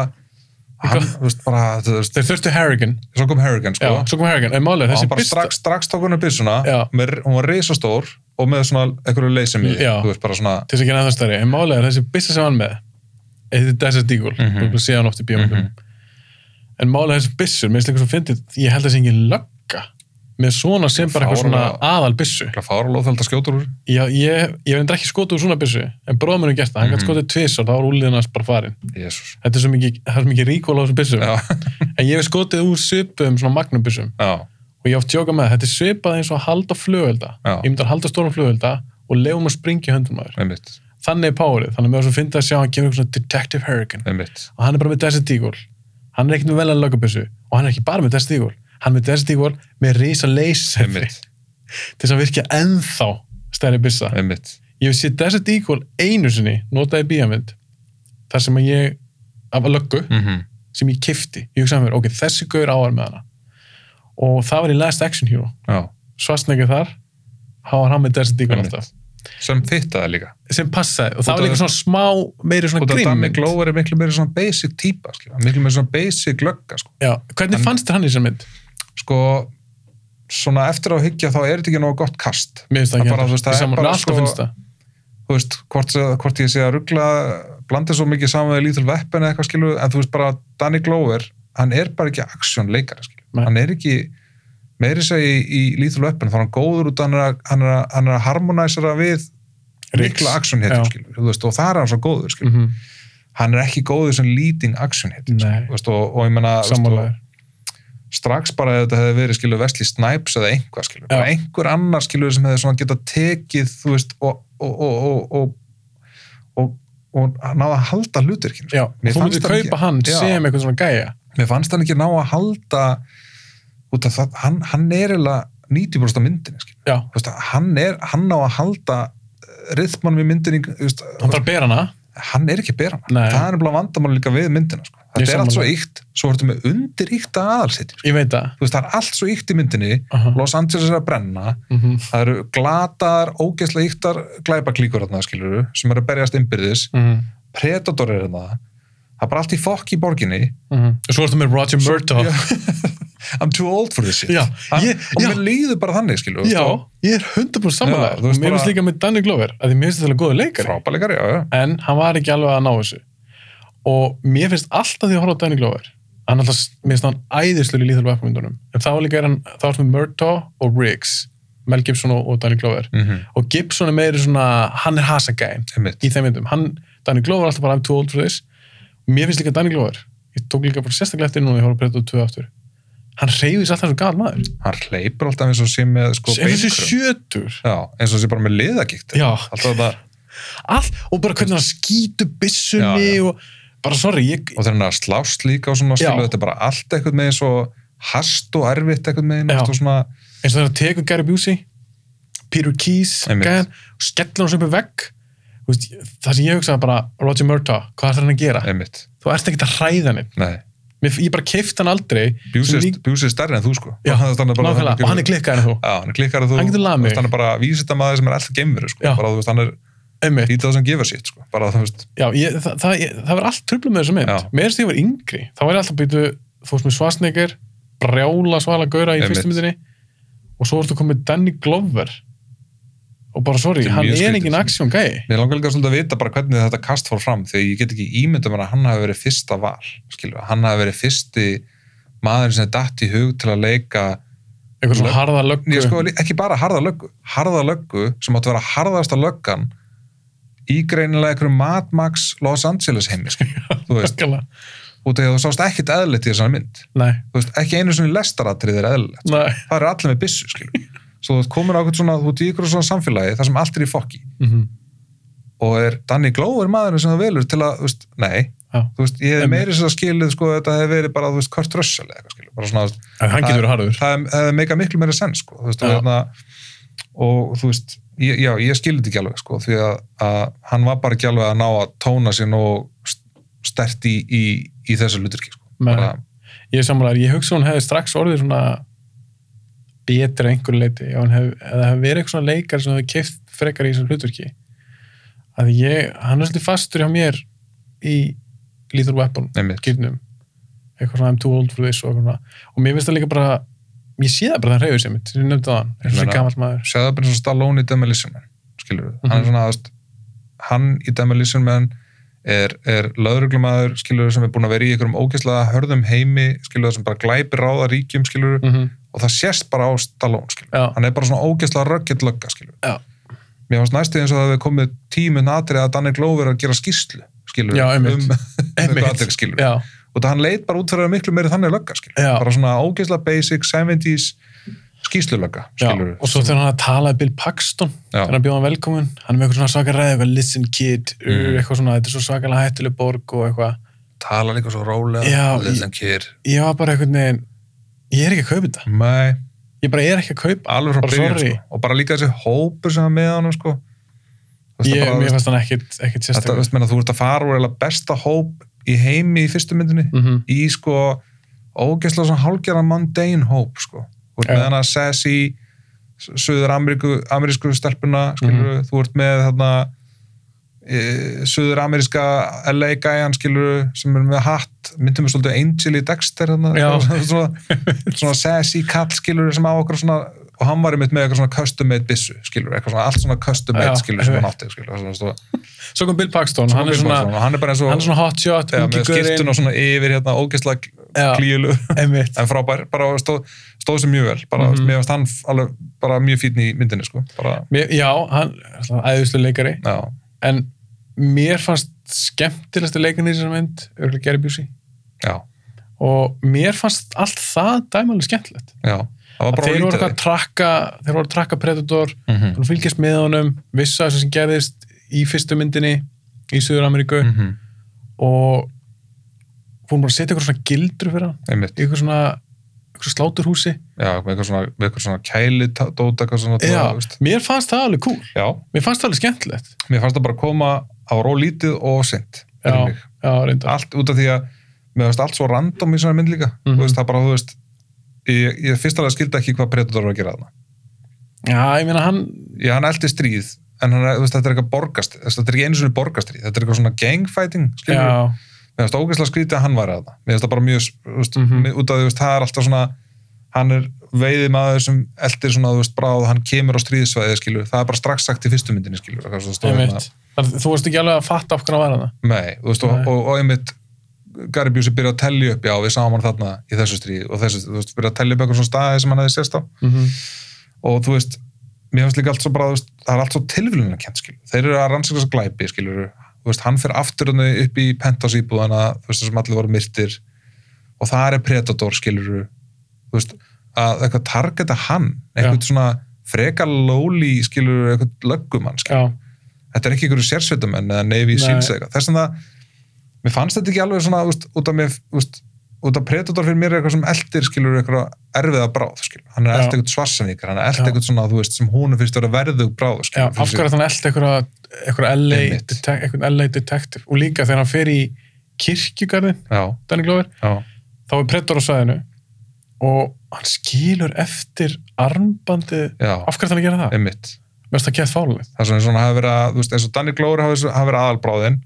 Speaker 2: hann, þú veist, bara, þú veist,
Speaker 1: Þeir þurftu Harrigan.
Speaker 2: svo kom Harrigan,
Speaker 1: Já,
Speaker 2: sko
Speaker 1: svo kom Harrigan. En málið, er,
Speaker 2: og
Speaker 1: þessi
Speaker 2: hann bara strax, strax tók hann upp byssuna
Speaker 1: Já.
Speaker 2: með, hún var reisastór og með svona einhverju leysimi,
Speaker 1: Já.
Speaker 2: þú veist bara svona
Speaker 1: til þess að gera það stærri, en málið er þessi byssa sem hann með, þetta er Desert Eagle, mm
Speaker 2: Mhm.
Speaker 1: -hmm. þú sé hann oft í bíómyndum.
Speaker 2: Mhm.
Speaker 1: En málið er þessi byssur, minnst eitthvað svo fyndið, ég held að það sé engin lögga með svona sem bara eitthvað svona
Speaker 2: Fáránlega.
Speaker 1: aðal byssu.
Speaker 2: fáralóð þegar þetta skjótur úr
Speaker 1: Já, ég, ég verði ekki skotið úr svona byssu, en bróðum minn er gert það, hann gætt
Speaker 2: Mhm.
Speaker 1: skotið tvisar, þá var úliðin hans bara farin.
Speaker 2: Jésús
Speaker 1: Þetta er svo mikið, það er svo mikið ríkól á þessum byssum.
Speaker 2: Já,
Speaker 1: En ég hef skotið úr svipum, svona magnum byssum,
Speaker 2: já,
Speaker 1: og ég hef oft jóka með það, þetta er svipað eins og að halda flugölda.
Speaker 2: Já.
Speaker 1: Ég myndi að halda stórum flugölda og leiðum að springa í höndum maður.
Speaker 2: einmitt,
Speaker 1: þannig er powerið, þannig að mér var svo fyndið að sjá að hann kemur eitthvað svona Detective Hurricane
Speaker 2: einmitt
Speaker 1: og hann er bara með Desert Eagle hann er ekkert með vel að lögabessu og hann er ekki bara með Desert Eagle hann er með Desert Eagle með risa laser til
Speaker 2: einmitt,
Speaker 1: þess að virkja ennþá stærri byssa
Speaker 2: einmitt
Speaker 1: ég sé Desert Eagle einu sinni notaði bíamind þar sem að ég af löggu
Speaker 2: mm -hmm.
Speaker 1: sem ég kifti ég hugsaði mér, ok, þessi gaur áar með hana og það var í Last Action Hero
Speaker 2: Já,
Speaker 1: Svarsnegið þar hann var hann með Desert Eagle
Speaker 2: Einmitt.
Speaker 1: alltaf
Speaker 2: sem fittaði líka
Speaker 1: sem passaði og það var
Speaker 2: Út af-
Speaker 1: líka svona smá meiri svona
Speaker 2: og það Danny
Speaker 1: grimmynd
Speaker 2: Glover er miklu meira svona basic típa skilja. miklu meira svona basic lögga sko.
Speaker 1: Já, hvernig
Speaker 2: En-
Speaker 1: fannst þér hann í þessar mynd?
Speaker 2: sko, svona eftir á að hyggja þá er þetta ekki nógu gott kast
Speaker 1: Mér finnst það ekki
Speaker 2: bara, þú veist, það er
Speaker 1: saman,
Speaker 2: bara
Speaker 1: alltaf
Speaker 2: sko-
Speaker 1: finnst það.
Speaker 2: þú veist, hvort, se- hvort ég sé að ruggla blandið svo mikið saman við Little Weapon eða eitthvað skilu, en þú veist bara Danny Glover hann er bara ekki action leikari skilu
Speaker 1: Nei.
Speaker 2: hann er ekki, meiri segi í, í Little Weapon, þá er hann góður út hann er, að- hann er, að- hann er að harmonæsara við
Speaker 1: Riggs.
Speaker 2: mikla action hitum
Speaker 1: Já.
Speaker 2: skilu, þú veist, og það er hann svo góður skilu
Speaker 1: Mm -hmm.
Speaker 2: hann er ekki góður sem leading action hitum
Speaker 1: Nei,
Speaker 2: Veist, og, og ég menna
Speaker 1: samanlegar.
Speaker 2: strax bara ef þetta hefði verið skilu Vesli Snipes eða einhvað skilu, bara
Speaker 1: Já.
Speaker 2: einhver annar skilu sem hefði svona geta tekið þú veist og og, og, og, og, og, og náða að halda hluturkinu
Speaker 1: Já,
Speaker 2: Mér
Speaker 1: þú
Speaker 2: fannst
Speaker 1: myndir
Speaker 2: hann
Speaker 1: kaupa
Speaker 2: ekki-
Speaker 1: hann
Speaker 2: Já.
Speaker 1: sem eitthvað svona gæja.
Speaker 2: mér fannst hann ekki ná að halda út af það, hann, hann er eiginlega 90% af myndinni skilu.
Speaker 1: Já,
Speaker 2: Þú veist, hann, er, hann ná að halda eh, rytmanum í myndinni þú veist,
Speaker 1: hann þarf að bera hana.
Speaker 2: hann er ekki beran
Speaker 1: Nei.
Speaker 2: það er nefnilega vandamál líka við myndina sko.
Speaker 1: Ég
Speaker 2: þetta er allt svo
Speaker 1: sammála.
Speaker 2: ykt, svo ertu með undir ykta aðalsetjum
Speaker 1: Ég veit það.
Speaker 2: þú veist, það er allt svo ykt í myndinni
Speaker 1: Aha.
Speaker 2: Los Angeles er að brenna
Speaker 1: Mm -hmm.
Speaker 2: það eru glataðar, ógeðslega yktar glæpaklíkur þarna, skilur sem eru að berjast innbyrðis,
Speaker 1: mhm,
Speaker 2: Predator er þarna það er bara allt í fokk í borginni
Speaker 1: Og mhm. svo ertu með Roger Murdoch.
Speaker 2: Já. I'm too old for this shit
Speaker 1: Já,
Speaker 2: Hann,
Speaker 1: ég-
Speaker 2: og
Speaker 1: já.
Speaker 2: mér líður bara þannig, skilur
Speaker 1: Já, ég er 100%
Speaker 2: Já,
Speaker 1: samanlegar.
Speaker 2: þú veist
Speaker 1: Mér finnst
Speaker 2: bara-
Speaker 1: líka með Danny Glover, að því mér finnst þetta góða leikari.
Speaker 2: frábæleikari, já, já,
Speaker 1: En hann var ekki alveg að ná þessu. Og mér finnst alltaf því að horfa á Danny Glover. Hann alltaf, mér finnst hann æðislur í líþur veppmyndunum. En þá líka er hann, þá ertu með Murdoch og Riggs, Mel Gibson og, og Danny Glover.
Speaker 2: mm -hmm.
Speaker 1: og Gibson er meiri svona, hann er hasagæn
Speaker 2: einmitt
Speaker 1: í þeim myndum, hann, Danny Glover er alltaf bara I'm too old for this, mér finnst líka Danny Glover ég tók líka bara sérstaklega eftir núna þegar ég horf að breyta tvö aftur, hann reyfis alltaf svo gæl maður,
Speaker 2: hann hleypur alltaf eins og sé með sko,
Speaker 1: eins og
Speaker 2: beinkröm.
Speaker 1: sjötur
Speaker 2: já, eins og sé bara með liðagikt
Speaker 1: já,
Speaker 2: alltaf það,
Speaker 1: allt, og bara hvernig hann skýtu
Speaker 2: Já,
Speaker 1: byssunni
Speaker 2: já.
Speaker 1: og bara sorry, ég
Speaker 2: og þegar hann er að slást líka og svona,
Speaker 1: Já.
Speaker 2: skilur þetta er bara allt eitthvað með eins og hast og erfitt eitthvað með
Speaker 1: Já.
Speaker 2: eins og svona
Speaker 1: eins og þegar hann tekur Gary Busey Peter Keys
Speaker 2: Einmitt.
Speaker 1: gæðan, og skellir hans upp í vegg Þú veist, það sem ég hugsaði bara Roger Murtaugh, hvað ætlar hann að gera
Speaker 2: einmitt,
Speaker 1: þú ert ekki að hræða hann
Speaker 2: nei
Speaker 1: ég bara keift hann aldrei sem
Speaker 2: Bjúsi
Speaker 1: lík-
Speaker 2: er stærri en þú sko
Speaker 1: Já,
Speaker 2: hann, hann,
Speaker 1: nákvæmlega, og hann er klikkaðan þú
Speaker 2: Já, hann er klikkar að þú
Speaker 1: Hann getur lagað mig.
Speaker 2: þú veist, hann er bara vísindamaður sem er alltaf geimur sko.
Speaker 1: Já.
Speaker 2: bara þú veist, hann er
Speaker 1: einmitt
Speaker 2: lítið sem gefur sitt sko. bara þú veist,
Speaker 1: Já, ég, það, það, ég, það var allt tröflum með þessa mynd.
Speaker 2: Já.
Speaker 1: Mér finnst ég var yngri. Þá var ég alltaf býtu, þú veist með Svarsneger, brjála svala gauðra í
Speaker 2: Einmitt.
Speaker 1: fyrstu myndinni og svo ertu komið Danny Glover og bara sorry,
Speaker 2: Sem er
Speaker 1: hann
Speaker 2: mjög
Speaker 1: er
Speaker 2: skrítið,
Speaker 1: engin
Speaker 2: sko.
Speaker 1: aksjón gæi.
Speaker 2: mér langar líka svolítið að vita bara hvernig þetta kast fór fram þegar ég get ekki ímyndum að hann hafi verið fyrsta val skilur, hann hafi verið fyrsti maður sem er datt í hug til að leika
Speaker 1: Eitthvað svona
Speaker 2: Lögg-
Speaker 1: harða löggu.
Speaker 2: ég, sko, lí- ekki bara harða löggu harða löggu sem áttu að vera harðasta löggan í greinilega einhverjum Mad Max Los Angeles heimi sko. þú veist,
Speaker 1: Nákvæmlega.
Speaker 2: út af því að þú sást ekkit eðlilegt í þessari mynd
Speaker 1: Nei,
Speaker 2: þú veist, ekki einu svona lestaratrið er eðlilegt
Speaker 1: nei.
Speaker 2: það eru allir með byssu skilur. svo þú ert komin á eitthvað svona, þú ert í ykkur svona samfélagi þar sem allt er í fokki
Speaker 1: Mhm.
Speaker 2: og er Danny Glover maðurinn sem það velur til að, þú veist, nei
Speaker 1: Já.
Speaker 2: þú veist, ég hef
Speaker 1: Einmitt.
Speaker 2: meiri sér að skilið sko, þetta hefði verið bara, þú veist, Kurt Russell eða eitthvað skilur, bara svona, þú veist,
Speaker 1: En hann
Speaker 2: Það-
Speaker 1: getur verið harður.
Speaker 2: það hef- hefði meika miklu meira sens sko, þú veist, og,
Speaker 1: Já.
Speaker 2: hérna, og þú veist ég, já, ég skilið þetta ekki alveg sko, því að, að hann var bara ekki alveg að ná að tóna sér og stert í, í, í þessu hluturki sko.
Speaker 1: Nei.
Speaker 2: bara,
Speaker 1: Ég er samanlega, ég hugsa hún hefði strax orðið svona betra einhver leiti ef hann hef, eða hef verið eitthvað svona leikar sem hefði keift frekar í þessum hluturki að ég, hann er svolítið fastur hjá mér í Lethal Weapon
Speaker 2: einmitt,
Speaker 1: gyrnum eitthvað svona I'm too old for this og, eitthvað svona. og mér finnst það líka bara ég sé það bara það reyður sem mitt, sem ég nefndi það eins og
Speaker 2: meina-
Speaker 1: þessi gamall maður
Speaker 2: segðu það bara eins og Stallone í Demolition Man skilur við, hann er
Speaker 1: Mhm.
Speaker 2: svona aðast hann í Demolition Man er, er löðruglumæður skilur við sem er búin að vera í einhverjum ógeðslega hörðum heimi skilur við sem bara glæpir ráða ríkjum skilur við
Speaker 1: mm
Speaker 2: og það sést bara á Stallone skilur
Speaker 1: já,
Speaker 2: við hann er bara svona ógeðslega röggett lögga skilur
Speaker 1: Já.
Speaker 2: við mér fannst næstu eins og það hefði komið tíminn atrið að Danny Glover er að gera skýrslu skilur
Speaker 1: Já,
Speaker 2: við,
Speaker 1: einmitt.
Speaker 2: um atrið skilur við
Speaker 1: já,
Speaker 2: og það hann leit bara út fyrir að miklu meiri þannig lögga skilur við
Speaker 1: Já.
Speaker 2: bara svona ógeðslega basic 70s skýrslu lögga
Speaker 1: já.
Speaker 2: skilur
Speaker 1: og svo þegar hann að tala Bill Paxton
Speaker 2: Já.
Speaker 1: þegar hann bjóð hann velkomin, hann er með eitthvað svona svaka ræði eitthvað listen kid, uh,
Speaker 2: Mm.
Speaker 1: eitthvað svona þetta er svo svakalega hættuleg borg og eitthvað
Speaker 2: tala líka svo rólega
Speaker 1: Já,
Speaker 2: listen kid
Speaker 1: ég var bara einhvern veginn ég er ekki að kaupa þetta,
Speaker 2: Nei,
Speaker 1: ég bara er ekki að kaupa
Speaker 2: alveg frá
Speaker 1: Bara
Speaker 2: byrjun
Speaker 1: sorry.
Speaker 2: sko. og bara líka þessi hópur sem er með honum sko. Þú veist,
Speaker 1: ég,
Speaker 2: það bara,
Speaker 1: mér
Speaker 2: veist,
Speaker 1: fannst hann ekkit, ekkit
Speaker 2: þetta,
Speaker 1: sérstaklega
Speaker 2: veist, meina, þú ert að fara úr eiginlega besta hóp í heimi í fyrstu myndinni
Speaker 1: mm -hmm.
Speaker 2: í sko ógeðslega svona hálgjara mundane hóp sko. þú ert
Speaker 1: Já.
Speaker 2: með hana sassy söður amerísku stelpuna skilur,
Speaker 1: Mhm.
Speaker 2: þú ert með þarna e, söður ameríska LA gæjan skilur sem er með hatt myndum við svolítið Angel í Dexter þarna,
Speaker 1: Já.
Speaker 2: svona, svona, svona sassy kall skilur sem á okkur svona og hann var einmitt með eitthvað svona custom made byssu skilur, eitthvað svona, allt svona custom
Speaker 1: Já,
Speaker 2: made skilur sem hann
Speaker 1: einmitt.
Speaker 2: átti skilur, svona, svona,
Speaker 1: svo kom Bill Paxton, hann, er
Speaker 2: Bill
Speaker 1: svona,
Speaker 2: Paxton, og hann er bara eins og
Speaker 1: hann er svona hot shot
Speaker 2: ja,
Speaker 1: ungi
Speaker 2: með skiptun
Speaker 1: gaurinn
Speaker 2: og svona yfir hérna ógeðslega
Speaker 1: Já,
Speaker 2: klíulu
Speaker 1: einmitt
Speaker 2: en frábær, bara stóð, stóð sem mjög vel bara, mm
Speaker 1: Mhm.
Speaker 2: mér varst hann alveg bara mjög fítn í myndinni sko. bara,
Speaker 1: Mér, já, hann er æðislu leikari
Speaker 2: já,
Speaker 1: en mér fannst skemmtilegstu leikarinn í þessari mynd örgulega Gary Busey
Speaker 2: já,
Speaker 1: og mér fannst allt það dæmalið skemmtilegt
Speaker 2: já það var
Speaker 1: Að
Speaker 2: bara
Speaker 1: þeir voru
Speaker 2: lítið
Speaker 1: eitthvað að trakka þeir voru að trakka Predator
Speaker 2: mm -hmm.
Speaker 1: og fylgjast með honum vissu að þessu sem gerðist í fyrstu myndinni í Suður Ameríku
Speaker 2: mm -hmm.
Speaker 1: og fórum bara að setja eitthvað svona gildru fyrir hann
Speaker 2: einmitt,
Speaker 1: í eitthvað svona eitthvað sláturhúsi
Speaker 2: já, með eitthvað svona, með eitthvað svona kæli dóta, eitthvað svona
Speaker 1: Já,
Speaker 2: veist.
Speaker 1: mér fannst það alveg cool
Speaker 2: já,
Speaker 1: mér fannst það alveg skemmtilegt
Speaker 2: mér fannst það bara koma á rólítið og sent
Speaker 1: Já, já, reyndar
Speaker 2: allt út af því að mér varst allt svo random í svona mynd líka
Speaker 1: Mhm.
Speaker 2: þú veist, það bara, þú veist ég, ég fyrst alveg skildi ekki hvað Predator var að gera þarna
Speaker 1: Já, ég meina hann
Speaker 2: já, hann eldi stríð en hann, er- þú veist, þetta er eitthvað borgast þetta er ekki einu svona borgastríð, þetta er eitthvað svona gangfighting skilur við,
Speaker 1: Já,
Speaker 2: mér finnst ógeðslega skrítið að hann var að það mér finnst það bara mjög, þú veist, mm
Speaker 1: Mhm.
Speaker 2: út af því, þú veist, það er alltaf svona hann er veiði maður sem eldir svona, þú veist, bráð, hann kemur á stríðsvæðið skilur, það er bara strax sagt í fyrstu myndinni skilur, eitthvað svona stóð hérna.
Speaker 1: einmitt Þar- Þú varst ekki alveg að fatta af hvernig að vera það
Speaker 2: nei, þú veist,
Speaker 1: Nei.
Speaker 2: og, og, og einmitt Gary Busey byrja að tellja upp, já, við sáum hann þarna í þessu stríð og þessu, þú veist, byrja að tellja upp eitthvað svona staði sem hann hefði sérst á og þú veist, mér finnst líka allt svo bara þú veist, það er allt svo tilvílun að kent skilur. þeir eru að rannsaka þess glæpi skilur. þú veist, hann fer aftur hann upp í penthouse íbúðana þú veist, sem allir voru myrtir og það er predator skilur þú veist, að eitthvað targeta hann eitthvað svona frekar lóli skilur, eitthvað löggumann skilur.
Speaker 1: Já,
Speaker 2: þetta er ekki einhverju sérsveitamenn eða Navy
Speaker 1: Nei.
Speaker 2: Seals eða eitthvað, þess að mér fannst þetta ekki alveg svona þú veist, út af mér þú veist, út af Predator fyrir mér er eitthvað sem eldir skilur eitthvað erfiða bráð skilur. hann er
Speaker 1: Já.
Speaker 2: eldt eitthvað svarsaníkar, hann er eldt
Speaker 1: Já.
Speaker 2: eitthvað svona þú veist, sem hún finnst að vera verðug bráð
Speaker 1: Já,
Speaker 2: skilur,
Speaker 1: af
Speaker 2: fyrir sig.
Speaker 1: hverju þannig eldi eitthvað, eitthvað LA,
Speaker 2: Einmitt.
Speaker 1: detec- eitthvað LA detective og líka þegar hann fer í kirkjugarðin
Speaker 2: já,
Speaker 1: Danny Glover,
Speaker 2: já,
Speaker 1: þá er Predator á svæðinu og hann skilur eftir armbandi
Speaker 2: já,
Speaker 1: af hverju þannig að gera það?
Speaker 2: einmitt
Speaker 1: Mér finnst það gett fálega
Speaker 2: það er svona, svona hafa verið að, þú veist, eins og Danny Glover hafi, hafi verið aðalbráðin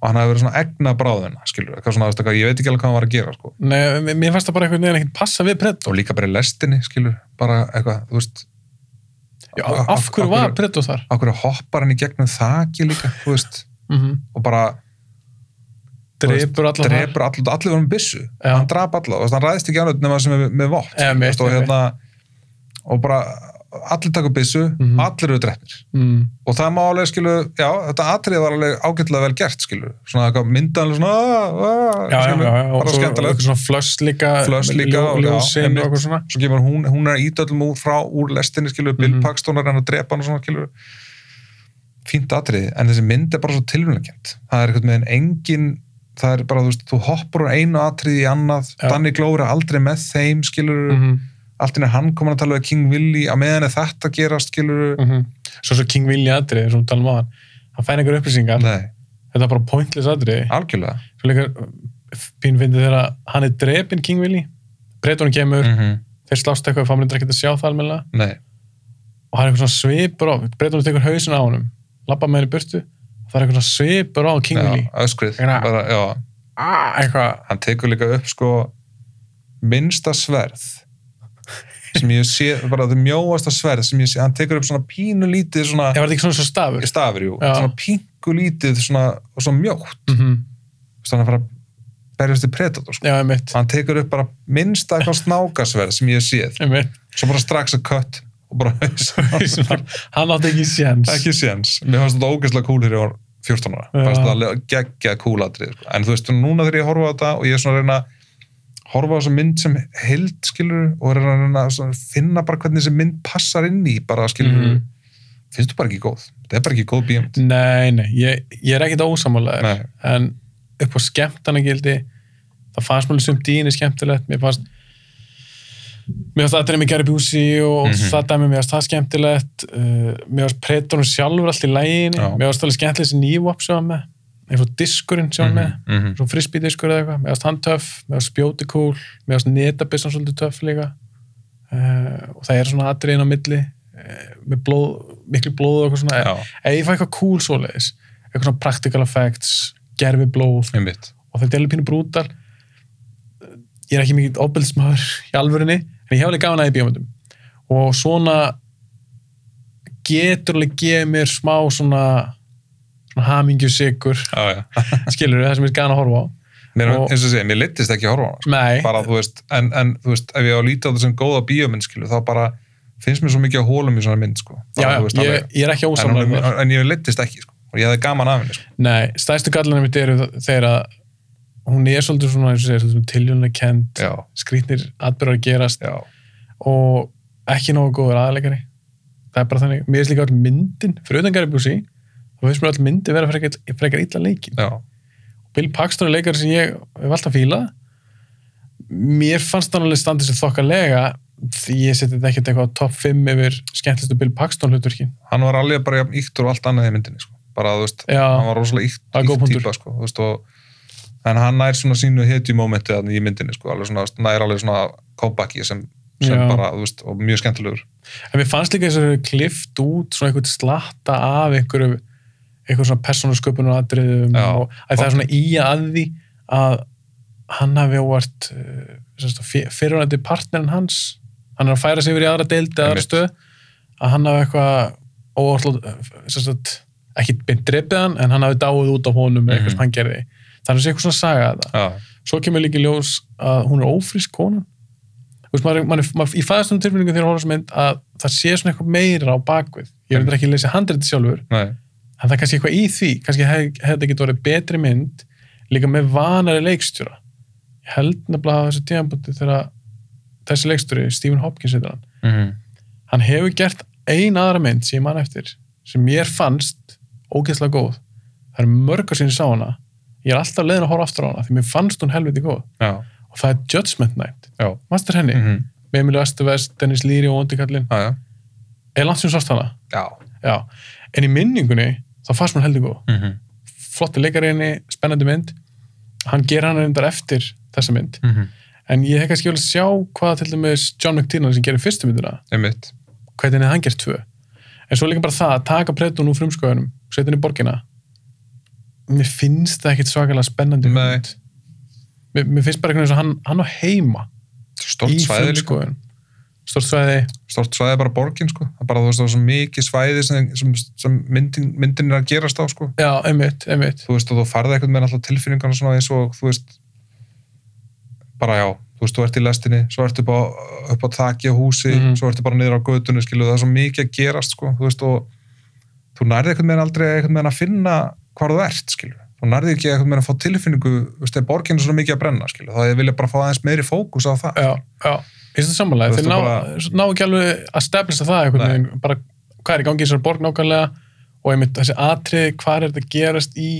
Speaker 2: og hann hafi verið svona egna bráðin skilur, eitthvað svona, þú veist, eitthvað, ég veit ekki alveg hvað hann var að gera sko.
Speaker 1: Nei, mér- mér fannst það bara einhvern veginn ekkert passa við Predator
Speaker 2: og líka bara í lestinni, skilur, bara eitthvað, þú veist
Speaker 1: Já, af, af hverju var Predator þar?
Speaker 2: af hverju hoppar hann í gegnum þaki líka, þú veist,
Speaker 1: Mm
Speaker 2: og bara
Speaker 1: Drepur allar þar
Speaker 2: drepur allir, allir voru með byssu
Speaker 1: Já.
Speaker 2: hann drap allar, veist, hann ræðist ekki annað nema sem er með- með vopn
Speaker 1: Eða mitt,
Speaker 2: veist, og,
Speaker 1: eða mitt.
Speaker 2: hérna, og bara allir taka byssu,
Speaker 1: Mhm.
Speaker 2: allir eru dreppir
Speaker 1: mm.
Speaker 2: og það má alveg skilu, já, þetta atrið var alveg ágætlega vel gert skilu, svona eitthvað myndanlega svona, "Ah, ah",
Speaker 1: Já, já,
Speaker 2: skilu,
Speaker 1: já, já, og
Speaker 2: bara
Speaker 1: svo
Speaker 2: skemmtilegt
Speaker 1: eitthvað svona flöss líka
Speaker 2: Flöss líka,
Speaker 1: ljó,
Speaker 2: já,
Speaker 1: ljósin
Speaker 2: einmitt.
Speaker 1: og eitthvað svona
Speaker 2: svo kemur hún, hún er að íta öllum úr frá úr lestinni skilu, Bill
Speaker 1: Mhm.
Speaker 2: Paxton er hann að drepa hann og svona skilu fínt atrið, en þessi mynd er bara svo tilvunleikent það er eitthvað með en engin það er bara, þú veist, þú hoppar úr einu atrið í annað,
Speaker 1: Já.
Speaker 2: Danny Glover er aldrei með þeim skilur, mm.
Speaker 1: -hmm.
Speaker 2: allt inn er hann komin að tala við King Willy, að meðan er þetta að gerast skilur,
Speaker 1: Svo svo King Willy atrið, eins og við talum á hann hann fær einhver upplýsingar,
Speaker 2: nei,
Speaker 1: þetta er bara pointless atrið
Speaker 2: algjörlega
Speaker 1: svo líka pín fyndið þegar að hann er drepinn King Willy breytunum kemur,
Speaker 2: mm
Speaker 1: þeir slást eitthvað þá myndir ekkert að sjá það almennilega
Speaker 2: nei,
Speaker 1: og það er eitthvað svona svipur á, breytunum tekur hausin á honum labba með henni í burtu og það er eitthvað svona svipur á King
Speaker 2: já,
Speaker 1: Willy
Speaker 2: öskrið
Speaker 1: Hérna.
Speaker 2: bara, já,
Speaker 1: ah, eitthvað,
Speaker 2: hann tekur líka upp sko minnsta sverð sem ég sé, bara það mjóasta sverð sem ég sé, hann tekur upp svona pínu lítið svona,
Speaker 1: ef var þetta ekki svona svo stafur
Speaker 2: stafir jú,
Speaker 1: Já.
Speaker 2: svona pínu lítið svona, og svona mjótt
Speaker 1: mm -hmm.
Speaker 2: þannig að fara að berjast í predator sko.
Speaker 1: já, einmitt,
Speaker 2: hann tekur upp bara minnsta eitthvað snákasverð sem ég séð,
Speaker 1: einmitt.
Speaker 2: svo bara strax að kött og bara hausinn á-
Speaker 1: hann átti ekki séns
Speaker 2: ekki séns, mér fannst þetta ógeðslega cool þegar ég var 14 ára,
Speaker 1: Já.
Speaker 2: mér fannst þetta alveg geggja cool atrið, sko. en þú veist, núna þegar ég horfa á þetta og ég er svona að reyna að horfa á þessa mynd sem held, skilur og er að reyna að svona finna bara hvernig þessi mynd passar inn í, bara skilur
Speaker 1: Mhm.
Speaker 2: finnst þú bara ekki góð, þetta er bara ekki góð bíum
Speaker 1: Nei, nei, ég, ég er ekkit ósamálaður
Speaker 2: Nei.
Speaker 1: en upp á skemmtanagildi það fannst mér sem dýni skemmtilegt mér fannst mér fannst aðrið með Gary Busey og
Speaker 2: Mhm.
Speaker 1: það dæmi, mér fannst það skemmtilegt uh, mér fannst Predatorn sjálfur allt í læginni
Speaker 2: Já.
Speaker 1: mér fannst alveg skemmtilegt þessi nývop sem hann var með eins og diskurinn sem hann var með
Speaker 2: -hmm.
Speaker 1: svo frisbee-diskur eða eitthvað, mér fannst hann töff mér fannst spjóti cool, mér fannst netabissan svolítið töff líka uh, og það er svona atriðin á milli uh, með blóð, miklu blóð og eitthvað svona
Speaker 2: já,
Speaker 1: ef ég fæ eitthvað cool svoleiðis eitthvað svona practical effects, gerfi blóð
Speaker 2: einmitt
Speaker 1: og þetta er alveg pínu brútal ég er ekki mikið ofbeldismæður í alvörinni, en ég hef alveg gafan að í bíómyndum og svona getur alveg gefið mér smá svona, svona hamingju sigur,
Speaker 2: já, já.
Speaker 1: skilur það sem ég er gana að horfa á
Speaker 2: Mér,
Speaker 1: Og-
Speaker 2: eins og segja, mér leittist ekki að horfa á hana sko.
Speaker 1: nei,
Speaker 2: bara þú veist, en, en þú veist ef ég á að líta á þetta sem góða bíómynd skilur, þá bara finnst mér svo mikið að hólum í svona mynd sko.
Speaker 1: já,
Speaker 2: bara,
Speaker 1: já,
Speaker 2: þú veist, alveg-
Speaker 1: ég, ég er ekki
Speaker 2: en,
Speaker 1: ósamlega
Speaker 2: hún,
Speaker 1: með það.
Speaker 2: en ég leittist ekki sko. og ég hefði gaman af henni sko.
Speaker 1: nei, stærstu gallanum mitt eru þegar að hún er svolítið svona, eins og segir, svolítið tiljónlega kent
Speaker 2: já,
Speaker 1: skrýtnir atbyrðar gerast
Speaker 2: já,
Speaker 1: og ekki nógu góður aðalegari það er bara þannig, mér finnst líka all myndin fyrir utan Gary Busey, þá finnst mér all myndin vera frekar, frekar illa leikin
Speaker 2: já,
Speaker 1: Bill Paxton er leikari sem ég hef alltaf fílað mér fannst hann alveg standið sér þokkalega því ég seti þetta ekkert eitthvað á topp 5 yfir skemmtlistu Bill Paxton hlutverkin
Speaker 2: hann var alveg bara jafn íktur og allt annað í myndinni sko. bara þú veist, hann
Speaker 1: já,
Speaker 2: var rosalega íkt,
Speaker 1: Það er góð
Speaker 2: íkt
Speaker 1: punktur.
Speaker 2: típa sko, þú veist, og, en hann nær svona sínu hetju mómenti þarna í myndinni sko, alveg svona, nær alveg svona kóbaki sem, sem
Speaker 1: Já.
Speaker 2: bara, þú veist, og mjög skemmtilegur
Speaker 1: en mér fannst líka þess að þau klift út svona eitthvað slatta af einhverju eitthvað svona persónasköpun og atriðum
Speaker 2: Já.
Speaker 1: og að það er svona í að því að hann hafi óvart uh, sem sagt, fyr- fyrrverandi partnerinn hans hann er að færa sig yfir í aðra deild eða aðra
Speaker 2: Einmitt.
Speaker 1: stöð að hann hafi eitthvað óvart eh, ekki beint drepið hann en hann hafi dáið út á honum eða eitthvað
Speaker 2: Mhm.
Speaker 1: sem hann gerði þannig sé eitthvað svona saga að það
Speaker 2: já,
Speaker 1: svo kemur líka í ljós að hún er ófrísk konan Þú veist, maður, maður, maður, ég fæðast um tilfinningu þegar hóra sem mynd að það sé svona eitthvað meira á bakvið ég veit ekki að lesa handriti sjálfur
Speaker 2: nei,
Speaker 1: en það er kannski eitthvað í því kannski hef- hefði þetta ekki orðið betri mynd líka með vanari leikstjóra ég held nefnilega að þessu tíðanbúti þegar að þessi leikstjóri, Stephen Hopkins heitir hann
Speaker 2: mm
Speaker 1: hann hefur gert ein aðra mynd sem ég man eftir sem mér fannst ógeðslega góð það er mörgur sinni sá hana ég er alltaf leiðin að horfa aftur á hana því mér fannst hún helviti góð
Speaker 2: já,
Speaker 1: og það er Judgment Night
Speaker 2: já,
Speaker 1: Master henni, mm -hmm.
Speaker 2: Mhm.
Speaker 1: með Emilio Estevez Dennis Leary og Ondi Kallin
Speaker 2: já, já.
Speaker 1: er langt sem sást hana,
Speaker 2: já.
Speaker 1: já en í minningunni, þá fannst mér heldur góð
Speaker 2: Mm -hmm.
Speaker 1: flotti leikariðinni, spennandi mynd hann ger hann reyndar eftir þessa mynd,
Speaker 2: Mm -hmm.
Speaker 1: en ég hef kannski vel að sjá hvað til dæmis John McTiernan sem gerir fyrstu myndina,
Speaker 2: einmitt
Speaker 1: hvernig hann gerir tvö en svo líka bara það, að taka Predun úr frumskóðunum, setja hann í borgina mér finnst það ekkit svakalega spennandi
Speaker 2: Nei.
Speaker 1: mynd. mér, mér finnst bara einhvern veginn eins og hann, hann á heima
Speaker 2: stort svæði líka,
Speaker 1: frumskógum stort svæði,
Speaker 2: stort svæði er bara borgin sko. það er bara þú veist það er svo mikið svæði sem, sem, sem myndin, myndin er að gerast á sko.
Speaker 1: já, einmitt, einmitt
Speaker 2: þú veist og þú farði eitthvað með alltaf tilfinningarna svona eins og þú veist bara já, þú veist, þú ert í lestinni svo ertu upp á, upp á þakja húsi
Speaker 1: Mhm.
Speaker 2: svo ertu bara niður á götunni, skilu það er svo mikið að gerast, sko, þú veist og þú nærði eitthvað með aldrei eitthvað með að finna hvar þú ert, skilu þú nærði ekki eitthvað með að fá tilfinningu þú veist, þegar borgin er svona mikið að brenna, skilu þá ég vilja bara fá aðeins meiri fókus á það
Speaker 1: já, já, ég finnst það
Speaker 2: Þú
Speaker 1: samanlega
Speaker 2: veist,
Speaker 1: þeir ná,
Speaker 2: þú
Speaker 1: ná ekki alveg að stefnista það einhvern
Speaker 2: Nei.
Speaker 1: veginn, bara hvað er í gangi í þessar borg nákvæmlega og einmitt þessi atriði, hvað er þetta að gerast í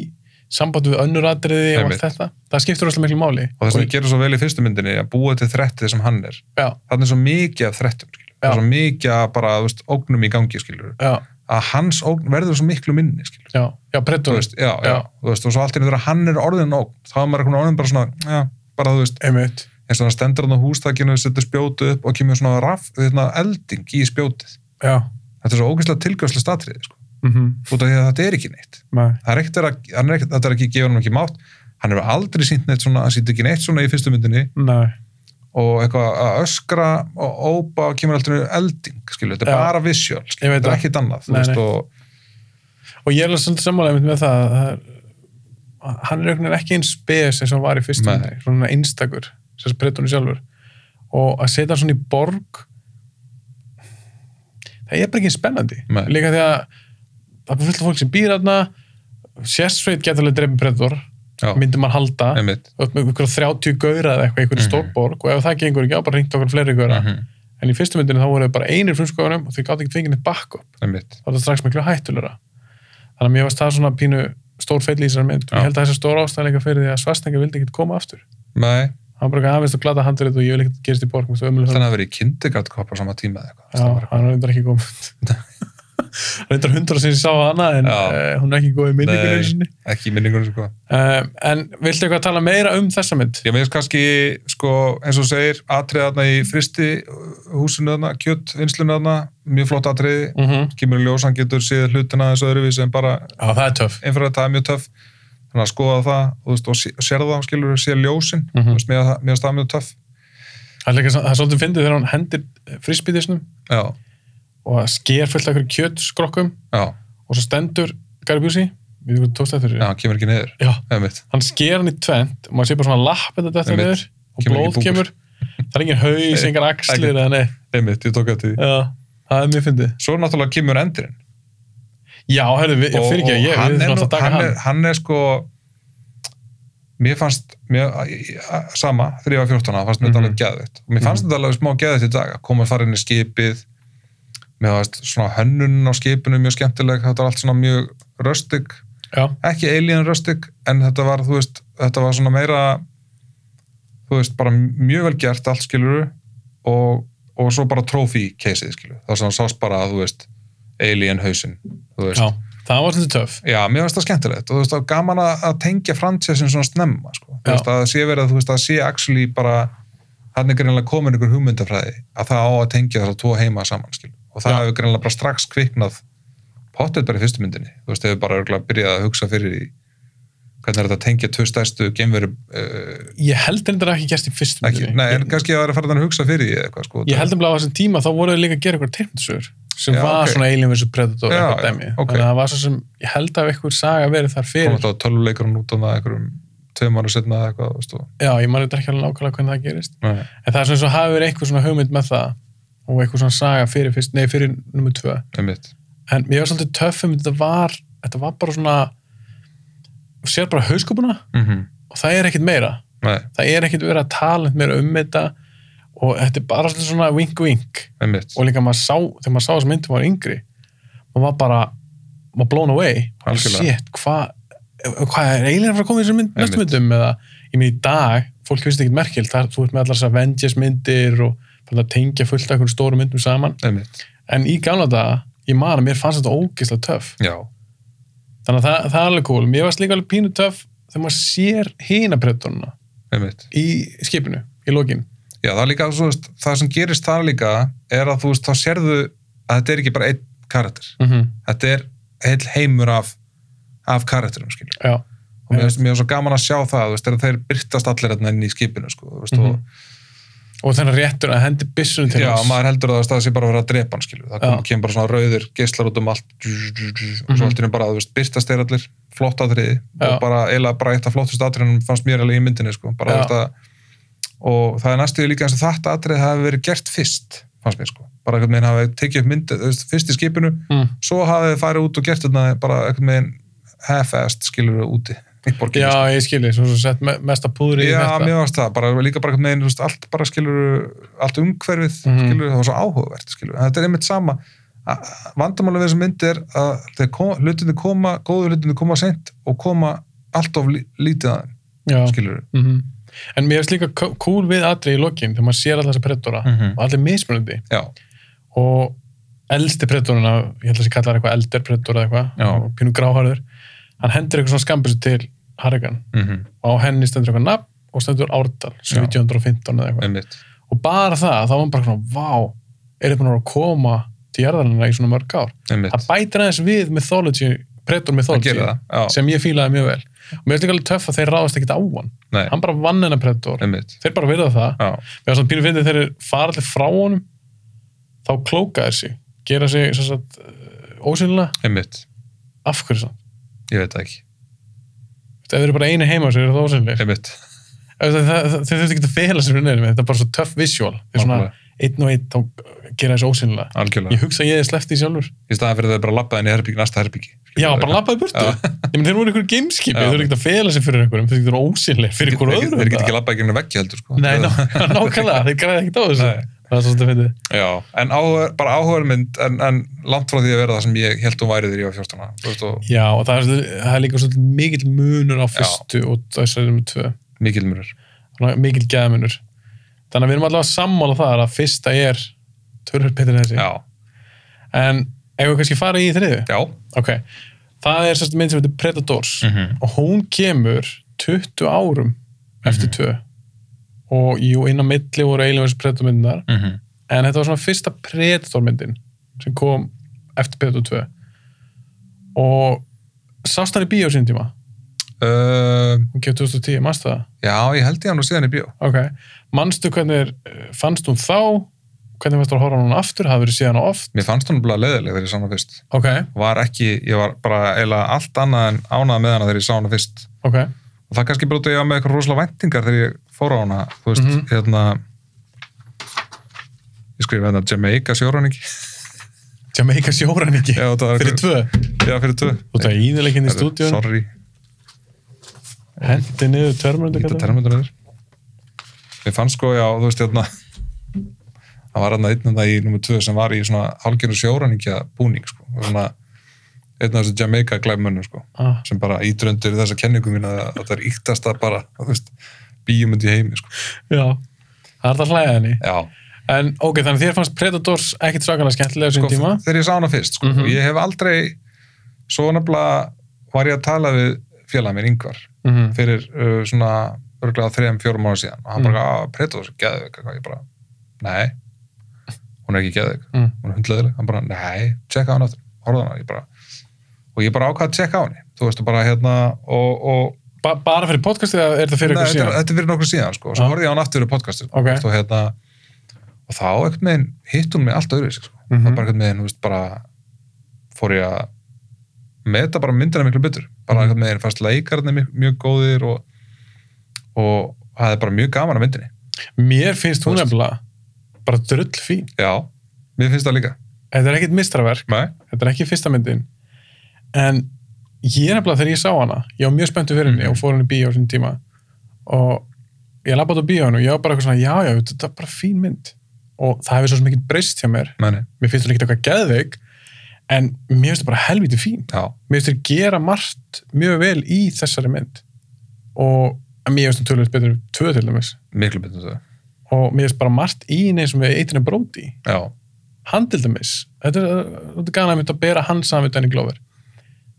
Speaker 1: samband við önnur atriði og
Speaker 2: Einmitt.
Speaker 1: allt þetta, það skiptur rosalega miklu máli
Speaker 2: og þess að ég gera svo vel í fyrstu myndinni að búa til þrættið sem hann er
Speaker 1: já,
Speaker 2: þannig er svo mikið af þrættum, skilu það er
Speaker 1: Já.
Speaker 2: svo mikið af bara, þú veist, ógnum í gangi, skilu
Speaker 1: já,
Speaker 2: að hans ógn verður svo miklu minni, skilu
Speaker 1: já, já,
Speaker 2: þú
Speaker 1: preddun
Speaker 2: veist, já, já,
Speaker 1: Mm. Já.
Speaker 2: þú veist, og svo allt í einu þegar hann er orðin nóg, þá er maður komin orðin bara svona, já, bara þú veist,
Speaker 1: einmitt,
Speaker 2: eins og hann stendur hann á hústakinu, setur spjótu upp og kemur svona raff, þetta elding í spjótið.
Speaker 1: já
Speaker 2: Þetta er svo ógæslega tilgjörslega statriði, sko,
Speaker 1: mm -hmm.
Speaker 2: út af því að þetta er ekki neitt. Það er ekkert verið að, hann er ekkert, þetta er ekki gefur hann ekki mátt, hann hefur aldrei sínt neitt svona, hann sínt ekki neitt svona í fyrstu myndinni
Speaker 1: nei,
Speaker 2: og eitthvað að öskra og ópa og kemur alltaf elding, skilju, þetta er
Speaker 1: Já.
Speaker 2: bara visual,
Speaker 1: Ég
Speaker 2: skilju,
Speaker 1: veit
Speaker 2: þetta
Speaker 1: það.
Speaker 2: er ekkert annað, þú
Speaker 1: Nei,
Speaker 2: veist,
Speaker 1: nei.
Speaker 2: og,
Speaker 1: og ég er alveg svolítið samanlega einmitt með það, að það er, hann er einhvern veginn ekki eins spes eins og hann var í fyrstu
Speaker 2: Nei.
Speaker 1: myndinni, svona einstakur þess að breytunni sjálfur og að setja hann svona í borg það er bara ekki eins spennandi
Speaker 2: Nei.
Speaker 1: líka því að það er fullt af fólk sem býr aðna sérsveit getur alveg dreipin breytur
Speaker 2: já,
Speaker 1: myndi mann halda
Speaker 2: einmitt.
Speaker 1: upp með ykkur 30 gauðra eða eitthvað, ykkur mm
Speaker 2: Mhm.
Speaker 1: stórborg og ef það gengur ekki á bara ringt okkur fleiri gauðra
Speaker 2: Mhm,
Speaker 1: en í fyrstu myndinni þá voru þau bara einir frumskoðunum og þau gátt ekki tvingin eitt bakk upp
Speaker 2: einmitt.
Speaker 1: þá er það strax miklu hættulegra þannig að mér varst það svona pínu stór feill í þessari mynd og
Speaker 2: Já.
Speaker 1: ég held að þessi stór ástæðleika fyrir því að Svarsnega vildi ekki koma aftur
Speaker 2: Nei,
Speaker 1: hann bara aðeins og glata handrið og ég vil ekkert gerist í borg mér finnst það ömurlegt.
Speaker 2: þannig að vera í kindergartkopp á sama tíma eða eitthvað.
Speaker 1: Mm. Já,
Speaker 2: Það var
Speaker 1: hann er reyndar ekki komið reyndar hundra sem ég sá hana en
Speaker 2: Já.
Speaker 1: uh, hún er ekki góð í minningunni
Speaker 2: Nei.
Speaker 1: einu sinni.
Speaker 2: ekki í minningunum sko.
Speaker 1: uh, en viltu eitthvað tala meira um þessa mynd?
Speaker 2: ég meðist kannski sko, eins og þú segir, atriði þarna í fristi uh, húsinu þarna, kjöttvinslinu þarna mjög flott atriði,
Speaker 1: Mm
Speaker 2: kemur í ljós hann getur séð hlutina þessu öðruvísi en bara
Speaker 1: Já, það er töff
Speaker 2: einfæra þetta er mjög töff þannig að skoða það og, þú veist, og sé- sér það, skilur, sér ljósin
Speaker 1: Mhm.
Speaker 2: þú veist, mér það- mér finnst það mjög töff
Speaker 1: það er, líka, það er svolítið fyndið þegar hann hendir frisbytisnum
Speaker 2: já,
Speaker 1: og sker fullt af hverju kjötskrokkum
Speaker 2: já,
Speaker 1: og svo stendur Gary Busey við þú tókst eftir
Speaker 2: já,
Speaker 1: þessu?
Speaker 2: hann kemur ekki niður
Speaker 1: Já,
Speaker 2: einmitt,
Speaker 1: hann sker hann í tvent og maður sé bara svona lappið þetta þetta
Speaker 2: Einmitt.
Speaker 1: niður og
Speaker 2: Kemur
Speaker 1: blóð
Speaker 2: ekki búkur.
Speaker 1: kemur það er engin haus,
Speaker 2: Nei,
Speaker 1: engar axlir eða neitt
Speaker 2: einmitt, ég tók eftir því
Speaker 1: já, það er mjög fyndið
Speaker 2: svo náttúrulega kemur endurinn
Speaker 1: já, herru, við- ég fyrir ekki að ég
Speaker 2: hann,
Speaker 1: við þurfum
Speaker 2: er, nú-
Speaker 1: alltaf að taka
Speaker 2: hann,
Speaker 1: hann
Speaker 2: er, hann er sko mér fannst mér, sama, þegar ég var 14 ára, fannst mér þetta
Speaker 1: Mhm.
Speaker 2: alveg geðvitt og mér fannst þetta alveg smá geðvitt í dag að koma að fara inn í skipið mér fannst svona hönnun á skipinu mjög skemmtileg, þetta var allt svona mjög röstig,
Speaker 1: já,
Speaker 2: ekki alien röstig en þetta var, þú veist, þetta var svona meira þú veist, bara mjög vel gert allt skiluru og, og svo bara trófi keisið skiluru, það var svona sást bara að þú veist alien hausinn, þú veist
Speaker 1: já, það var svolítið töff
Speaker 2: Já, mér finnst það skemmtilegt og þú veist, það er gaman að að tengja fransessin svona snemma, sko. Þú
Speaker 1: Já.
Speaker 2: veist, að það sé verið að þú veist, að sé actually bara hann er greinlega komin ykkur hugmyndafræði að það á að tengja þess að tvo heima saman, skil. Og það
Speaker 1: Já.
Speaker 2: hefur greinlega bara strax kviknað pottet bara í fyrstu myndinni. Þú veist, hefur bara örgulega byrjað að hugsa fyrir í hvernig er þetta að tengja tvö stærstu geimveru, uh,
Speaker 1: ég held reyndar ekki gerst í fyrstu
Speaker 2: ekki,
Speaker 1: myndinni.
Speaker 2: nei, en
Speaker 1: ég,
Speaker 2: kannski að það er að fara þannig að hugsa fyrir í eitthvað, sko.
Speaker 1: ég held um að á þessum tíma þá voru þau líka að gera eitthvað teimtisögur sem
Speaker 2: Já,
Speaker 1: var
Speaker 2: ok.
Speaker 1: svona alien vs predator
Speaker 2: Já,
Speaker 1: eitthvað
Speaker 2: já,
Speaker 1: dæmi
Speaker 2: ok.
Speaker 1: þannig að það var svo sem, ég held að eitthvað saga verið þar
Speaker 2: Kom
Speaker 1: fyrir
Speaker 2: alltaf töluleikurinn út á það einhverjum tveim ára setna eða eitthvað, þú veist, og-
Speaker 1: já, ég maður þetta ekki alveg nákvæmlega hvernig það gerist
Speaker 2: Nei.
Speaker 1: en það er svona svo hafi verið eitthvað svona hugmynd með það og eitthvað svona saga fyrir fyrst, nei fyrir nummer tvö
Speaker 2: einmitt.
Speaker 1: en mér var svolítið töffum þetta var, þetta var bara svona þú sér bara hauskupuna
Speaker 2: Mhm.
Speaker 1: og það er ekkit meira
Speaker 2: Nei,
Speaker 1: það er ekkit verið að tala neitt meira um þetta og þetta er bara svolítið svona wink wink
Speaker 2: einmitt.
Speaker 1: og líka maður sá, þegar maður sá þessu myndum var yngri maður var bara, maður blown away
Speaker 2: Algjörlega.
Speaker 1: shit, hvað hvað er eiginlega að fara að koma í þessum mynd,
Speaker 2: Einmitt.
Speaker 1: næstu myndum eða, ég meina í dag, fólk finnst ekkert merkil þar, þú ert með allar þessar Avengers myndir og fann að tengja fullt af einhverjum stóru myndum saman,
Speaker 2: einmitt.
Speaker 1: en í gamla daga ég man að mér fannst þetta ógeðslega töff
Speaker 2: Já,
Speaker 1: þannig að það, það er alveg cool, mér varst líka alveg pínu töff þegar maður sér hina predatorna
Speaker 2: einmitt.
Speaker 1: í skipinu, í lokin
Speaker 2: Já, það er líka, þú veist, það sem gerist þar líka er að þú veist, þá sérðu að þetta er ekki bara einn karakter.
Speaker 1: mm
Speaker 2: Þetta er heil heimur af, af karakterum, skilju.
Speaker 1: já,
Speaker 2: Og mér finnst mér finnst svo gaman að sjá það, þú veist, þegar þeir byrtast allir þarna inn í skipinu, sko, þú veist,
Speaker 1: og þannig réttur að hendi byssunum
Speaker 2: og
Speaker 1: til
Speaker 2: já,
Speaker 1: hans
Speaker 2: maður heldur að það að sé bara að vera að drepa hann, skilju. Það kom,
Speaker 1: Já.
Speaker 2: kemur bara svona rauðir geislar út um allt, djú, djú, djú, og svo
Speaker 1: Mhm.
Speaker 2: allt er bara, þú veist, byrtast þeir allir, flott atriði,
Speaker 1: Já.
Speaker 2: og bara eiginlega bara eitt af flottust atriðinum fannst mér alveg í myndinni, sko, bara,
Speaker 1: Já.
Speaker 2: þú veist, að, og það er næstu líka eins og þetta atrið hafi verið gert fyrst, fannst mér, sko. Bara einhvern veginn hafi tekið upp mynd, þú veist, fyrst í skipinu,
Speaker 1: mm.
Speaker 2: svo hafið þið farið út og gert þetta bara einhvern veginn half-assed skilur við úti í borginni.
Speaker 1: já, ég skilji, svo svo sett me- mesta púðri í
Speaker 2: já
Speaker 1: þetta
Speaker 2: mér varst það, bara líka bara einhvern veginn, þú veist, allt bara skilur allt umhverfið,
Speaker 1: Mhm.
Speaker 2: skilur það var svo áhugavert skilur þetta er einmitt sama vandamála við þessum myndi er að þeir koma, hlutinni koma, góðu hlutinni koma seint og koma allt of lí- lítið að
Speaker 1: já.
Speaker 2: þeim, skilur
Speaker 1: Mm En mér finnst líka kó- cool við atri í lokin þegar maður sér alltaf þessa preddóra
Speaker 2: Mhm.
Speaker 1: og allir mismunandi
Speaker 2: já,
Speaker 1: og elsti preddóruna, ég held að sé kallar eitthvað elder preddóra eða
Speaker 2: Já.
Speaker 1: eitthvað, og pínu gráharður hann hendur eitthvað svona skambisu til Harrigan
Speaker 2: mm -hmm.
Speaker 1: og á henni stendur eitthvað nafn og stendur Árdal, 1715 eða eitthvað
Speaker 2: einmitt
Speaker 1: og bara það, þá var hann bara svona, vá er þetta að koma til jarðarina í svona mörg ár það
Speaker 2: einmitt,
Speaker 1: bætir aðeins við mythology, preddór
Speaker 2: það
Speaker 1: mythology
Speaker 2: gerir það já,
Speaker 1: sem ég fílaði mjög vel og mér finnst líka alveg töff að þeir ráðast ekkert á hann
Speaker 2: nei,
Speaker 1: hann bara vann hennar preddór
Speaker 2: einmitt
Speaker 1: þeir bara virða það
Speaker 2: já,
Speaker 1: við erum svona pínu fyndið þegar þeir fara allir frá honum þá klóka þeir sig gera sig svo sagt ósynlega
Speaker 2: einmitt,
Speaker 1: af hverju svo
Speaker 2: ég veit það ekki
Speaker 1: ef þeir eru bara einu heima sér eru það ósynlega
Speaker 2: einmitt,
Speaker 1: þeir þurftu ekki að fela sér fyrir neðinu þetta er bara svo töff visual þeir svona
Speaker 2: Nákvæmlega.
Speaker 1: einn og einn þá gera þessu ósynlega
Speaker 2: algjörlega
Speaker 1: ég hugsa að ég hef sleppt því sjálfur
Speaker 2: í staðan fyrir þau bara lappa inn í herbyggi, næsta herbyggi
Speaker 1: já, bara labbaði burtu
Speaker 2: Já.
Speaker 1: ég menn þeir voru einhverju gameskipi
Speaker 2: Já.
Speaker 1: þeir eru ekki að fela sér fyrir einhverjum þeir eru ósynlega fyrir
Speaker 2: Þeir-
Speaker 1: einhverju öðrum
Speaker 2: Þeir geta
Speaker 1: bara.
Speaker 2: ekki labbað gegnum veggi heldur sko.
Speaker 1: nei, ná- nákvæmlega, þeir græði ekkert á þessu
Speaker 2: Nei.
Speaker 1: það er svolítið fyndið
Speaker 2: Já, en áhuga, bara áhugavermynd en, en langt frá því að vera það sem ég held hún værið þegar ég var 14 ára. Þú veist, og
Speaker 1: Já, og það er, svolítið- það er líka svolítið mikill munur á fyrstu og þessari nummer tvö.
Speaker 2: mikil mörur.
Speaker 1: Þannig að mikill gæðmunur. Þannig að við erum allavega sammála þar að fyrsta er törfur betur en þessi.
Speaker 2: Já,
Speaker 1: En ef við kannski fara í þriðu?
Speaker 2: já.
Speaker 1: Ok. Það er sérst mynd sem heitir Predators
Speaker 2: -hmm.
Speaker 1: og hún kemur 20 árum eftir
Speaker 2: Mhm.
Speaker 1: tvö. Og jú, inn á milli voru Alien vs. Predator myndinar
Speaker 2: Mm -hmm.
Speaker 1: en þetta var svona fyrsta Predator myndin sem kom eftir Predator 2 og sást hann í bíó sín tíma?
Speaker 2: Uh,
Speaker 1: hún kemur 2010, mannstu það?
Speaker 2: já, ég held ég hann og síðan í bíó.
Speaker 1: Ok, mannstu hvernig er, fannst hún þá, hvernig fannst þú að horfa á hún aftur, hafði verið síðan oft
Speaker 2: Mér fannst hún bara leðileg þegar ég sá hana fyrst.
Speaker 1: ok,
Speaker 2: Var ekki, ég var bara eiginlega allt annað en ánað með hana þegar ég sá hana fyrst.
Speaker 1: ok,
Speaker 2: Og það kannski bara út að ég var með eitthvað rosalega væntingar þegar ég fór á hana. Þú veist,
Speaker 1: Mhm.
Speaker 2: hérna... Ég skrifa hérna Jamaica sjóræningi.
Speaker 1: Jamaica sjóræningi
Speaker 2: Já, það var
Speaker 1: fyrir
Speaker 2: eitthvað-
Speaker 1: tvö,
Speaker 2: Já, fyrir tvö.
Speaker 1: þú ert að íðileginn í
Speaker 2: Herru,
Speaker 1: stúdíun,
Speaker 2: Sorry.
Speaker 1: hendi niður törmurundu
Speaker 2: Ítta termöndur yfir. Mér fannst sko, já, þú veist, hérna, það var hérna einn hérna í nummer 2 sem var í svona halgjörn sjóræningja búning, sko. Og svona, einn af þessu Jamaica glæmönnum, sko,
Speaker 1: ah,
Speaker 2: sem bara ítröndir þessa kenningu mína að þetta er íktasta bara, þú veist, bíumund í heimi, sko.
Speaker 1: já, það er það að hlæða henni
Speaker 2: Já,
Speaker 1: en ok, þannig þér fannst Predators ekkit svakalega skemmtilega á
Speaker 2: sko,
Speaker 1: sín tíma
Speaker 2: þegar ég sá hana fyrst, sko,
Speaker 1: Mhm.
Speaker 2: ég hef aldrei, svo nefnilega var ég að tala við félag minn Ingvar
Speaker 1: Mhm.
Speaker 2: fyrir uh, svona örglega þrejum, fjórum ára síðan og hann
Speaker 1: Mm.
Speaker 2: bara, að Predator er geðveik eitthvað." ég bara, nei hún er ekki geðveik,
Speaker 1: Mm.
Speaker 2: hún er hundleðileg hann bara, nei, tjekka á hann aftur, horfða hann ég bara, og ég bara ákvað að tjekka á henni þú veist, og bara hérna og, og,
Speaker 1: Ba bara fyrir podcastið eða er þetta fyrir
Speaker 2: Nei,
Speaker 1: eitthvað
Speaker 2: þetta, er-
Speaker 1: síðan?
Speaker 2: þetta er fyrir nokkur síðan, sko, og svo
Speaker 1: Ah.
Speaker 2: horfði ég á hann aftur í podcastið, sko,
Speaker 1: Ok.
Speaker 2: þú veist, og hérna og þá ekkert meginn hitt hún mig allt öðru sko.
Speaker 1: Mhm.
Speaker 2: það bara ekkert meginn, þú veist, bara fór ég að meta bara myndina miklu betur, bara
Speaker 1: Mhm.
Speaker 2: ekkert meginn fannst leikarnir mjög, mjög góðir og, og það er bara mjög gaman að myndinni,
Speaker 1: Mér finnst hún
Speaker 2: Þú veist.
Speaker 1: nefnilega bara drull fín.
Speaker 2: já, mér finnst það líka
Speaker 1: Þetta er ekkit mistraverk,
Speaker 2: nei,
Speaker 1: þetta er ekki fyrsta myndin en ég nefnilega þegar ég sá hana ég var mjög spenntu fyrir henni
Speaker 2: Mhm.
Speaker 1: og fór henni í bíó á sinni tíma og ég labbaði á bíóinu og ég var bara eitthvað svona, já, já, þetta er bara fín mynd og það hefur svo sem ekkert breyst hjá mér
Speaker 2: meni,
Speaker 1: mér finnst hún ekkert eitthvað geðveik en mér finnst það bara helviti fín
Speaker 2: já,
Speaker 1: mér finnst þeir gera margt mjög vel í þessari mynd og en mér finnst það tölvöld betur tvö til dæmis
Speaker 2: miklu betur þau
Speaker 1: og mér finnst bara margt í henni eins og með eitrinu bróti
Speaker 2: já,
Speaker 1: hann til dæmis þetta er, þetta er gana að mynda að bera hann saman við Danny Glover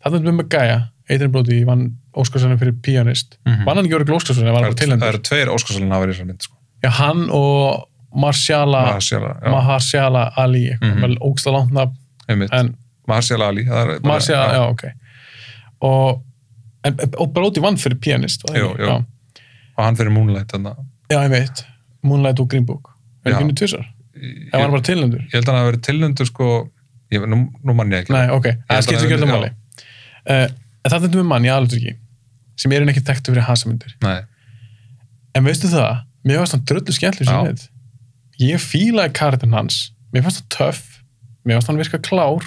Speaker 1: það er með Gaia, eitrinu bróti vann Óskarssonum fyrir pianist
Speaker 2: Mhm.
Speaker 1: vann hann ekki orðið Óskarssonum, var
Speaker 2: það
Speaker 1: bara
Speaker 2: eru- það
Speaker 1: tilhendur
Speaker 2: eru tveir óskarsalinn að vera í þessar mynd sko.
Speaker 1: já, hann og Marshala
Speaker 2: Marsjala, já,
Speaker 1: Mahershala Ali mm
Speaker 2: Mhm.
Speaker 1: -hmm. ógsta langt nafn
Speaker 2: einmitt
Speaker 1: en
Speaker 2: Marsjala Ali það er bara-
Speaker 1: Mahershala, já, ok og, en, og Brody vann fyrir pianist var það
Speaker 2: Jú,
Speaker 1: ekki?
Speaker 2: jú.
Speaker 1: já,
Speaker 2: og hann fyrir Moonlight þarna.
Speaker 1: já, ég veit, Moonlight og Green Book er
Speaker 2: Já.
Speaker 1: ekki unni tvisar,
Speaker 2: ég,
Speaker 1: það var bara tilnendur
Speaker 2: ég held að hann hafi verið tilnöndur sko, ég, nú, nú mann ég ekki
Speaker 1: nei, ok, það
Speaker 2: held
Speaker 1: skiptir
Speaker 2: að
Speaker 1: ekki
Speaker 2: það-
Speaker 1: öllum
Speaker 2: já.
Speaker 1: máli uh, en það þetta með mann í aðalutverki sem er henni ekki þekktu fyrir hasamyndir
Speaker 2: Nei,
Speaker 1: en veistu það, mér fannst hann dröldu skemmtlu sem
Speaker 2: Já.
Speaker 1: við, ég fílaði kartin hans, mér fannst hann töff mér fannst hann virka klár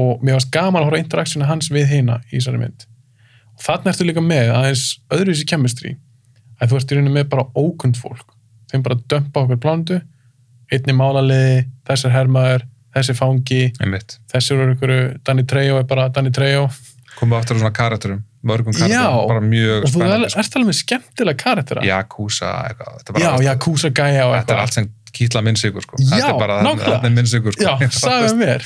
Speaker 1: og mér fannst gaman að horfa á interaktsjónu hans við hina í þessari mynd og þarna ertu líka með aðeins öðruvísi kemistri að þú ert í rauninu með bara ókund fólk þeim bara dömpa okkur blándu einni málaliði, þessar hermaður þessi fangi,
Speaker 2: einmitt
Speaker 1: þessi eru einhverju Danny Trejo er bara Danny Trejo
Speaker 2: komum við aftur að svona karakterum, mörgum
Speaker 1: Já.
Speaker 2: karakterum bara mjög
Speaker 1: og þú
Speaker 2: spennandi
Speaker 1: ert alveg með skemmtilega karaktera
Speaker 2: Jakúsa, eitthvað þetta er bara
Speaker 1: já,
Speaker 2: allt-
Speaker 1: já, kúsa gæja og
Speaker 2: þetta er allt sem kýtla minn sigur sko.
Speaker 1: Já,
Speaker 2: þetta er bara
Speaker 1: nákvæmlega.
Speaker 2: þetta er minn sigur sko.
Speaker 1: Já, sagði mér.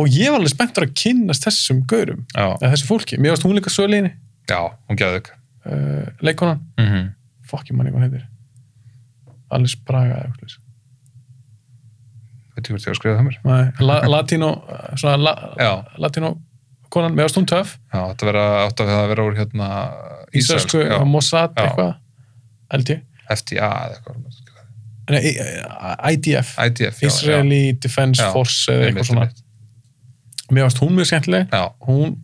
Speaker 1: Og ég var alveg spenntur að kynnast þessum gaurum,
Speaker 2: já,
Speaker 1: eða þessu fólki. Mér varst hún líka söliðinni,
Speaker 2: já, hún gæði þau
Speaker 1: uh, leikonan.
Speaker 2: mm -hmm.
Speaker 1: Fokki manni, hvað hann heitir. Alice Braga eða eitthvað. svoleiðis.
Speaker 2: veit ég hvort ég var að skrifa það mér
Speaker 1: Nei, la, latino, eh, svona la,
Speaker 2: já,
Speaker 1: latino konan, mér varst hún töf.
Speaker 2: já þetta vera átt að það vera úr hérna ísraelsku,
Speaker 1: Ísraelsku,
Speaker 2: já,
Speaker 1: eh, Mossad,
Speaker 2: Já.
Speaker 1: eitthvað. Held ég.
Speaker 2: FTA eða eitthvað
Speaker 1: Nei, eh, eh, IDF.
Speaker 2: IDF, já,
Speaker 1: Israeli Defense
Speaker 2: Já.
Speaker 1: Force
Speaker 2: já,
Speaker 1: eða
Speaker 2: einmitt,
Speaker 1: eitthvað svona.
Speaker 2: einmitt.
Speaker 1: Mér varst hún mjög skemmtileg.
Speaker 2: já,
Speaker 1: hún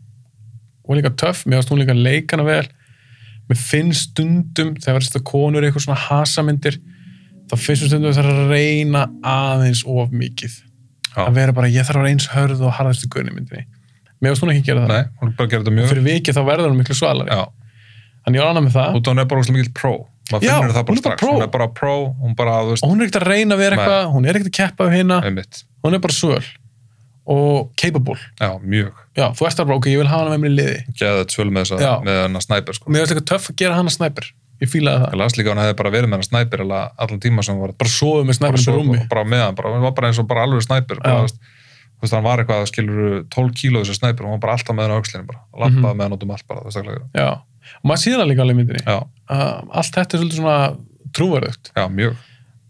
Speaker 1: var líka töff, mér finnst hún líka leikana vel mér finnst stundum þegar verðist það konur í eitthvað svona hasamyndir þá finnst mér stundum að það er að reyna aðeins of mikið
Speaker 2: Já.
Speaker 1: að vera bara ég þarf að vera eins hörð og harðastu í myndinni mér finnst hún ekki gera það
Speaker 2: nei, hún er bara að gera þetta
Speaker 1: og
Speaker 2: mjög
Speaker 1: fyrir vikið þá verður hún miklu svalari
Speaker 2: já,
Speaker 1: þannig ég var annað með það
Speaker 2: út af hún er bara úrslega mikil pro maður
Speaker 1: Já,
Speaker 2: finnur
Speaker 1: hún
Speaker 2: það
Speaker 1: er
Speaker 2: bara
Speaker 1: bara
Speaker 2: strax,
Speaker 1: pro.
Speaker 2: hún er bara pro hún bara, þú veist,
Speaker 1: og hún er ekkert að reyna að vera
Speaker 2: Nei.
Speaker 1: eitthvað hún er ekkert að keppa við hérna,
Speaker 2: einmitt
Speaker 1: hún er bara svöl og capable,
Speaker 2: já, mjög,
Speaker 1: já, þú ert að bara ok, ég vil hafa hana með mér í liði
Speaker 2: gæði þetta svölu með þess
Speaker 1: Já.
Speaker 2: að með hennar snæper, sko
Speaker 1: mér finnst eitthvað töff að gera hana snæpir ég fílaði það,
Speaker 2: ég las líka að hún hefði bara verið með hennar snæper allan tíma sem hún var að
Speaker 1: bara sofu með
Speaker 2: bara,
Speaker 1: snæpirinn
Speaker 2: svo,
Speaker 1: bara rúmi
Speaker 2: bara með hann, bara, hann var bara eins og bara alveg snæpir
Speaker 1: Já.
Speaker 2: bara, þú veist, þú veist, hann var eitthvað að skilur 12 kíló þessi snæpir og hann var bara alltaf með hann á aukslinu bara, lappaði
Speaker 1: Mhm.
Speaker 2: með hann út um allt bara, þú veist, alveg,
Speaker 1: Já, og maður sér það líka alveg í myndinni
Speaker 2: já,
Speaker 1: að allt þetta er svolítið svona trúverðugt
Speaker 2: já, mjög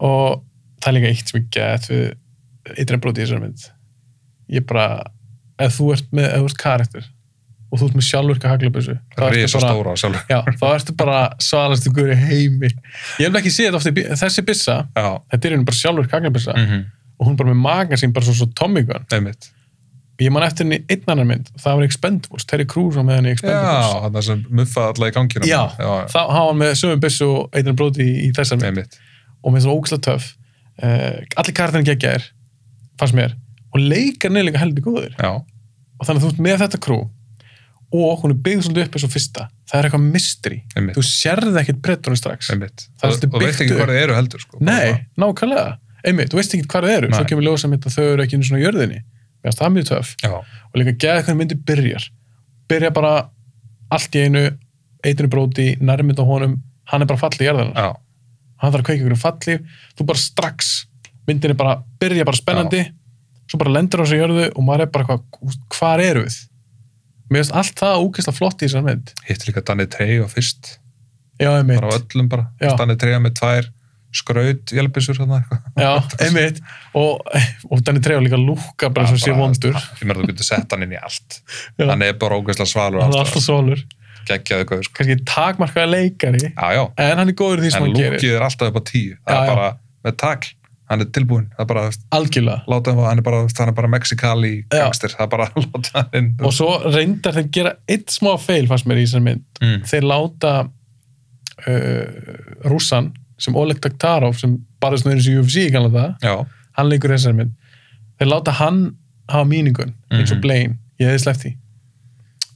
Speaker 1: og það er líka eitt sem ég get við eitthvað broti í þessari mynd ég bara, ef þú ert með ef þú ert karakter og þú ert með sjálfurka haglabessu, þá
Speaker 2: risa
Speaker 1: ertu bara
Speaker 2: stóra sjálfur,
Speaker 1: Já, þá ertu bara svalastu guður í heimi ég hef ekki séð þetta ofta, í bi- þessi byssa
Speaker 2: já,
Speaker 1: þetta er henni bara sjálfur kaglabissa
Speaker 2: mhm,
Speaker 1: og hún er bara með maga sín bara svo, svo Tommy Gun
Speaker 2: einmitt
Speaker 1: ég man eftir henni einn annar mynd, það var Expendables Terry Crews var með henni í Expendables
Speaker 2: já, hann sem muffaði alla í gangina
Speaker 1: Já,
Speaker 2: já, já,
Speaker 1: þá hafa hann með sömu byssu og einnir bróti í, í þessar mynd
Speaker 2: einmitt
Speaker 1: og mér finnst það ógæslega töff uh, allir karakterin geggjaðir fannst mér og leikarnir er líka heldur góður
Speaker 2: já,
Speaker 1: og þannig að þú ert með þetta krú og hún er byggð svolítið upp eins og fyrsta það er eitthvað mystery
Speaker 2: Einmitt.
Speaker 1: þú sérði ekkit brettunum strax
Speaker 2: einmitt
Speaker 1: Það er
Speaker 2: og,
Speaker 1: svolítið
Speaker 2: og veit
Speaker 1: byggt
Speaker 2: ekki
Speaker 1: upp.
Speaker 2: hvað það eru heldur sko,
Speaker 1: nei, nákvæmlega einmitt, þú veist ekki hvað það eru svo
Speaker 2: Nei.
Speaker 1: kemur ljósa mynd að þau eru ekki einu svona jörðinni mér finnst það mjög töff
Speaker 2: já,
Speaker 1: og líka geða hvernig myndi byrjar byrja bara allt í einu eitinu bróti, nærmynd á honum hann er bara fallið í jarðarinn
Speaker 2: já,
Speaker 1: hann þarf að kveika ykkur um fallíf þú bara strax, myndin er bara byrja bara spennandi, svo bara lendur á sig jörðu og maður er bara eitthvað, hvar eru við mér finnst allt það úkislega flott í þessar mynd,
Speaker 2: hittir líka Danny Trey og fyrst
Speaker 1: já,
Speaker 2: bara á
Speaker 1: einmitt
Speaker 2: öllum bara,
Speaker 1: Já.
Speaker 2: Danny Trey með tvær skraut, jælbissur hérna eitthvað
Speaker 1: já, einmitt og, og Danny Trejo líka lúka bara svo sé vondur,
Speaker 2: ég meður þú getur sett hann inn í allt
Speaker 1: Já.
Speaker 2: hann er bara ógeðslega svalur
Speaker 1: hann er alltaf sólur
Speaker 2: geggjaðu góður sko.
Speaker 1: kannski takmarkaði leikari
Speaker 2: já, já.
Speaker 1: en hann er góður í því sem
Speaker 2: en
Speaker 1: hann gerir,
Speaker 2: lúkið er alltaf upp á tíu það
Speaker 1: Já, já.
Speaker 2: er bara með takl, hann er tilbúinn það er bara, þú veist,
Speaker 1: algjörlega
Speaker 2: láta hann, hann er bara, þú veist, hann er bara mexikali
Speaker 1: Já.
Speaker 2: gangster, það er bara að láta hann inn
Speaker 1: og svo reyndar þeir gera eitt smá feil fannst mér í þessar mynd
Speaker 2: mm.
Speaker 1: þeir láta uh, rússan sem Oleg Taktarov sem barðist nöðins í UFC í kannan það,
Speaker 2: já,
Speaker 1: hann leikur þessari mynd þeir láta hann hafa míningun eins og
Speaker 2: Mhm.
Speaker 1: Blaine, ég hefði sleppt því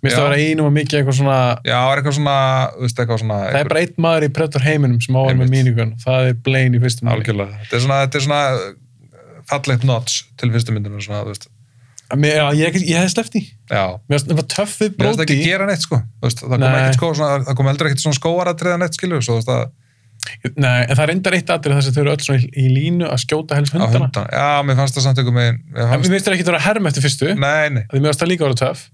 Speaker 1: minnst það
Speaker 2: Já.
Speaker 1: vera einum og mikið eitthvað svona
Speaker 2: já, það er eitthvað svona þú veist, eitthvað svona,
Speaker 1: það er
Speaker 2: einhver-
Speaker 1: bara einn maður í Predator heiminum sem áður með
Speaker 2: Einmitt.
Speaker 1: míningun, það er Blaine í fyrstum
Speaker 2: algjörlega þetta er svona, þetta er svona uh, fallegt nots til fyrstu myndinu svona, þú veist,
Speaker 1: mér, já, ég, ég hefði sleppt í
Speaker 2: já,
Speaker 1: mér varst nefnilega töff við
Speaker 2: Mér finnst
Speaker 1: Brody
Speaker 2: ekki gera neitt sko Þú veist, það kom,
Speaker 1: Nei.
Speaker 2: ekkert sko, svona, það kom heldur ekkert svona skóaratriða neitt skilur svo, þú veist, að,
Speaker 1: Nei, en það er reyndar eitt aðrið þess að þau eru öll svona í, í línu að skjóta helst
Speaker 2: að
Speaker 1: hundana
Speaker 2: hundan já, mér fannst það samt ykkur megin mér
Speaker 1: en mér
Speaker 2: fannst,
Speaker 1: finnst það ekki að vera herm eftir fyrstu
Speaker 2: nei, nei,
Speaker 1: því mér varst það líka að vera töff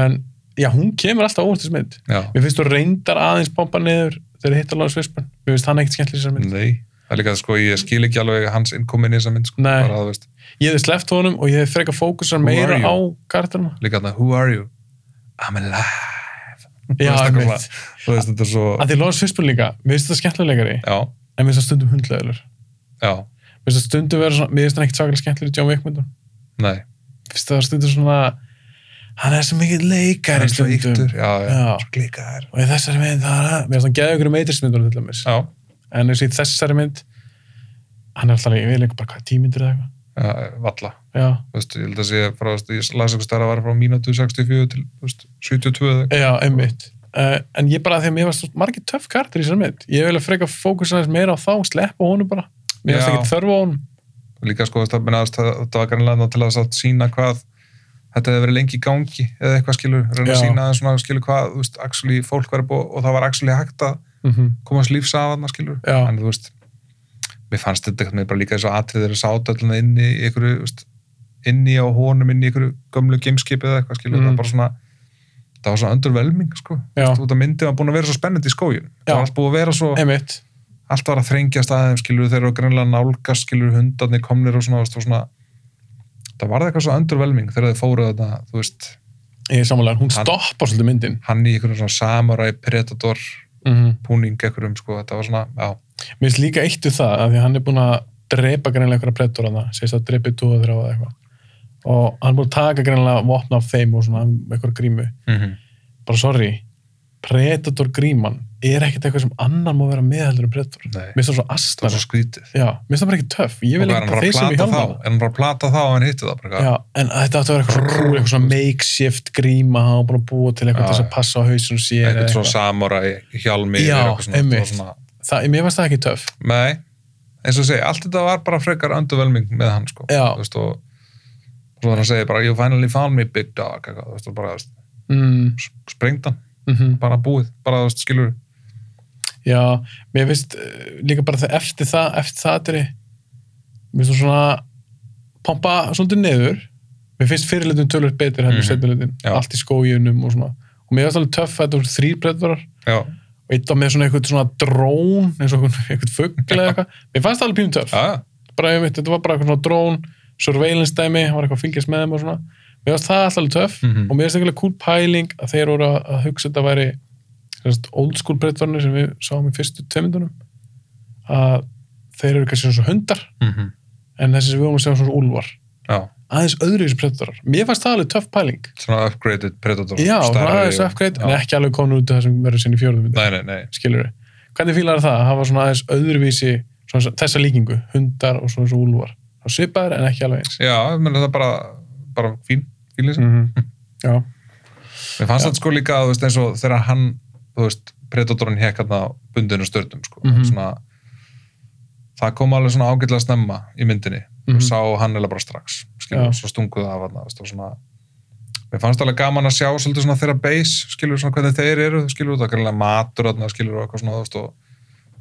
Speaker 1: en já, hún kemur alltaf óvart í þessu mynd
Speaker 2: já,
Speaker 1: mér finnst þú reyndar aðeins bomba niður þegar hittar Lawrence Fishburne mér finnst hann ekkert skemmtileg í þessar mynd
Speaker 2: nei það er líka sko, ég skil ekki alveg hans innkomin í þessa mynd sko,
Speaker 1: Nei.
Speaker 2: bara, þú veist,
Speaker 1: ég hefði sleppt honum og ég hefði frekar fókusar
Speaker 2: Who
Speaker 1: meira
Speaker 2: are you?
Speaker 1: á karakterna
Speaker 2: líka þarna, who are you? I'm alive Þú
Speaker 1: já,
Speaker 2: veist, eitthvað
Speaker 1: einmitt.
Speaker 2: svona, þú veist, þetta er svo
Speaker 1: að því Lawrence Fishburne líka mér finnst það skemmtilegari
Speaker 2: já,
Speaker 1: en mér finnst það stundum hundlegaður
Speaker 2: já,
Speaker 1: mér finnst það stundum vera svona mér finnst það ekkert svakalega skemmtilegur í John Wick myndum
Speaker 2: nei
Speaker 1: mér finnst það stundum svona hann er svo mikið
Speaker 2: hann
Speaker 1: leikari
Speaker 2: er svo
Speaker 1: stundum
Speaker 2: yktur, já, já,
Speaker 1: Já.
Speaker 2: svo glikaður
Speaker 1: og í þessari mynd það er að mér finnst það geða ykkur meitrismyndunum til dæmis
Speaker 2: já,
Speaker 1: en eins og í þessari mynd hann er alltaf líka, ég veit líka bara hvað tímyndir eða eitthvað
Speaker 2: já, valla
Speaker 1: já,
Speaker 2: Þú veist, ég held að sé frá, þú veist, ég las eitthvað starra var frá mínútu 64 til, þú veist, 72 eða eitthvað.
Speaker 1: já, einmitt uh, en ég bara, þegar mér varst svo margir töff kartir í þessari mynd ég vil að freka fókusa aðeins meira á þá sleppa honum bara, mér finnst
Speaker 2: Já.
Speaker 1: ekki þörfa honum
Speaker 2: líka sko það, menna, það, það var kannilega til að satt sína hvað þetta hefði verið lengi í gangi eða eitthvað skilur, reyna að
Speaker 1: Já.
Speaker 2: sína aðeins svona skilur hvað, þú veist, actually fólk var búið og það var actually hægt að
Speaker 1: mm
Speaker 2: komast lífs af þarna skilur,
Speaker 1: Já.
Speaker 2: Mhm. en þú veist mér fannst þetta eitthvað, mér bara líka þess að atrið þeirra sátt öllina inni í einhverju þú veist, inni á honum, inni í einhverju gömlu gameskipi eða eitthvað skilur,
Speaker 1: Mm.
Speaker 2: það var bara svona það var svona öndur velming sko
Speaker 1: Já.
Speaker 2: Þú veist, út af myndið var búin að vera svo spennandi í skójun
Speaker 1: Já.
Speaker 2: það var allt búið að vera svo
Speaker 1: einmitt,
Speaker 2: allt var að þrengjast aðeins skilur þeir eru greinlega nálgast skilur hundarnir komnir og svona, veist, og svona það varði eitthvað svo öndurvelming þegar þeir fóru þetta, þú veist,
Speaker 1: ég er samanlega hún
Speaker 2: Hann-
Speaker 1: stoppar svolítið myndin
Speaker 2: hann í einhverjum svona samurai predator
Speaker 1: mm -hmm.
Speaker 2: púning einhverjum, sko, þetta var svona já,
Speaker 1: mér finnst líka eitt við það, af því að hann er búin að drepa greinlega einhverja prettur hann segist að drepi tóða þrjá eða eitthvað og hann er búin að taka greinlega vopna af þeim og svona einhverja grímu
Speaker 2: mm -hmm.
Speaker 1: bara sorry, Predator gríman er ekkert eitthvað sem annar má vera meðhaldur um Predator.
Speaker 2: Nei.
Speaker 1: Mér finnst það svo
Speaker 2: það var
Speaker 1: astnar.
Speaker 2: svo skrítið
Speaker 1: Já, mér finnst það bara ekki töff. Ég vil
Speaker 2: og er
Speaker 1: ekki
Speaker 2: hann
Speaker 1: bara
Speaker 2: bara
Speaker 1: þeir sem
Speaker 2: að
Speaker 1: í
Speaker 2: plata þá
Speaker 1: hjálpa.
Speaker 2: er hann bara að plata þá að hann hitti það bara, eitthvað?
Speaker 1: Já, en þetta átti að vera eitthvað svona cool, eitthvað svona makeshift gríma hann var búin að búa til
Speaker 2: Já,
Speaker 1: eitthvað til þess að
Speaker 2: já.
Speaker 1: passa á hausun sér. eða
Speaker 2: eitthvað svona
Speaker 1: eitthvað.
Speaker 2: samurai hjálmi
Speaker 1: Já,
Speaker 2: eða eitthvað svona, það var
Speaker 1: einmitt.
Speaker 2: svona
Speaker 1: Það, mér finnst það ekki töff.
Speaker 2: nei, eins og ég segi, allt þetta var bara frekar öndurvelming með hann, sko
Speaker 1: Já.
Speaker 2: Þú veist, og og svo hann segir bara, you finally found me big dog, eitthvað, þú veist, og bara þú veist,
Speaker 1: Mm,
Speaker 2: sprengt hann
Speaker 1: mm
Speaker 2: bara búið, bara þú veist, skilur
Speaker 1: Já, mér finnst eh, líka bara þegar eftir það, eftir það aðri, mér finnst þú svona pompa svolítið niður. Mér finnst fyrirlitum tölvöld betur henni mm
Speaker 2: Mhm.
Speaker 1: -hmm. setjulitin,
Speaker 2: Já.
Speaker 1: allt í skóginum og svona. Og mér finnst alveg töff að þetta voru þrýr Predatorar
Speaker 2: já,
Speaker 1: og eitt á með svona eitthvað svona drón eins og einhvern- einhvern fuggl eða eitthvað mér fannst það alveg pínum töff
Speaker 2: já, já,
Speaker 1: bara, einmitt, þetta var bara eitthvað svona drón surveillance dæmi, hann var eitthvað að fylgjast með þeim og svona mér fannst það alltaf alveg töff
Speaker 2: Mhm.
Speaker 1: og mér finnst eitthvað cool pæling að þeir voru að, að hugsa þetta væri sem sagt, old school breytvarnir sem við sáum í fyrstu tveimundunum að þeir eru kannski svona hundar en þessi sem við vorum að segja svona úlvar
Speaker 2: já
Speaker 1: aðeins öðru í þessu breytvarar mér fannst það alveg töff pæling
Speaker 2: svona upgraded predator
Speaker 1: já, það
Speaker 2: stærri
Speaker 1: er þessu
Speaker 2: og-
Speaker 1: upgrade
Speaker 2: já.
Speaker 1: en ekki alveg komin út af það sem verður sinni í fjörðum
Speaker 2: nei, nei, nei,
Speaker 1: skilur við. Hvernig fílar það að hafa svona aðeins öðruvísi svona, þessa líkingu, hundar og svona þessu úlvar? Það svipaður en ekki alveg eins.
Speaker 2: já, menn það er bara bara fín, fín lýsing
Speaker 1: -hmm. Já,
Speaker 2: mér fannst þetta sko líka, þú veist, eins og þegar hann þú veist, predatorin hekk hann á bundinu störtum, sko,
Speaker 1: Mhm.
Speaker 2: svona það kom alveg svona ágætlega snemma í myndinni, mm
Speaker 1: Mhm.
Speaker 2: sá hann eða bara strax, skilur,
Speaker 1: Já.
Speaker 2: svo stunguð af hann, þú veist, og svona mér fannst alveg gaman að sjá svolítið svona þeirra base, skilur, svona hvernig þeir eru, skilur, það er greinlega matur, þarna, skilur, og eitthvað svona, þú veist, og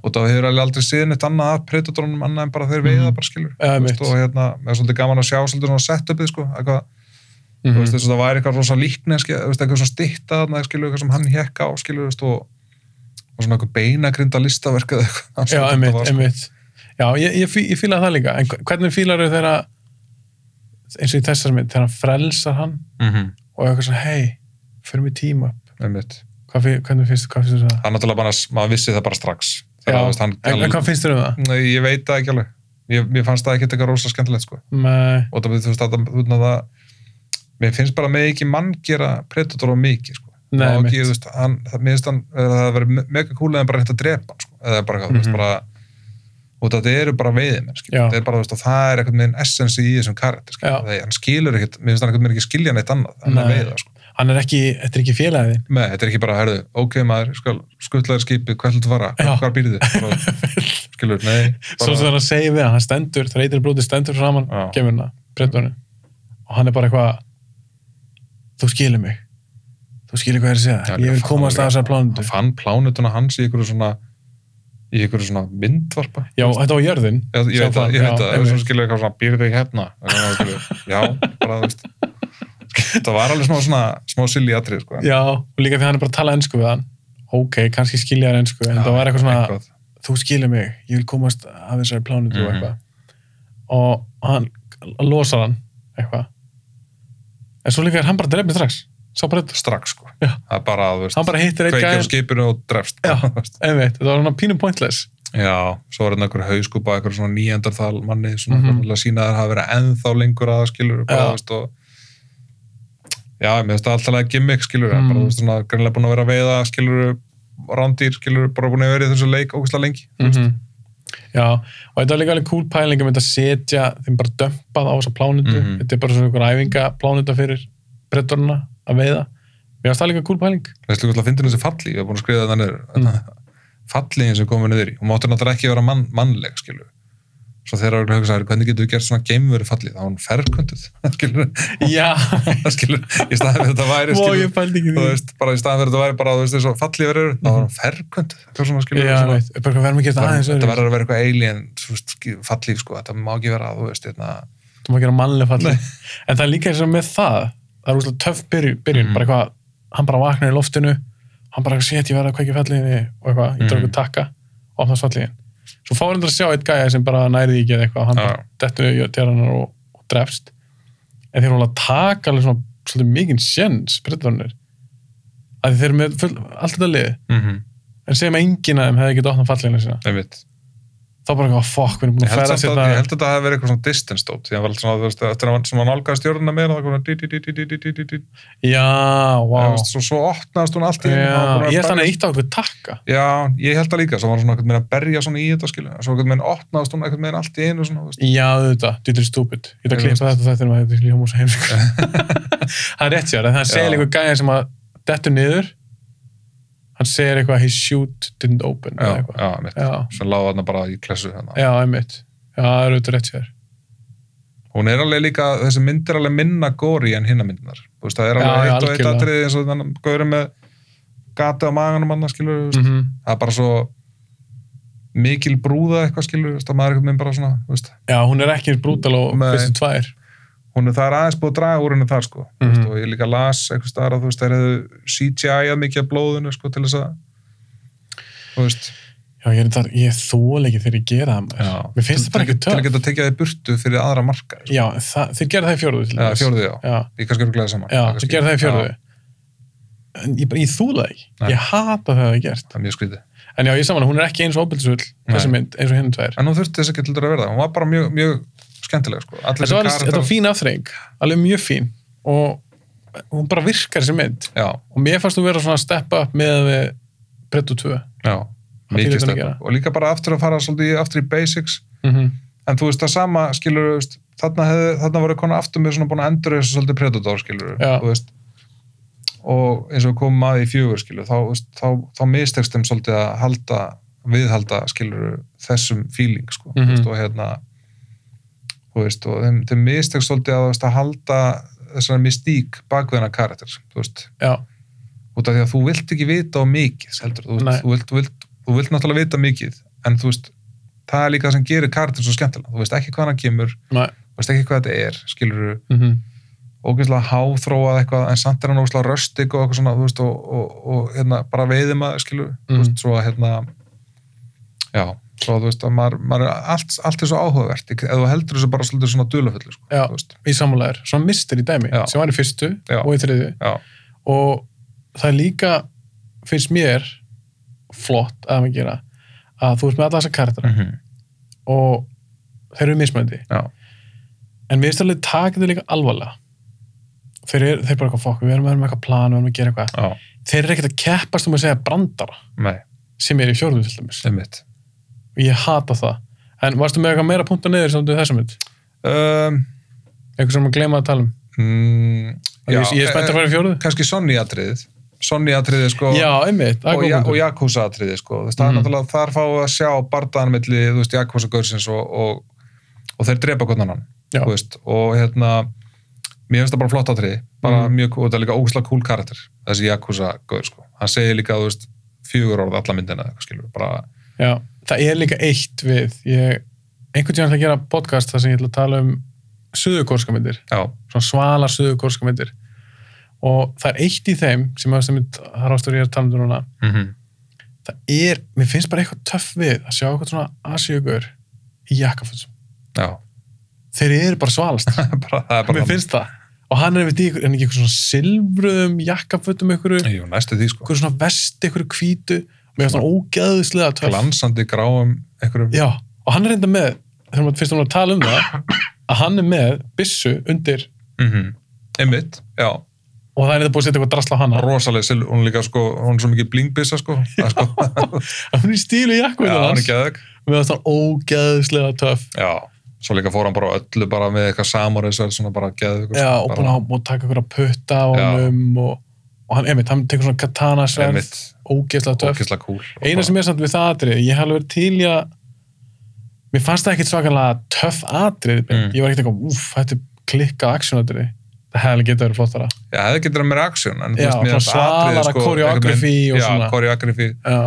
Speaker 2: og það hefur alveg aldrei síðan eitt annað að predatorunum annað en bara þeir veiða
Speaker 1: Mhm.
Speaker 2: bara skilur
Speaker 1: Ja,
Speaker 2: Þú veist,
Speaker 1: mitt.
Speaker 2: og hérna, mér er svolítið gaman að sjá svolítið svona setupið sko, eitthvað,
Speaker 1: mm
Speaker 2: þú veist, þess að það væri eitthvað rosa líkni skil, þú veist, eitthvað svona stytta þarna, skilur, eitthvað sem hann hekka á, skilur, þú veist, og, og svona eitthvað beinagrinda listaverk eða eitthvað
Speaker 1: Já,
Speaker 2: Þetta
Speaker 1: einmitt,
Speaker 2: var, sko,
Speaker 1: einmitt. Já, ég, ég, fí, ég fíla það líka. En hve- hvernig fílar þau þegar eins og í þessar mynd, þegar hann frelsar hann
Speaker 2: mhm,
Speaker 1: og eitthvað svona, hei, fyrir mig tíma upp.
Speaker 2: einmitt.
Speaker 1: Hvað, fí- hvernig finnst þú, hvað finnst þú það?
Speaker 2: hann náttúrulega bara, maður vissi það bara strax
Speaker 1: Já,
Speaker 2: þegar, þú veist, hann,
Speaker 1: en, en hvað finnst þér um það?
Speaker 2: Nei, ég veit það ekki alveg ég, ég fannst það ekki eitthvað rosa skemmtilegt sko.
Speaker 1: Með,
Speaker 2: og það, þú veist, að, þú veist, að það mér finnst bara með ekki mann gera predator á mikið, sko
Speaker 1: Nei,
Speaker 2: og
Speaker 1: einmitt.
Speaker 2: ekki, þú veist, hann, það, mér finnst hann eða það verið mega kúlega en bara hægt að drepa hann, sko, eða bara, mm -hmm. þú veist,
Speaker 1: Mhm.
Speaker 2: bara og það eru bara veiðið menn,
Speaker 1: Já.
Speaker 2: það er bara, þú veist, og það er eitthvað með einn essensi í þessum karakter, sko,
Speaker 1: Já.
Speaker 2: það hann skilur ekkit, mér finnst hann eitthvað með ekki skilja neitt annað, hann er
Speaker 1: Nei.
Speaker 2: veiða, sko
Speaker 1: hann er ekki, þetta er ekki félagið.
Speaker 2: Nei, þetta er ekki bara, herðu, ok maður, skal skuttlaður skipið, hvað ætlum þú að fara,
Speaker 1: Já.
Speaker 2: hvað býrðu þið, skilur, nei,
Speaker 1: Svo sem það er að segja við hann, hann stendur, það reytir bróti stendur framan,
Speaker 2: Já.
Speaker 1: kemur hann að, breytvarnir. Og og hann er bara eitthvað þú skilur mig þú skilur hvað ég er að segja, ég vil komast að þessar plánundu
Speaker 2: hann fann plánutuna hans í einhverju svona í einhverju svona myndvarpa
Speaker 1: já, þetta var jörðin
Speaker 2: Já, ég veit
Speaker 1: Sjá
Speaker 2: það,
Speaker 1: það,
Speaker 2: ég veit
Speaker 1: já,
Speaker 2: það, ef
Speaker 1: einmitt.
Speaker 2: þú skilur eitthvað svona, býrðu ekki hérna? Eitthvað svona, skilur, Já, bara þú veist. Það var alveg smá svona, smá silly atrið, sko.
Speaker 1: já, og líka því að hann er bara að tala ensku við hann ok, kannski skilja hann ensku en það var eitthvað svona, þú skilur mig ég vil komast að þessari plánundu
Speaker 2: Mhm.
Speaker 1: og eitthvað og hann losar hann eitthvað en svo líka er hann bara drefnir strax sá bara þetta,
Speaker 2: Strax, sko.
Speaker 1: Já.
Speaker 2: Það er bara, þú veist,
Speaker 1: hann bara hittir eitt
Speaker 2: kveikja á
Speaker 1: gæðin
Speaker 2: skipinu og drefst.
Speaker 1: Já.
Speaker 2: þú veist.
Speaker 1: einmitt, þetta var svona pínum pointless
Speaker 2: Já, svo var þetta einhver hauskúpa, einhver svona nýjendarþal manni, svona
Speaker 1: Mhm.
Speaker 2: mm -hmm. að sína að það hafa verið ennþá lengur að skilur, bara,
Speaker 1: Já.
Speaker 2: þú veist, og já, mér finnst það alltaf að gimmick, skilur,
Speaker 1: Mm.
Speaker 2: mm. bara, þú veist, svona, greinlega búin að vera að veiða, skilur, rándýr, skilur, bara búin að vera í þessu leik ógustlega lengi.
Speaker 1: mm Já, og þetta er líka alveg cool pæling að mynda að setja þeim bara dömpað á þessa plánutu
Speaker 2: Mhm.
Speaker 1: þetta er bara svona einhver æfinga plánuta fyrir brettorna að veiða mér finnst það líka cool pæling
Speaker 2: veistu hvað það finnir þessi falli, ég hef búin að skrifa það niður
Speaker 1: Mhm.
Speaker 2: mm. falliðin sem komið niður í og máttu náttúrulega ekki vera mann, mannleg skilu svo þegar það hugsa þær, hvernig getur þú gert svona geimveru fallið, þá er hún ferkönduð skilur,
Speaker 1: Já,
Speaker 2: skilur, í staðan fyrir þetta væri
Speaker 1: og
Speaker 2: skilur,
Speaker 1: ég pældi ekki
Speaker 2: þú
Speaker 1: því
Speaker 2: veist, bara í staðan fyrir þetta væri bara, þú veist, þessu fallið verður, þá er hún ferkönduð eitthvað svona skilur,
Speaker 1: Mhm. Já,
Speaker 2: svona,
Speaker 1: veit, bara hvað verðum að gera þetta aðeins
Speaker 2: þetta
Speaker 1: öðruvísi.
Speaker 2: verður að vera eitthvað alien þú veist, fallið, sko, þetta má ekki vera þú veist, hérna,
Speaker 1: þú maður gera mannlega falli en það er líka eins og með það það er úrslega töff byrjun, byrjun
Speaker 2: Mhm.
Speaker 1: bara eitthvað, hann bara vaknar í loftinu hann bara sétt ég verða að kveikja falliðinni og eitthvað, ég drar
Speaker 2: Mhm.
Speaker 1: okkur takka og opnast falliðin svo fáur hendur að sjá eitt gæja sem bara næri því ekki eða eitthvað, hann
Speaker 2: Já.
Speaker 1: bara dettur niður djaranar og, og drefst en þeir voru að taka alveg svona svolítið mikinn sjens breytvarnir að þeir eru með full, allt þetta lið
Speaker 2: mm -hmm.
Speaker 1: en segjum að enginn af þeim hefði getið opnað falliðina sína
Speaker 2: einmitt
Speaker 1: þá bara eitthvað, fuck, við erum búin
Speaker 2: Ég
Speaker 1: að
Speaker 2: held,
Speaker 1: færa
Speaker 2: samt að, ég
Speaker 1: sér
Speaker 2: held að það hefði verið eitthvað svona distance dót því að var alltaf svona, þú veist, eftir að hann sem hann nálgæðist jörðina meira það kom svona dí, dí, dí, dí, dí, dí, dí, dí, dí.
Speaker 1: já,
Speaker 2: Eða,
Speaker 1: wow
Speaker 2: þú veist, svo, svo opnaðist hún allt í einu
Speaker 1: Já,
Speaker 2: og var búin að
Speaker 1: ég held hann að
Speaker 2: berjast.
Speaker 1: ítta okkur takka
Speaker 2: Já, ég held það líka, svo var hann svona eitthvað meira að berja svona í þetta skilu, svo eitthvað meira opnaðist hún eitthvað meira allt í einu svona, þú veist.
Speaker 1: Já, þetta, þetta er stúpid Ég ætla að
Speaker 2: Ég
Speaker 1: klippa þetta og þetta um að þetta er hljóma úr heimsku Það er rétt sér, en það
Speaker 2: Já.
Speaker 1: segir einhver gæja sem að dettur niður hann segir eitthvað his shoot didn't open
Speaker 2: Já,
Speaker 1: eða eitthvað.
Speaker 2: já, mitt.
Speaker 1: já,
Speaker 2: Svo láði hann bara í klessu hérna. þannig.
Speaker 1: já, einmitt Já, það er auðvitað rétt sér
Speaker 2: Hún er alveg líka, þessi mynd er alveg minna góri en hinna myndinar. Þú veist, það er
Speaker 1: Já,
Speaker 2: alveg
Speaker 1: já,
Speaker 2: eitt og eitt
Speaker 1: algjörlega.
Speaker 2: atriði eins og þannig, góður með gati á maganum annars skilur, þú veist.
Speaker 1: mm -hmm.
Speaker 2: það er bara svo mikil brúða eitthvað skilur, þú veist, að maður er eitthvað með bara svona, þú veist,
Speaker 1: Já, hún er ekki brútal og
Speaker 2: Nei.
Speaker 1: fyrstu tvær
Speaker 2: hún er það er aðeins búið að draga úr henni þar sko mm
Speaker 1: Mhm.
Speaker 2: veist, og ég líka las eitthvað starf að þú veist þær hefðu CGI-að mikið af blóðinu sko til þess að þú veist
Speaker 1: Já, ég, er þar, ég þól ekki þegar ég gera það maður. Mér finnst það bara
Speaker 2: Til-
Speaker 1: ekki
Speaker 2: til að
Speaker 1: töf
Speaker 2: geta tekið það í burtu fyrir aðra marka sko.
Speaker 1: Já, það, þeir gera það í fjórðu til
Speaker 2: eða
Speaker 1: dæmis.
Speaker 2: fjórðu já,
Speaker 1: Já,
Speaker 2: ég kannski eru glæðið saman
Speaker 1: já
Speaker 2: kannski-
Speaker 1: þeir gera það í fjórðu
Speaker 2: Já,
Speaker 1: En ég, bara- ég þúla það ekki
Speaker 2: Nei.
Speaker 1: Ég hata það að það gert
Speaker 2: það er mjög skrítið
Speaker 1: En já, ég saman, hún er ekki eins og opildisvöld þessi
Speaker 2: Nei.
Speaker 1: mynd, eins og hinn tvær.
Speaker 2: en hún þurfti þess ekki til að verða, hún var bara mjög, mjög skemmtileg sko, allir
Speaker 1: Þetta var,
Speaker 2: þessir
Speaker 1: þetta var fín afþreying, alveg mjög fín og hún bara virkar þessi mynd
Speaker 2: já,
Speaker 1: og mér fannst þú vera svona að steppa upp með eh, við Brettu 2
Speaker 2: já,
Speaker 1: fílar
Speaker 2: mikið
Speaker 1: þetta að
Speaker 2: stöð
Speaker 1: gera.
Speaker 2: og líka bara aftur að fara svolítið í- aftur í basics
Speaker 1: mm -hmm.
Speaker 2: en þú veist það sama skilur þú veist, þarna, hefði, þarna voru konar aftur með svona búin að endur þessu svolítið predator skilur
Speaker 1: Já.
Speaker 2: þú veist og eins og við komum að í fjögur skilur þá, þú veist, þá, þá mistekst þeim svolítið að halda viðhalda skilur þessum feeling sko
Speaker 1: Mhm.
Speaker 2: þú veist, og hérna þú veist og þeim, þeim mistekst svolítið að, þú veist, að halda þessari mystík bakveðina karakter þú veist
Speaker 1: Já,
Speaker 2: út af því að þú vilt ekki vita á mikið heldur, þú,
Speaker 1: Nei.
Speaker 2: vilt, þú, vilt, þú, vilt, þú vilt náttúrulega vita mikið en þú veist, það er líka það sem gerir karakter svo skemmtilega, þú veist ekki hvað hann kemur
Speaker 1: Nei.
Speaker 2: þú veist ekki hvað þetta er, skilur
Speaker 1: mm
Speaker 2: ógeðslega háþróað eitthvað en samt er hann ógeðslega röstig og eitthvað svona þú veist, og, og, og hérna, bara veiðum að skilur, þú
Speaker 1: Mhm.
Speaker 2: veist, svo að hérna já, svo að þú veist að maður, maður er allt, allt er svo áhugavert eða þú heldur þessu bara svolítið svona dulafullu sko,
Speaker 1: Já.
Speaker 2: þú veist,
Speaker 1: í sammálaður, svona mistur í dæmi
Speaker 2: Já.
Speaker 1: sem var í fyrstu
Speaker 2: Já.
Speaker 1: og í þriðu
Speaker 2: já,
Speaker 1: og það er líka finnst mér flott að maður gera að þú ert með alla þessa kartra
Speaker 2: mm -hmm.
Speaker 1: og þeir eru mismöndi
Speaker 2: já,
Speaker 1: en við erum alveg takið þau líka alvarlega þeir eru þeir eru bara eitthvað fokk, við erum með eitthvað plan við erum að gera eitthvað,
Speaker 2: já,
Speaker 1: þeir eru ekkert að keppast um að segja brandara
Speaker 2: nei,
Speaker 1: sem er í fjórðu til dæmis
Speaker 2: einmitt
Speaker 1: og ég hata það en varstu með eitthvað meira punta niður samt við þessum mynd
Speaker 2: um,
Speaker 1: eitthvað sem að gleyma að tala um
Speaker 2: mm,
Speaker 1: já, ég, ég er spennt að fara í fjórðu
Speaker 2: kannski Sonny atriðið Sonny atriðið sko
Speaker 1: já, einmitt, það
Speaker 2: eh, og,
Speaker 1: er
Speaker 2: ja,
Speaker 1: góð
Speaker 2: og
Speaker 1: punktur.
Speaker 2: Jakúsa atriðið sko Þú veist, það er
Speaker 1: Mhm.
Speaker 2: náttúrulega þar fáum við að sjá bardaðan milli, þú veist, Jakúsa Gaursins og, og, og þeir drepa hvernig hann
Speaker 1: Já.
Speaker 2: veist, og hérna mér finnst það bara flott átriði bara
Speaker 1: Mm.
Speaker 2: mjög, og þetta er líka ógustlega cool karakter þessi Yakuza gaur sko hann segir líka, þú veist, fjögur orð alla myndina eða eitthvað, skilur, bara,
Speaker 1: Já, það er líka eitt við ég, einhvern tíðan ætla að gera podcast þar sem ég ætla að tala um suðukorska myndir,
Speaker 2: já,
Speaker 1: svona svalar suðukorska myndir og það er eitt í þeim sem að sem það rástur ég er að tala um þetta núna
Speaker 2: mhm
Speaker 1: það er, mér finnst bara eitthvað töff við að sjá eitthvað svona asjögur í jakkafutsum,
Speaker 2: já,
Speaker 1: þeir eru bara svalast
Speaker 2: bara, það er bara
Speaker 1: mér finnst það og hann er við því, en ekki eitthvað svona silfruðum jakkafutum ykkur,
Speaker 2: þannig. Jú, næstu því sko
Speaker 1: ykkur svona vest ykkur hvítu, mér finnst hann ógeðislega töff
Speaker 2: glansandi gráum einhverjum,
Speaker 1: Já, og hann er enda með þegar maður fyrst um að tala um það að hann er með byssu undir
Speaker 2: mhm, einmitt, já
Speaker 1: og það er enda búið að setja eitthvað drasla á hana
Speaker 2: rosalega silur, hún er líka sko, hún er svo mikið blingbissa sko, það er sko
Speaker 1: hann er í stílu
Speaker 2: já,
Speaker 1: jakkvæðan
Speaker 2: hann er
Speaker 1: hans
Speaker 2: geðveg,
Speaker 1: með þess að ógeðslega töff
Speaker 2: já svo líka fór hann bara á öllu bara með eitthvað samurins svona bara geðveg
Speaker 1: Já, og búin að og taka eitthvað putta á
Speaker 2: Já.
Speaker 1: honum og, og hann, einmitt, hann tekur svona katana sverð
Speaker 2: einmitt,
Speaker 1: ógeðslega töff
Speaker 2: ókislega cool Og
Speaker 1: eina
Speaker 2: bara-
Speaker 1: sem er samt við það atrið, ég hef alveg verið til í að mér fannst það ekkit svakalega töff atrið,
Speaker 2: Mm.
Speaker 1: ég var ekkit eitthvað úf, þetta er klikkað aksjón atrið það hefði alveg getað verið flottara
Speaker 2: Já, það getur að mér aksjón, en þú
Speaker 1: Já,
Speaker 2: veist, mér
Speaker 1: svona
Speaker 2: finnst
Speaker 1: svalara
Speaker 2: atriðið, sko,
Speaker 1: koreografí
Speaker 2: einhvern veginn-
Speaker 1: og svona.
Speaker 2: Já, koreografi,
Speaker 1: Já,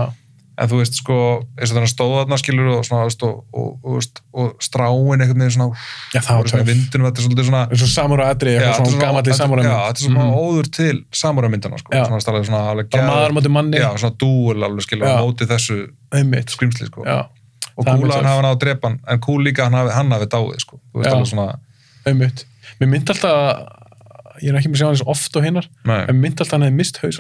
Speaker 2: en þú veist, sko, eins og þannig stóða þarna skilur og svona, þú veist, og, og, og, veist, og stráin einhvern veginn svona,
Speaker 1: Já, það var
Speaker 2: og svona
Speaker 1: töff.
Speaker 2: vindin, þetta er svolítið svona,
Speaker 1: eins og samúra atri,
Speaker 2: Já,
Speaker 1: eitthvað
Speaker 2: þetta er
Speaker 1: svona gamalli
Speaker 2: þetta-
Speaker 1: samúra
Speaker 2: Já, þetta er svona óður til samúramyndana, sko,
Speaker 1: Já.
Speaker 2: svona stærlega svona
Speaker 1: Mm.
Speaker 2: alveg
Speaker 1: bara
Speaker 2: geðveikt.
Speaker 1: maður mátu manni,
Speaker 2: Já, svona dúel alveg skilur,
Speaker 1: Já.
Speaker 2: á móti þessu
Speaker 1: einmitt
Speaker 2: skrimsli, sko.
Speaker 1: já,
Speaker 2: og
Speaker 1: það er
Speaker 2: kúla
Speaker 1: mjög
Speaker 2: hann
Speaker 1: töff.
Speaker 2: hafa náðu að drepa hann, en kúl líka hann hafi, hann hafi dáið, sko. Þú veist,
Speaker 1: Já.
Speaker 2: alveg svona,
Speaker 1: einmitt mér myndi alltaf að- ég er ekki með að sjá hann eins oft og hinnar
Speaker 2: nei,
Speaker 1: en mér myndi alltaf að hann hefði mist haus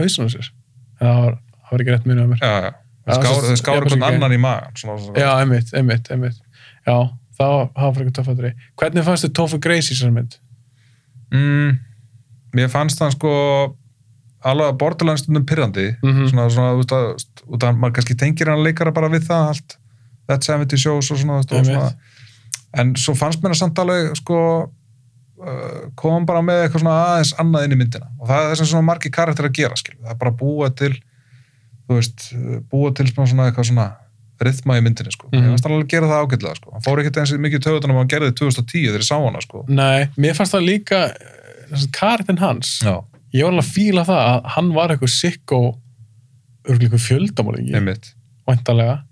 Speaker 1: hausan á sér en það var, það var ekki rétt munið að mér
Speaker 2: já, já.
Speaker 1: Já,
Speaker 2: Þau
Speaker 1: svo-
Speaker 2: skáru- Þau skáru
Speaker 1: já, bara
Speaker 2: hvern
Speaker 1: svona-
Speaker 2: annan í magan, svona, svona,
Speaker 1: já, einmitt, einmitt, einmitt já, það var, það var frekar töffatri hvernig fannst þið Topher Grace í sér mynd?
Speaker 2: Mm, mér fannst hann sko alveg borderline stundum pyrrandi
Speaker 1: Mhm.
Speaker 2: svona, svona, út að, út að maður kannski tengir hann leikara bara við það allt, that 70 shows og svona, þú veist,
Speaker 1: Einmitt.
Speaker 2: og svona en svo fannst mér hann samt alveg sko uh, kom bara með eitthvað svona aðeins annað inn í myndina og það er þess að svona margir karakter að gera skil. það er bara að búa til þú veist, uh, búa til svona, svona eitthvað svona rithma í myndinni sko,
Speaker 1: Mhm.
Speaker 2: ég fannst hann alveg að gera það ágætlega sko, hann fór ekkert eins mikið í töðutunum hann gerði 2010 þegar ég sá hana sko
Speaker 1: nei, mér fannst það líka eh, Karin hans,
Speaker 2: já,
Speaker 1: ég var alveg að fíla það að hann var eitthvað sikk og örgleikur fjöldamorðingi
Speaker 2: einmitt
Speaker 1: væntalega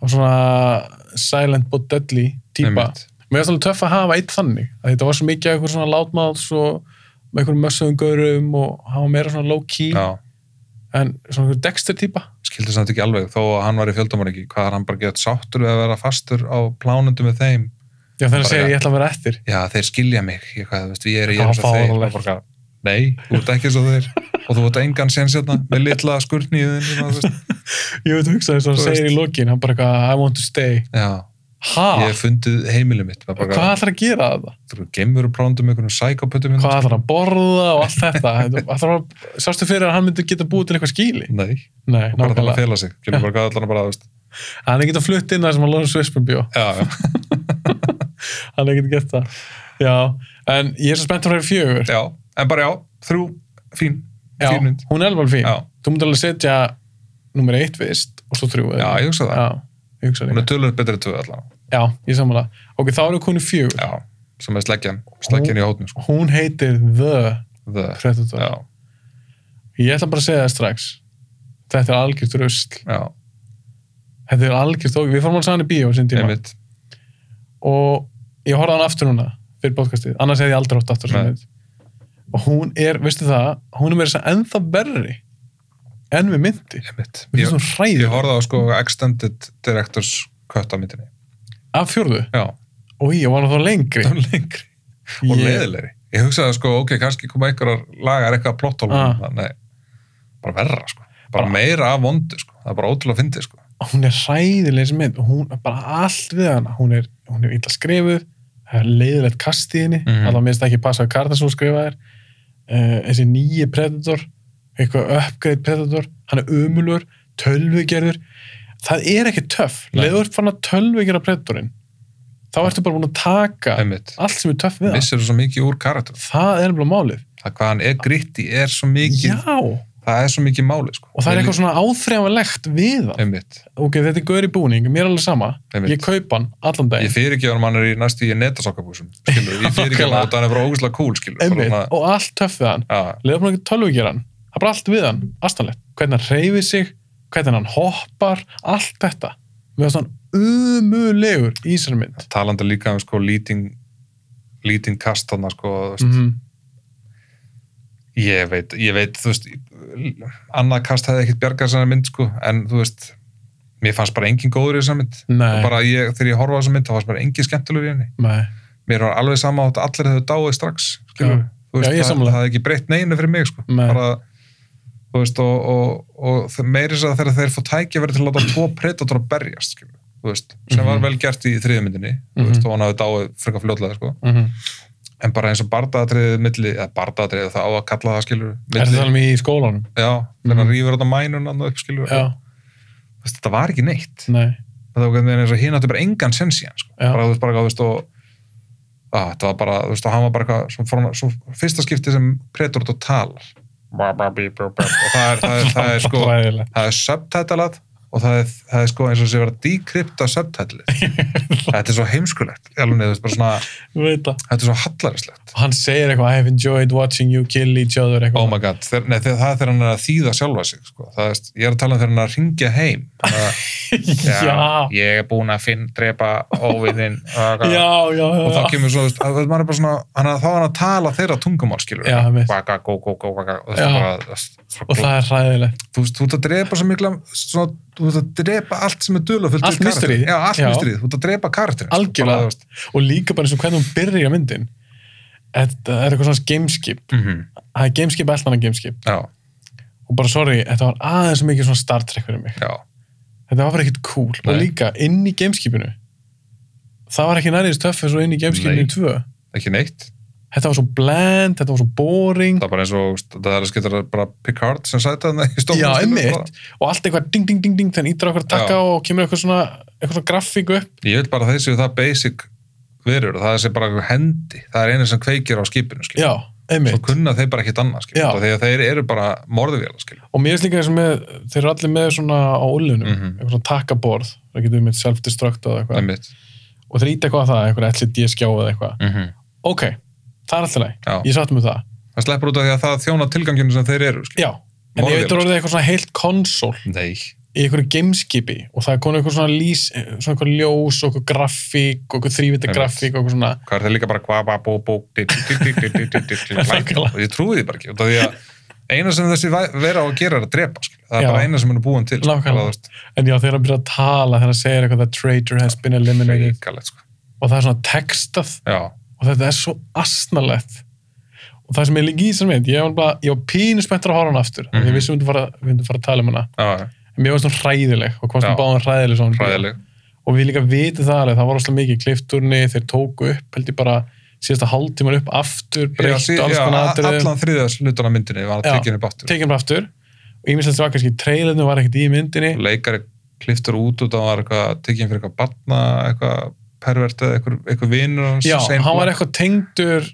Speaker 1: og svona silent but deadly típa.
Speaker 2: Einmitt.
Speaker 1: Mér finnst alveg töff að hafa eitt þannig að þetta var svo mikið af eitthvað svona látmáls og með einhverjum mössuðum gaurum og hafa meira svona low key
Speaker 2: Já,
Speaker 1: en svona einhver dexter típa
Speaker 2: skildi samt ekki alveg þó að hann var í fjöldamoringi, hvað er hann bara gett sáttur við að vera fastur á plánundu með þeim
Speaker 1: Já þannig
Speaker 2: Bara
Speaker 1: að segja
Speaker 2: ja.
Speaker 1: ég ætla að vera eftir
Speaker 2: já, þeir skilja mig, ég hvað, þú veist, ég er, ég
Speaker 1: Það
Speaker 2: er eins og
Speaker 1: var
Speaker 2: þeir,
Speaker 1: fáránlegt.
Speaker 2: og bara, nei, þú ert ekki eins og þeir og þú ert engan sen sérna með litla skurtnýðin, þú veist
Speaker 1: Ég veit hugsa þess að hann
Speaker 2: Þú veist.
Speaker 1: segir í lokin hann bara eitthvað I want to stay
Speaker 2: já,
Speaker 1: Ha?
Speaker 2: ég hef fundið heimilið mitt, maður
Speaker 1: Hvað
Speaker 2: bara,
Speaker 1: ætlar að gera að það?
Speaker 2: þú gemur og plánundum einhvern sækopötum
Speaker 1: Hvað ætlar að borða og allt þetta? Þetta- ætlar að- Sástu fyrir að hann myndi geta búið til eitthvað skýli?
Speaker 2: nei,
Speaker 1: Nei,
Speaker 2: og bara það að
Speaker 1: nákvæmlega.
Speaker 2: fela sig kemur bara, hvað allan bara, þú veist,
Speaker 1: Hann er getað flutt inn að sem að Lóðum Svispum bjó.
Speaker 2: já, já,
Speaker 1: hann hefði getið gert það já, en ég er svo spennt að vera fjögur
Speaker 2: já en bara já, þrjú, fín,
Speaker 1: já,
Speaker 2: fín mynd
Speaker 1: hún er alveg fín
Speaker 2: Já.
Speaker 1: þú mútti alveg setja nummer eitt vist og svo þrjú
Speaker 2: já, ég hugsa það,
Speaker 1: já, ég hugsa
Speaker 2: hún
Speaker 1: líka
Speaker 2: er tölur betri tvö allan
Speaker 1: já, ég samanlega, ok, þá erum við konu fjögur
Speaker 2: já, sem er sleggjan, sleggjan í hótnum sko.
Speaker 1: hún heitir The
Speaker 2: The,
Speaker 1: Predator
Speaker 2: já,
Speaker 1: ég ætla bara að segja það strax þetta er algjört rusl
Speaker 2: já,
Speaker 1: þetta er algjört ok, við fórum alveg saman í bíó á sinn tíma
Speaker 2: einmitt
Speaker 1: og ég horfði á hann aftur núna fyrir podcastið, annars hefði ég aldrei hótt aftur svona
Speaker 2: Nei.
Speaker 1: mynd. og hún er, veistu það hún er meira þess að ennþá berri enn við myndi
Speaker 2: einmitt,
Speaker 1: Mér
Speaker 2: ég,
Speaker 1: finnst hún hræðileg.
Speaker 2: ég horfði á sko extended directors cut á myndinni,
Speaker 1: Af fjörðu?
Speaker 2: já,
Speaker 1: Og ég var nú þá lengri.
Speaker 2: það er lengri og
Speaker 1: Ég-
Speaker 2: leiðilegri, ég hugsaði sko, ok, kannski koma einhverjar lagar eitthvað plotthólum
Speaker 1: Ah.
Speaker 2: ah. nei, bara verra sko bara
Speaker 1: Bara-
Speaker 2: meira af vondu sko, það er bara ótrúlega fyndið sko,
Speaker 1: Hún er hræðileg sem mynd og hún er bara allt við hana. Hún er, hún er illa skrifuð, það er leiðilegt kast í henni, mm
Speaker 2: Mhm.
Speaker 1: -hmm. alltaf minnst ekki passa að karta sem hún skrifað er. Uh, þessi nýji predator, eitthvað uppgreitt predator, hann er ömulur, tölvugerður. Það er ekki töff.
Speaker 2: Nei.
Speaker 1: Leður fann að tölvugerða predatorinn, þá ertu bara búin að taka
Speaker 2: einmitt
Speaker 1: allt sem er töff við hann.
Speaker 2: missir þú svo mikið úr karakter
Speaker 1: Það er alveg málið.
Speaker 2: það hvað hann er gritti er svo mikið
Speaker 1: Já,
Speaker 2: það er svo mikið máli sko.
Speaker 1: og það er eitthvað svona áþreifanlegt við það
Speaker 2: einmitt,
Speaker 1: ok, þetta er gaur í búning, mér er alveg sama
Speaker 2: Einmitt.
Speaker 1: ég kaupa hann allan
Speaker 2: ég
Speaker 1: daginn
Speaker 2: fyrir ekki að hann er í næstu í netasokkabúsum skilur, ég fyrir ekki að
Speaker 1: Nákvæmlega.
Speaker 2: hann er bara ógustlega cool skilur,
Speaker 1: einmitt,
Speaker 2: Bara
Speaker 1: og allt töff við hann
Speaker 2: svona- já,
Speaker 1: leiðum hann ekki tölvugjur hann það er bara allt við hann, astanlegt hvernig hann reyfir sig, hvernig hann hoppar allt þetta, við erum svona umulegur í þessari mynd
Speaker 2: talandi líka um sko lýting lýting kast þarna sko þú veist,
Speaker 1: mm
Speaker 2: ég veit, ég veit þú veist, annað kast hefði ekkert bjargað þessari mynd sko, en þú veist mér fannst bara engin góður í þessari mynd
Speaker 1: nei,
Speaker 2: og bara ég, þegar ég horfa á þessari mynd, þá fannst bara engin skemmtilegur í henni
Speaker 1: nei,
Speaker 2: mér var alveg sama átt allir hefur dáið strax skilur,
Speaker 1: Já. Já,
Speaker 2: þú
Speaker 1: ég er
Speaker 2: veist, það,
Speaker 1: sammála.
Speaker 2: það hefði ekki breytt neinu fyrir mig sko,
Speaker 1: Nei.
Speaker 2: bara þú veist, og, og, og, og meiri þess að þegar þeir fá tækifæri til að láta tvo predator að berjast skilur, þú veist, sem
Speaker 1: Mhm.
Speaker 2: var vel gert í þriðmyndinni, þú
Speaker 1: Mhm.
Speaker 2: veist, og hann hafði dáið frekar fljótlega, sko,
Speaker 1: mm
Speaker 2: en bara eins og bardaðatriðið milli, eða bardaðatriðið það á að kalla það skilur,
Speaker 1: er
Speaker 2: milli,
Speaker 1: þetta alveg í skólanum
Speaker 2: já, þegar hann
Speaker 1: Mhm.
Speaker 2: rýfur þetta mænun annað upp skilur,
Speaker 1: já,
Speaker 2: þú veist, þetta var ekki neitt
Speaker 1: nei,
Speaker 2: það var eins og hinn átti bara engan sens í hann sko.
Speaker 1: Já.
Speaker 2: bara þú veist bara þú veist og að, þetta var bara, þú veist, og hann var bara eitthvað svo, forna, svo fyrsta skipti sem Predator og talar Bá, bá, bí, bú, bú. og það er, það er, það er sko
Speaker 1: ræðilegt
Speaker 2: það er subtitlað og það er, það er sko eins og sé verið að decrypta subtitlið þetta er svo heimskulegt í alveg, þú veist, bara svona,
Speaker 1: veit það
Speaker 2: þetta er svo hallarislegt
Speaker 1: og hann segir eitthvað, I have enjoyed watching you kill each other
Speaker 2: oh
Speaker 1: eitthvað
Speaker 2: my god, þeir, nei, þeir, það er þegar hann er að þýða sjálfa sig sko. það er, ég er að tala um þegar hann er að ringja heim það,
Speaker 1: já,
Speaker 2: ég er búin að finn drepa óviðinn
Speaker 1: já, já, já,
Speaker 2: og þá
Speaker 1: já.
Speaker 2: kemur svona, þú veist, að- að maður er bara svona hann að þá er hann að tala þeirra tungumál skilur
Speaker 1: Já, einmitt.
Speaker 2: baka, gó, gó, gó, baka og
Speaker 1: Já.
Speaker 2: það bara þú veist,
Speaker 1: og það er ræðilegt
Speaker 2: þú veist, þú ert að drepa svo mikla svona, þú ert að drepa allt sem er dulafullt
Speaker 1: Allt mystery.
Speaker 2: já, allt
Speaker 1: Já.
Speaker 2: mysterið, þú ert að drepa karakterinn sko,
Speaker 1: Algjörlega.
Speaker 2: bara, þú veist.
Speaker 1: og líka bara eins og hvernig hún byrja myndin þetta er eitthvað svona gameskip
Speaker 2: Mhm.
Speaker 1: það er gameskip allt annað gameskip
Speaker 2: já,
Speaker 1: og bara sorry, þetta var aðeins of mikið svona Star Trek fyrir mig,
Speaker 2: já,
Speaker 1: þetta var bara ekkit cool og
Speaker 2: Nei.
Speaker 1: líka inn í gameskipinu það var ekki nærið stöffið svo inn í gameskipinu
Speaker 2: Nei.
Speaker 1: í tvö,
Speaker 2: ekki neitt
Speaker 1: þetta var svo bland þetta var svo boring
Speaker 2: það er bara eins og, þú veist, það er að skipta bara Picard sem sæti hann í stóðum
Speaker 1: já, einmitt, og allt eitthvað ding, ding, ding, ding þannig ítir okkur að taka og kemur eitthvað svona eitthvað svona grafík upp
Speaker 2: ég vil bara að þeir séu það basic verur, það er sér bara einhver hendi það er einu sem kveikir á skipinu skilur.
Speaker 1: já,
Speaker 2: svo
Speaker 1: einmitt,
Speaker 2: kunna þeir bara ekkit annað skilur,
Speaker 1: Já.
Speaker 2: út af því að þeir eru bara morðuvél skilur.
Speaker 1: og mér er slíka þessum með þeir eru allir með svona á ullunum
Speaker 2: Mhm.
Speaker 1: eitthvað svona takkaborð, það getur með self-destruct eða eitthvað,
Speaker 2: einmitt
Speaker 1: og þeir íta eitthvað að það eitthvað allir DSG eða eitthvað,
Speaker 2: mm
Speaker 1: ok það er alltaf leið,
Speaker 2: Já.
Speaker 1: ég satt með það
Speaker 2: Það sleppur út af því að það þjóna tilganginu sem þeir eru. skilur.
Speaker 1: já, en ég
Speaker 2: Morðvélar.
Speaker 1: veit að orðið eitthvað svona heilt konsól
Speaker 2: Nei.
Speaker 1: í einhverju gameskipi og það er konið eitthvað svona lís, svona eitthvað ljós og eitthvað grafík og eitthvað þrývita
Speaker 2: Einmitt.
Speaker 1: grafík og eitthvað svona
Speaker 2: Hvað er það líka bara kva, ba, bó, bó, di, di, di, di, di, di, di, di, di,
Speaker 1: Nákvæmlega.
Speaker 2: og ég trúi því bara ekki. út af Því að eina sem þessi væ- vera á að gera er að drepa. skilur. Það er
Speaker 1: Já.
Speaker 2: bara eina sem hann er búin til. skilur.
Speaker 1: Nákvæmlega.
Speaker 2: Það er, þú veist,
Speaker 1: En já, þegar hann byrjar að tala, þegar hann segir eitthvað that traitor has been eliminated
Speaker 2: Hrikalegt, sko.
Speaker 1: og það er svona textað
Speaker 2: Já.
Speaker 1: og þetta er svo asnalegt og það sem ég líka í þessar mynd, ég var, bara, ég var pínu spenntur að horfa hann aftur mm -hmm.
Speaker 2: Mhm.
Speaker 1: ég vissi að við myndum fara, við myndum fara að tala um hana
Speaker 2: Já,
Speaker 1: en mér var svona hræðileg og komst
Speaker 2: Já.
Speaker 1: um báðan hræðileg svona.
Speaker 2: fræðileg.
Speaker 1: og við líka vitið það alveg, það var óslega mikið kliftúrni, þeir tóku upp held ég bara síðasta hálftíman upp aftur
Speaker 2: Já,
Speaker 1: breytt
Speaker 2: sí-
Speaker 1: alls
Speaker 2: já,
Speaker 1: konar
Speaker 2: a-
Speaker 1: atriðum
Speaker 2: Allan þriðas hlutana myndinni var að
Speaker 1: Já.
Speaker 2: tekja upp aftur.
Speaker 1: tekið bara aftur og ég mislega það var kannski trailernu var ekkert í myndinni
Speaker 2: Leikari kliftur út út og var eitthvað tekið fyrir eitthvað batna, eitthvað pervert eða eitthvað, eitthvað vinur. hans,
Speaker 1: já,
Speaker 2: Shane
Speaker 1: hann var
Speaker 2: Black.
Speaker 1: eitthvað tengdur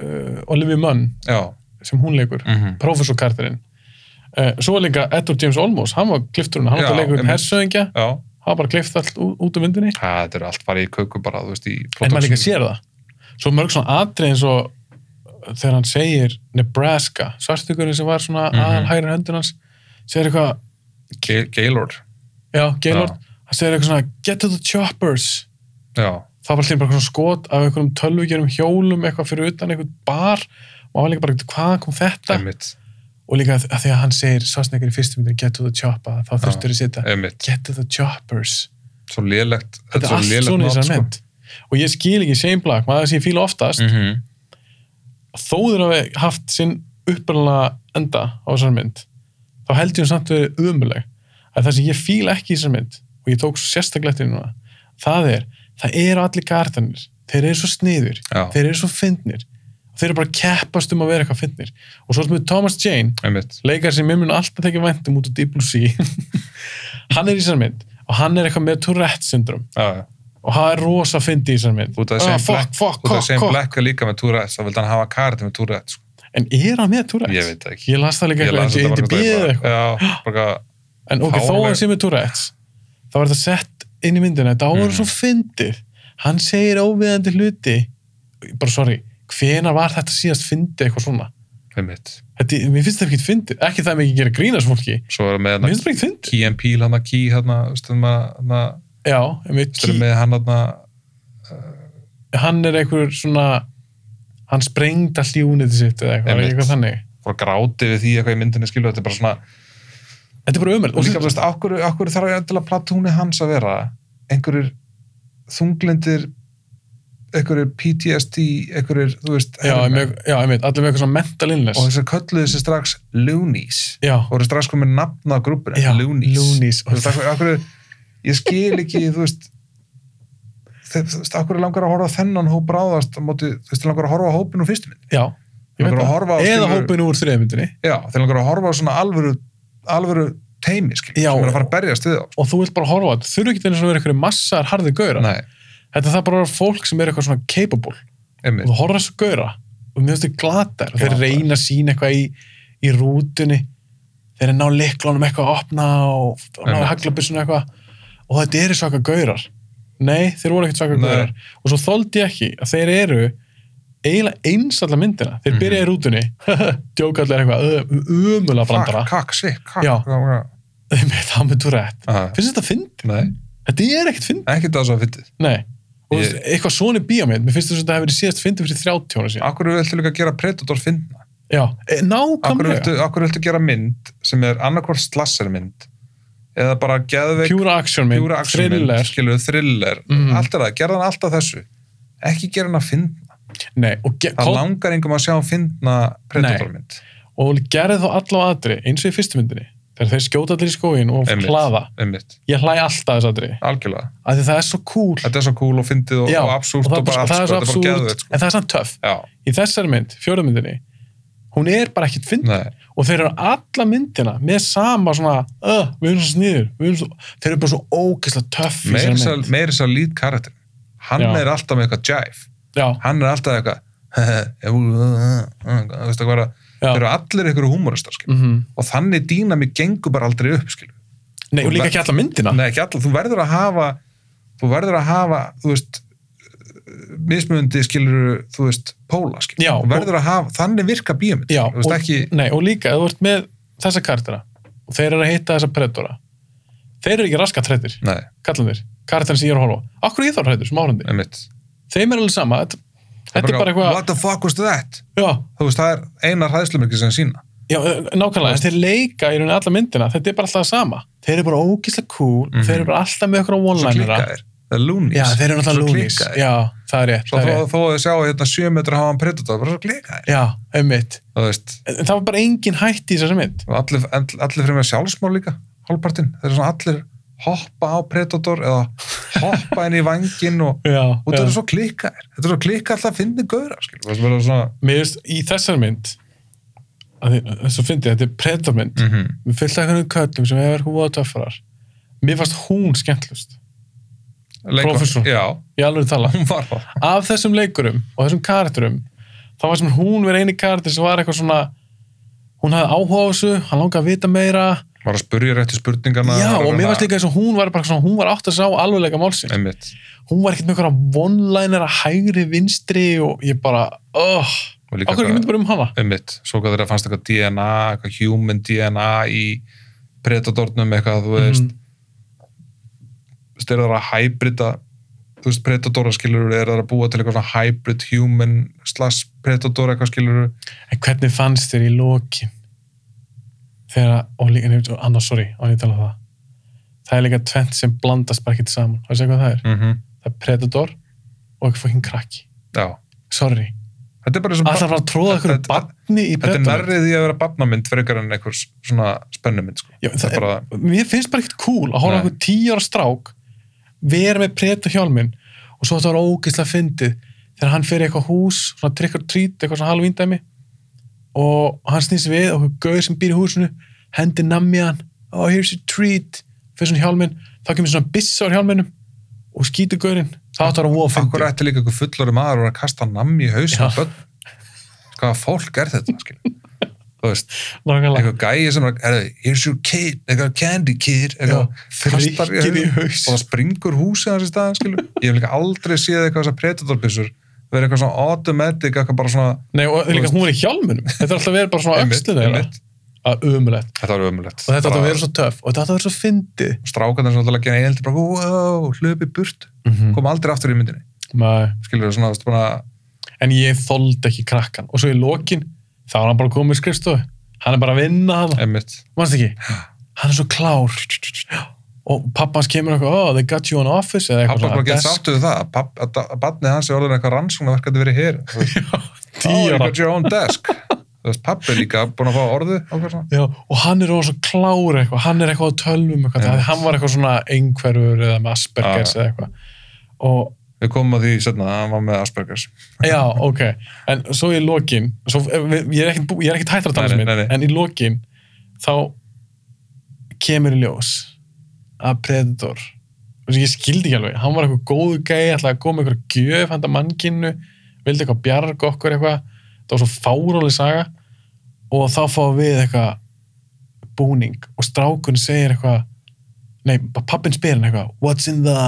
Speaker 1: uh, Olivia Munn
Speaker 2: Já.
Speaker 1: sem hún leikur
Speaker 2: mhm.
Speaker 1: prófessorkartirinn uh, svo er líka Edward James Olmos, hann var klifturinn hann
Speaker 2: Já,
Speaker 1: var að leika upp
Speaker 2: einmitt.
Speaker 1: hersöðingja
Speaker 2: Já.
Speaker 1: hann var bara klift allt ú- út úr myndinni
Speaker 2: Æ, Þetta eru allt farið í köku bara, þú veist, í
Speaker 1: en maður
Speaker 2: production.
Speaker 1: líka sér það svo mörg svona atrið eins og þegar hann segir Nebraska svartugurinn sem var svona mm
Speaker 2: Mhm.
Speaker 1: -hmm. aðal hægri höndun hans segir eitthvað,
Speaker 2: Ga- Gaylord
Speaker 1: já, Gaylord hann segir eitthvað svona, get to the choppers
Speaker 2: já,
Speaker 1: það var allir bara svona skot af einhverjum tölvugjörum hjólum eitthvað fyrir utan einhvern bar og hann var líka bara, hvaðan kom þetta
Speaker 2: einmitt,
Speaker 1: og líka að að því að hann segir svartugurinn í fyrstu myndinni, get to the choppa þá þurftur að sita,
Speaker 2: einmitt
Speaker 1: get to the choppers
Speaker 2: svo lélegt sko.
Speaker 1: þetta er allt svona í þessari mynd og ég skil ekki Shane Black, maður sem ég fíla oftast
Speaker 2: mm
Speaker 1: þó þurfa að hafa haft sinn upprannlega enda á þessari mynd þá held ég hún samt verið umuleg að það sem ég fíla ekki í þessari mynd og ég tók svo sérstaklega eftir því núna það er, það eru allir kartanir þeir eru svo sniður,
Speaker 2: já,
Speaker 1: þeir eru svo fyndnir þeir eru bara að keppast um að vera eitthvað fyndnir og svo sem við Thomas Jane
Speaker 2: einmitt
Speaker 1: leikar sem mér mun alltaf tekið væntum út á Deep Blue Sea hann er í þessari mynd og hann er eitthvað með Tourette syndrom
Speaker 2: já, já.
Speaker 1: og það er rosa fyndi í þessari mynd
Speaker 2: út af
Speaker 1: ah,
Speaker 2: þessi
Speaker 1: fuck,
Speaker 2: black,
Speaker 1: fuck,
Speaker 2: út af
Speaker 1: kokk,
Speaker 2: þessi
Speaker 1: kokk
Speaker 2: black er líka með Tourette þá vildi hann hafa karti með Tourette sko.
Speaker 1: en er hann með Tourette's?
Speaker 2: Ég veit það ekki.
Speaker 1: Ég las það líka
Speaker 2: Ég las
Speaker 1: eitthvað, ég
Speaker 2: þetta
Speaker 1: heiti
Speaker 2: bara
Speaker 1: bíð eða
Speaker 2: einhvern
Speaker 1: eitthvað.
Speaker 2: veginn bara- Já, bara
Speaker 1: En ok, þó
Speaker 2: Fáleg.
Speaker 1: hann sé með Tourette's, þá er þetta sett inn í myndina, þetta áverður
Speaker 2: Mhm.
Speaker 1: svo fyndið. Hann segir óviðandi hluti, bara sorry, hvenar var þetta síðast fyndið eitthvað svona?
Speaker 2: einmitt.
Speaker 1: Þetta, mér finnst þetta ekki fyndið, ekki það mikið gera grínast fólki,
Speaker 2: Svo er það með
Speaker 1: mér
Speaker 2: hana
Speaker 1: finnst þetta ekki fyndið.
Speaker 2: Key and Peele hana, Key hana, stundum að, hana,
Speaker 1: Já, einmitt,
Speaker 2: stundum með hann hana,
Speaker 1: hann er einhver svona, hann sprengd all í unitið sitt eða eitthvað,
Speaker 2: Einmitt.
Speaker 1: eitthvað þannig.
Speaker 2: fór að gráti við því eitthvað í myndinni skilu, þetta er bara svona,
Speaker 1: Þetta er bara umöld.
Speaker 2: og líka, þú veist, okkur, okkur þarf ég endilega platúni hans að vera, einhverjir þunglindir, einhverjir PTSD, einhverjir, þú veist,
Speaker 1: Já,
Speaker 2: herramenn.
Speaker 1: einmitt, já, einmitt, allir með eitthvað svona mental
Speaker 2: og
Speaker 1: illness.
Speaker 2: þess að kölluðu þessi strax Loonies,
Speaker 1: Já,
Speaker 2: og eru strax komið nafna á grúpinu,
Speaker 1: já,
Speaker 2: Loonies.
Speaker 1: Loonies.
Speaker 2: Þú veist, af hverju- af hverju, ég skil ekki, þú veist, þe- þú veist, akkur langar að horfa á þennan hóp ráðast á móti, þú veist, þeir langar að horfa á hópinu úr fyrstu mynd.
Speaker 1: Já, ég veit
Speaker 2: Langar að horfa á
Speaker 1: það. Eða
Speaker 2: skilur-
Speaker 1: hópin úr þriðmyndinni.
Speaker 2: Já, þeir langar að horfa á svona alvöru, alvöru teimi, skil,
Speaker 1: Já.
Speaker 2: sem er að fara að berjast við þá.
Speaker 1: og þú vilt bara horfa á þetta, þurfu ekki einu svona að vera einhverju massar harði gauðra,
Speaker 2: Nei,
Speaker 1: þetta þarf bara að vera fólk sem er eitthvað svona capable, og
Speaker 2: einmitt.
Speaker 1: þú horfður þessu gauðra og mér finnst þið glatar, og þeir
Speaker 2: Glataðir.
Speaker 1: reyna að sína eitthvað í, í rútunni þeir er að ná liklunum eitthvað að opna og, og ná
Speaker 2: Einmitt.
Speaker 1: haglabissinu eitthvað og þetta eru svaka gauðrar nei, þeir voru ekkert svaka
Speaker 2: Nei.
Speaker 1: gauðrar og svo þóldi ég ekki að þeir eru eiginlega eins allar myndina þeir
Speaker 2: Mhm.
Speaker 1: byrja í rútunni, djóka allir eitthvað umulega brandara,
Speaker 2: Kakk, kakk, sikk, kakk.
Speaker 1: Já.
Speaker 2: Já.
Speaker 1: þeim er það með túrætt
Speaker 2: Aha.
Speaker 1: finnst þetta fynd?
Speaker 2: Nei,
Speaker 1: Þetta er ekkert fynd
Speaker 2: ekkert það svo að fyndið.
Speaker 1: Nei, og
Speaker 2: Ég-
Speaker 1: ég... eitthvað svona í bíómynd, mér finnst þess að þetta hefur verið síðast fyndið fyrir 30 ára síðan.
Speaker 2: Akkur viltu líka gera Predator fyndna?
Speaker 1: Já, e,
Speaker 2: Akkur
Speaker 1: nákvæmlega,
Speaker 2: viltu, akkur viltu gera mynd sem er annarkvort slassermynd eða bara geðveik
Speaker 1: pjúra actionmynd,
Speaker 2: pjúra actionmynd,
Speaker 1: thriller,
Speaker 2: skilu, thriller
Speaker 1: Mhm.
Speaker 2: allt er það, gerða hann alltaf þessu ekki gera hann að finna
Speaker 1: nei, og, ge
Speaker 2: það
Speaker 1: kom,
Speaker 2: langar engum að sjá hann finna predatormynd
Speaker 1: og gerði þá alla á aðri, eins og í fyrstu myndinni, þegar þeir skjóta allir í skóin og
Speaker 2: Einmitt.
Speaker 1: hlaða.
Speaker 2: einmitt,
Speaker 1: Ég hlæ alltaf þess aðri,
Speaker 2: algjörlega,
Speaker 1: af því það er svo cool
Speaker 2: þetta er svo cool og fyndið og,
Speaker 1: Já,
Speaker 2: og absúrt og,
Speaker 1: það, er
Speaker 2: bara
Speaker 1: bara-
Speaker 2: allt
Speaker 1: það er svo
Speaker 2: sko, þetta er bara
Speaker 1: absúrt,
Speaker 2: geðveikt sko.
Speaker 1: en það er samt töff.
Speaker 2: já,
Speaker 1: Í þessari mynd, fjóra myndinni, hún er bara ekkit fyndið.
Speaker 2: nei,
Speaker 1: og þeir eru alla myndina með sama svona, uh, við erum svo sniður við erum svo, þeir eru bara svo ógeðslega töff í
Speaker 2: meiri
Speaker 1: þessari
Speaker 2: sér,
Speaker 1: mynd.
Speaker 2: meiri sér lít karakter hann
Speaker 1: Já.
Speaker 2: er alltaf með eitthvað jive
Speaker 1: Já,
Speaker 2: hann er alltaf eitthvað þú veist það hvað
Speaker 1: Já.
Speaker 2: þeir eru allir einhverju húmóristar mm.
Speaker 1: mhm
Speaker 2: og þannig dýna mig gengur bara aldrei upp skilu
Speaker 1: Nei, og líka ekki alla myndina.
Speaker 2: Nei, ekki allar, þú verður að hafa þú verður að hafa, þú veist mismunandi skilur þú veist, póla skilur,
Speaker 1: Já,
Speaker 2: þú verður að hafa þannig virka bíómynd,
Speaker 1: Já,
Speaker 2: skilurðu, þú veist
Speaker 1: og,
Speaker 2: ekki
Speaker 1: nei, og líka, ef þú ert með þessa kartera og þeir eru að hitta þessa predora þeir eru ekki raskat hrættir,
Speaker 2: nei,
Speaker 1: kallandir kartera sem ég er að horfa. á. Akkur er ég þá hrættur sem áhrandi?
Speaker 2: einmitt
Speaker 1: Þeim er alveg sama, þetta, þetta er bara eitthvað
Speaker 2: what the fuck was that?
Speaker 1: já,
Speaker 2: þú veist, það er eina hræðslumerki sem sína
Speaker 1: já, nákvæmlega, en þeir leika í rauninni alla myndina, þetta er bara alltaf það sama þeir eru bara ógislega cool,
Speaker 2: Mhm.
Speaker 1: þeir eru bara alltaf með okkur á
Speaker 2: svo
Speaker 1: one-linera
Speaker 2: klikkaðir, það er loonies
Speaker 1: Já, þeir eru alltaf
Speaker 2: Svo
Speaker 1: lúnis
Speaker 2: klikka þeir.
Speaker 1: Já, það er rétt,
Speaker 2: svo
Speaker 1: það er
Speaker 2: þó,
Speaker 1: rétt.
Speaker 2: þó að þið sjá hérna 7 metra hafa hann predator, bara svo klikkaðir
Speaker 1: Já, einmitt
Speaker 2: þú veist,
Speaker 1: En en það var bara engin hætti í þessari mynd
Speaker 2: og allir, allir fremja sjálfsmál líka hálfpartinn, þeir eru svona allir hoppa á predator eða hoppa inn í vangin og
Speaker 1: Já,
Speaker 2: og þetta eru svo klikkaðir þetta eru svo klikka alltaf að finna gauðra mm
Speaker 1: Mér veist, í þessar mynd að því- að svo fyndi ég, þetta er predarmynd mm.
Speaker 2: -hmm.
Speaker 1: við fyllt að hvernig köllum sem hefur eitthvað voða töffarar mér fannst hún skemmtlust Prófessor.
Speaker 2: já,
Speaker 1: ég alveg tala,
Speaker 2: hún var það
Speaker 1: af þessum leikurum og þessum karakterum, þá var sem hún verið eini karakter sem var eitthvað svona hún hafði áhuga á þessu, hann langaði að vita meira
Speaker 2: var að spurja réttu spurningarna
Speaker 1: já,
Speaker 2: var
Speaker 1: og mér
Speaker 2: að reyna-
Speaker 1: fannst líka eins og hún var bara svona, hún var átt að sá alveglega málsins,
Speaker 2: einmitt,
Speaker 1: hún var ekkert með einhverja vonlænir að hægri vinstri og ég bara, oh,
Speaker 2: Og líka
Speaker 1: okkur ekki
Speaker 2: hvað-
Speaker 1: mynd bara um hana
Speaker 2: einmitt, svo hvað þeirra fannst eitthvað DNA eitthvað human DNA í predatornum eitthvað, þú veist
Speaker 1: Mhm.
Speaker 2: mm. styrðar að hybrida þú veist, predatora skilur er það að búa til eitthvað svona hybrid human slash predator eitthvað skilur
Speaker 1: En hvernig fannst þér í lokin? Þegar, og líka, nefnt, annars, sorry, á ég að tala um það. Það er líka tvent sem blandast bara ekkert saman. Það er segja hvað það er.
Speaker 2: mm
Speaker 1: Það er Predator og eitthvað fokkin krakki.
Speaker 2: já,
Speaker 1: Sorry.
Speaker 2: þetta er bara eins og
Speaker 1: Alltaf bara að tróða
Speaker 2: Þetta-
Speaker 1: eitthvað barni í
Speaker 2: þetta er
Speaker 1: Predator.
Speaker 2: nærrið í að vera barnamynd frekar en einhvers svona spennumynd sko.
Speaker 1: Já,
Speaker 2: það
Speaker 1: það
Speaker 2: er bara
Speaker 1: Mér finnst bara ekkert cool að horfa
Speaker 2: Nei.
Speaker 1: okkur tíu ára strák vera með Predator hjálminn og svo þetta var ógeðslega fyndið þegar hann fer í eitthvað hús, svona trick or treat, eitthvað svona halvíndæmi og hann snýst við og gauður sem býr í húsinu hendi nammi hann oh here's your treat fyrir svona hjálminn þá kemur svona bissa á hjálminnum og skýtur gaurinn þá áttu að vera hún að
Speaker 2: Akkur
Speaker 1: fyndi
Speaker 2: ætti líka einhver fullari maður að vera að kasta nammi í hausum
Speaker 1: Já.
Speaker 2: á börn hvaða fólk er þetta skilur? þú veist,
Speaker 1: nákvæmlega
Speaker 2: einhver gæi sem er, herðu, here's your kid, eitthvað candy kid eitthvað, kastar í
Speaker 1: fríkir í
Speaker 2: höfðinu
Speaker 1: haus.
Speaker 2: og það springur húsið hans í staðan skilur. ég hef líka aldrei séð eitthvað þessar predatorbissur verið eitthvað svona automatic eitthvað bara svona,
Speaker 1: Nei, og
Speaker 2: Þú
Speaker 1: líka
Speaker 2: veist-
Speaker 1: hún er í hjálmunum. Þetta er alltaf verið bara svona
Speaker 2: einmitt,
Speaker 1: öxlið þeirra.
Speaker 2: einmitt.
Speaker 1: Að umulett.
Speaker 2: þetta var ömulegt
Speaker 1: Og þetta átti að vera svo töff. Og þetta átti að vera svo fyndið.
Speaker 2: strákarnir sem náttúrulega gera einhelti bara wow, hlupi burt,
Speaker 1: Mm.
Speaker 2: kom aldrei aftur í myndinni
Speaker 1: Nei.
Speaker 2: skilur þú svona, þú veist, bara
Speaker 1: En ég þoldi ekki krakkan. Og svo í lokin, þá er hann bara komið í skrifstofu. Hann er bara að vinna það.
Speaker 2: emmitt
Speaker 1: Manst ekki? Hann er svo klár. Og pappans kemur eitthvað, oh, they got you on office. Eða eitthvað
Speaker 2: pappa er bara að geta
Speaker 1: desk.
Speaker 2: sáttu við það papp- að da- að barnið hans er orðin eitthvað rannsóknarverkandi verið hér Þú veist, oh,
Speaker 1: Tíu
Speaker 2: you
Speaker 1: ára.
Speaker 2: got your own desk Þú veist, pappi er líka búin að fá orðu á hvað svona.
Speaker 1: Já, og hann er orðinn svo klár eitthvað, hann er eitthvað á tölvum eitthvað,
Speaker 2: Já.
Speaker 1: yeah. hann var eitthvað svona einhverfur eða með Aspergers
Speaker 2: Já.
Speaker 1: eða eitthvað. Og
Speaker 2: við komum að því setna að hann var með Aspergers
Speaker 1: Já, ok. En svo í lokin, svo, eh, við- ég er ekkert bú- ég er ekkert hættur að tala
Speaker 2: Nei,
Speaker 1: sem
Speaker 2: nei, nei,
Speaker 1: minn,
Speaker 2: nei.
Speaker 1: en í lokin þá kemur í ljós að Predator, þú veist, ég skildi ekki alveg, hann var eitthvað góðu gæi, ætlaði að koma eitthvað gjöf handa mannkinu, vildi eitthvað bjarga okkur eitthvað, það var svo fáráleg saga og þá fá við eitthvað búning og strákun segir eitthvað, nei, pappin spyr hann eitthvað, what's in the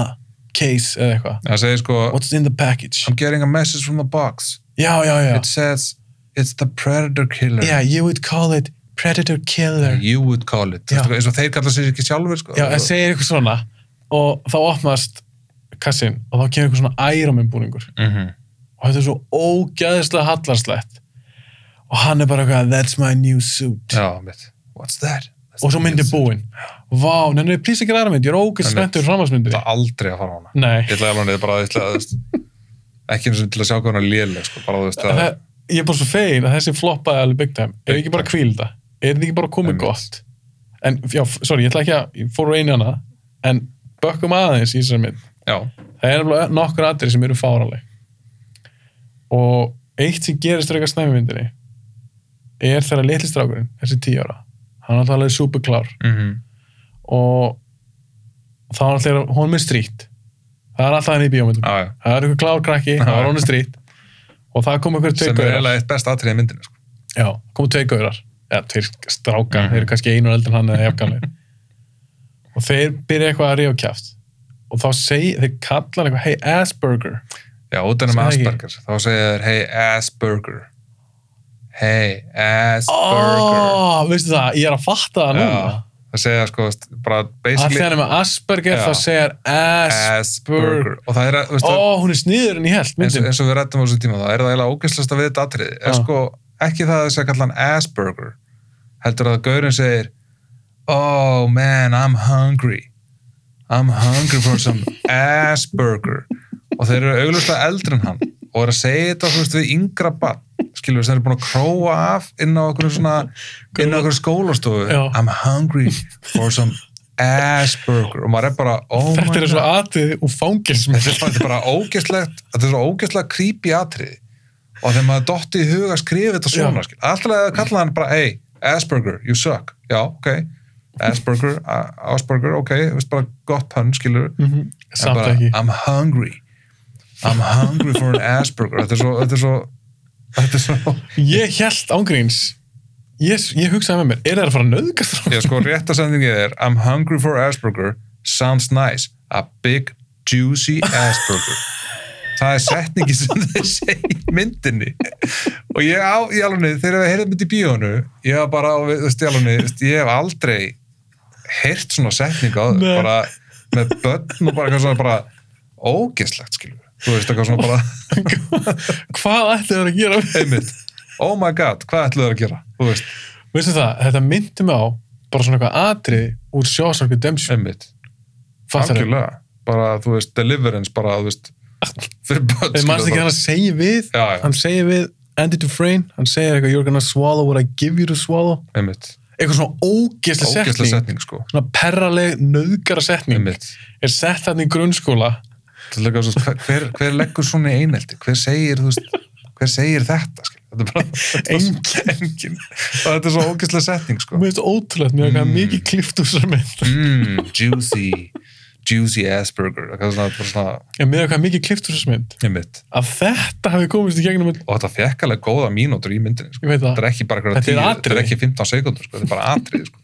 Speaker 1: case eða eitthvað,
Speaker 2: það segir sko
Speaker 1: what's in the package.
Speaker 2: I'm getting a message from the box
Speaker 1: Já, já, já.
Speaker 2: it says it's the predator killer
Speaker 1: Yeah, you would call it predator killer.
Speaker 2: you would call it
Speaker 1: Já.
Speaker 2: Þú veist, eins og þeir kalla sér ekki sjálfur sko.
Speaker 1: Já, en segir eitthvað svona og þá opnast kassin og þá kemur eitthvað svona æramin búningur
Speaker 2: Mhm.
Speaker 1: og þetta er svo ógæðislega hallarslegt og hann er bara eitthvað that's my new suit
Speaker 2: Já, mitt. What's that?
Speaker 1: og svo myndi búinn. Vá, nefnir ég plýsa ekki aðra mynd, ég er ógæðislega
Speaker 2: Einmitt.
Speaker 1: spenntur framhansmyndinni.
Speaker 2: Það er aldrei að fara á hana.
Speaker 1: Nei,
Speaker 2: Ég ætla að hana, ég bara, ég ætla að, þú veist, ekki eins og til að sjá hvað hana er léleg, sko, bara þú veist að...
Speaker 1: það, ég er bara svo fegin að þessi floppaði alveg big time. Er ekki bara kvílda? Er þetta ekki bara komið
Speaker 2: Einmitt.
Speaker 1: gott? En, já, sorry, ég ætla ekki að, ég fór á einu hana, en bökkum aðeins í þessari mynd.
Speaker 2: Já,
Speaker 1: það er alveg nokkur aðri sem eru fáraleg og eitt sem gerist frekar snemma í myndinni er þegar litli strákurinn, þessi tíu ára hann er alveg superklár
Speaker 2: mm
Speaker 1: og þá er alltaf hún með strýtt það er alltaf hann í bíómyndum
Speaker 2: já, já.
Speaker 1: það er einhver klár krakki, það er hún strýtt og það kom einhver tveir
Speaker 2: Sem er
Speaker 1: gaurar
Speaker 2: eiginlega eitt best atrið í myndinu, sko.
Speaker 1: já, komu tveir gaurar eða tveir strákar,
Speaker 2: Mhm.
Speaker 1: þeir eru kannski einu eldur hann eða jafnganir og þeir byrja eitthvað að ríða á kjæft og þá segir, þeir kallar eitthvað hey Asperger
Speaker 2: Já, út ennum
Speaker 1: Sem er ekki.
Speaker 2: Asperger. Þá segja þeir, hey, Asperger. Hey, Asperger.
Speaker 1: Oh, veistu það, ég er að fatta það núna
Speaker 2: Já, það segja, sko, þú veist, bara
Speaker 1: að þegar
Speaker 2: basically
Speaker 1: hann er með Asperger
Speaker 2: Já.
Speaker 1: þá segir Asperger
Speaker 2: Asperger. Og það er, að, þú veist,
Speaker 1: Ó,
Speaker 2: það-
Speaker 1: hún er sniður en ég held
Speaker 2: eins,
Speaker 1: myndin
Speaker 2: eins og við rættum á þessum tíma, það er það eiginlega ógeðslasta við þetta atriði.
Speaker 1: Já.
Speaker 2: Er sko, ekki það að þess að kalla hann Asperger, heldur að gaurinn segir, oh man, I'm hungry. I'm hungry for some Asperger. Og þeir eru auglustlega eldri en hann og er að segja þetta, þú veist, við yngra barn, skilur við, sem eru búin að króa af inn á okkur svona, inn á okkur skólastofu.
Speaker 1: Já.
Speaker 2: I'm hungry for some Asperger. Og maður er bara, oh my
Speaker 1: Þetta er
Speaker 2: god
Speaker 1: svo atrið og fangilsmynd
Speaker 2: þetta er bara, þetta er bara ógeðslegt þetta er svo ógeðslega creepy atriði og þegar maður dotti í huga að skrifa þetta svona
Speaker 1: Já.
Speaker 2: skil. alltaf að kalla hann bara hey, Asperger, you suck, já, ok Asperger, A- Asperger, ok þú veist bara gott pönn, skilur
Speaker 1: Mhm. Samt
Speaker 2: bara,
Speaker 1: ekki
Speaker 2: I'm hungry I'm hungry for an Asperger þetta er svo þetta er svo, þetta er svo
Speaker 1: Ég held ángríns ég, ég hugsaði með mér, er það að fara að nöðga
Speaker 2: já, sko, réttasendingið er I'm hungry for Asperger, sounds nice a big juicy Asperger það er setningi sem þeir segja í myndinni og ég á, ég alveg, niður, þegar við heyrðum þetta í bíónu, ég var bara á, við- þú veist, ég alveg niður, þú veist, ég hef aldrei heyrt svona setning á þau,
Speaker 1: Nei.
Speaker 2: bara með börn og bara eitthvað svona bara ógeslegt, skiljum þú veist, eitthvað svona bara,
Speaker 1: Hvað ætti það að gera
Speaker 2: einmitt oh my god, hvað ætluðu þeir að gera, þú veist
Speaker 1: Veistu það, þetta myndi mig á bara svona eitthvað atrið úr Shawshank Redemption
Speaker 2: einmitt
Speaker 1: Fattar þau?
Speaker 2: algjörlega, bara þú veist deliverance, bara þú veist fyrir börn,
Speaker 1: Þeir mannst ekki hann að segja við
Speaker 2: Já, já.
Speaker 1: hann segir við Andy Dufresne hann segir eitthvað you're gonna swallow what I give you to swallow
Speaker 2: einmitt,
Speaker 1: eitthvað svona ógeðslega
Speaker 2: ógæsla
Speaker 1: setning,
Speaker 2: setning sko,
Speaker 1: svona perraleg nöðgara setning
Speaker 2: einmitt
Speaker 1: er sett þarna í grunnskóla
Speaker 2: Þetta er líka svo, hver- hver, hver leggur svona í einelti hver segir, þú veist, hver segir þetta skil? þetta er bara þetta er svo- engin. og þetta er svo ógæsla setning sko
Speaker 1: mér finnst ótrúlegt, mér finnst
Speaker 2: Mm.
Speaker 1: mikið klift úr þessar mynd
Speaker 2: mm, juicy juicy ass burger eitthvað svona, bara svona,
Speaker 1: en með eitthvað mikið kliftur þessu mynd
Speaker 2: ég mitt
Speaker 1: að þetta hafi komist í gegnum öll-
Speaker 2: og þetta fekk alveg góða mínútur í myndinni sko.
Speaker 1: ég veit
Speaker 2: þetta
Speaker 1: það,
Speaker 2: er ekki bara einhverja
Speaker 1: Þetta er
Speaker 2: tíu, þetta er
Speaker 1: atriði.
Speaker 2: ekki 15 sekundur sko. þetta er bara atrið sko.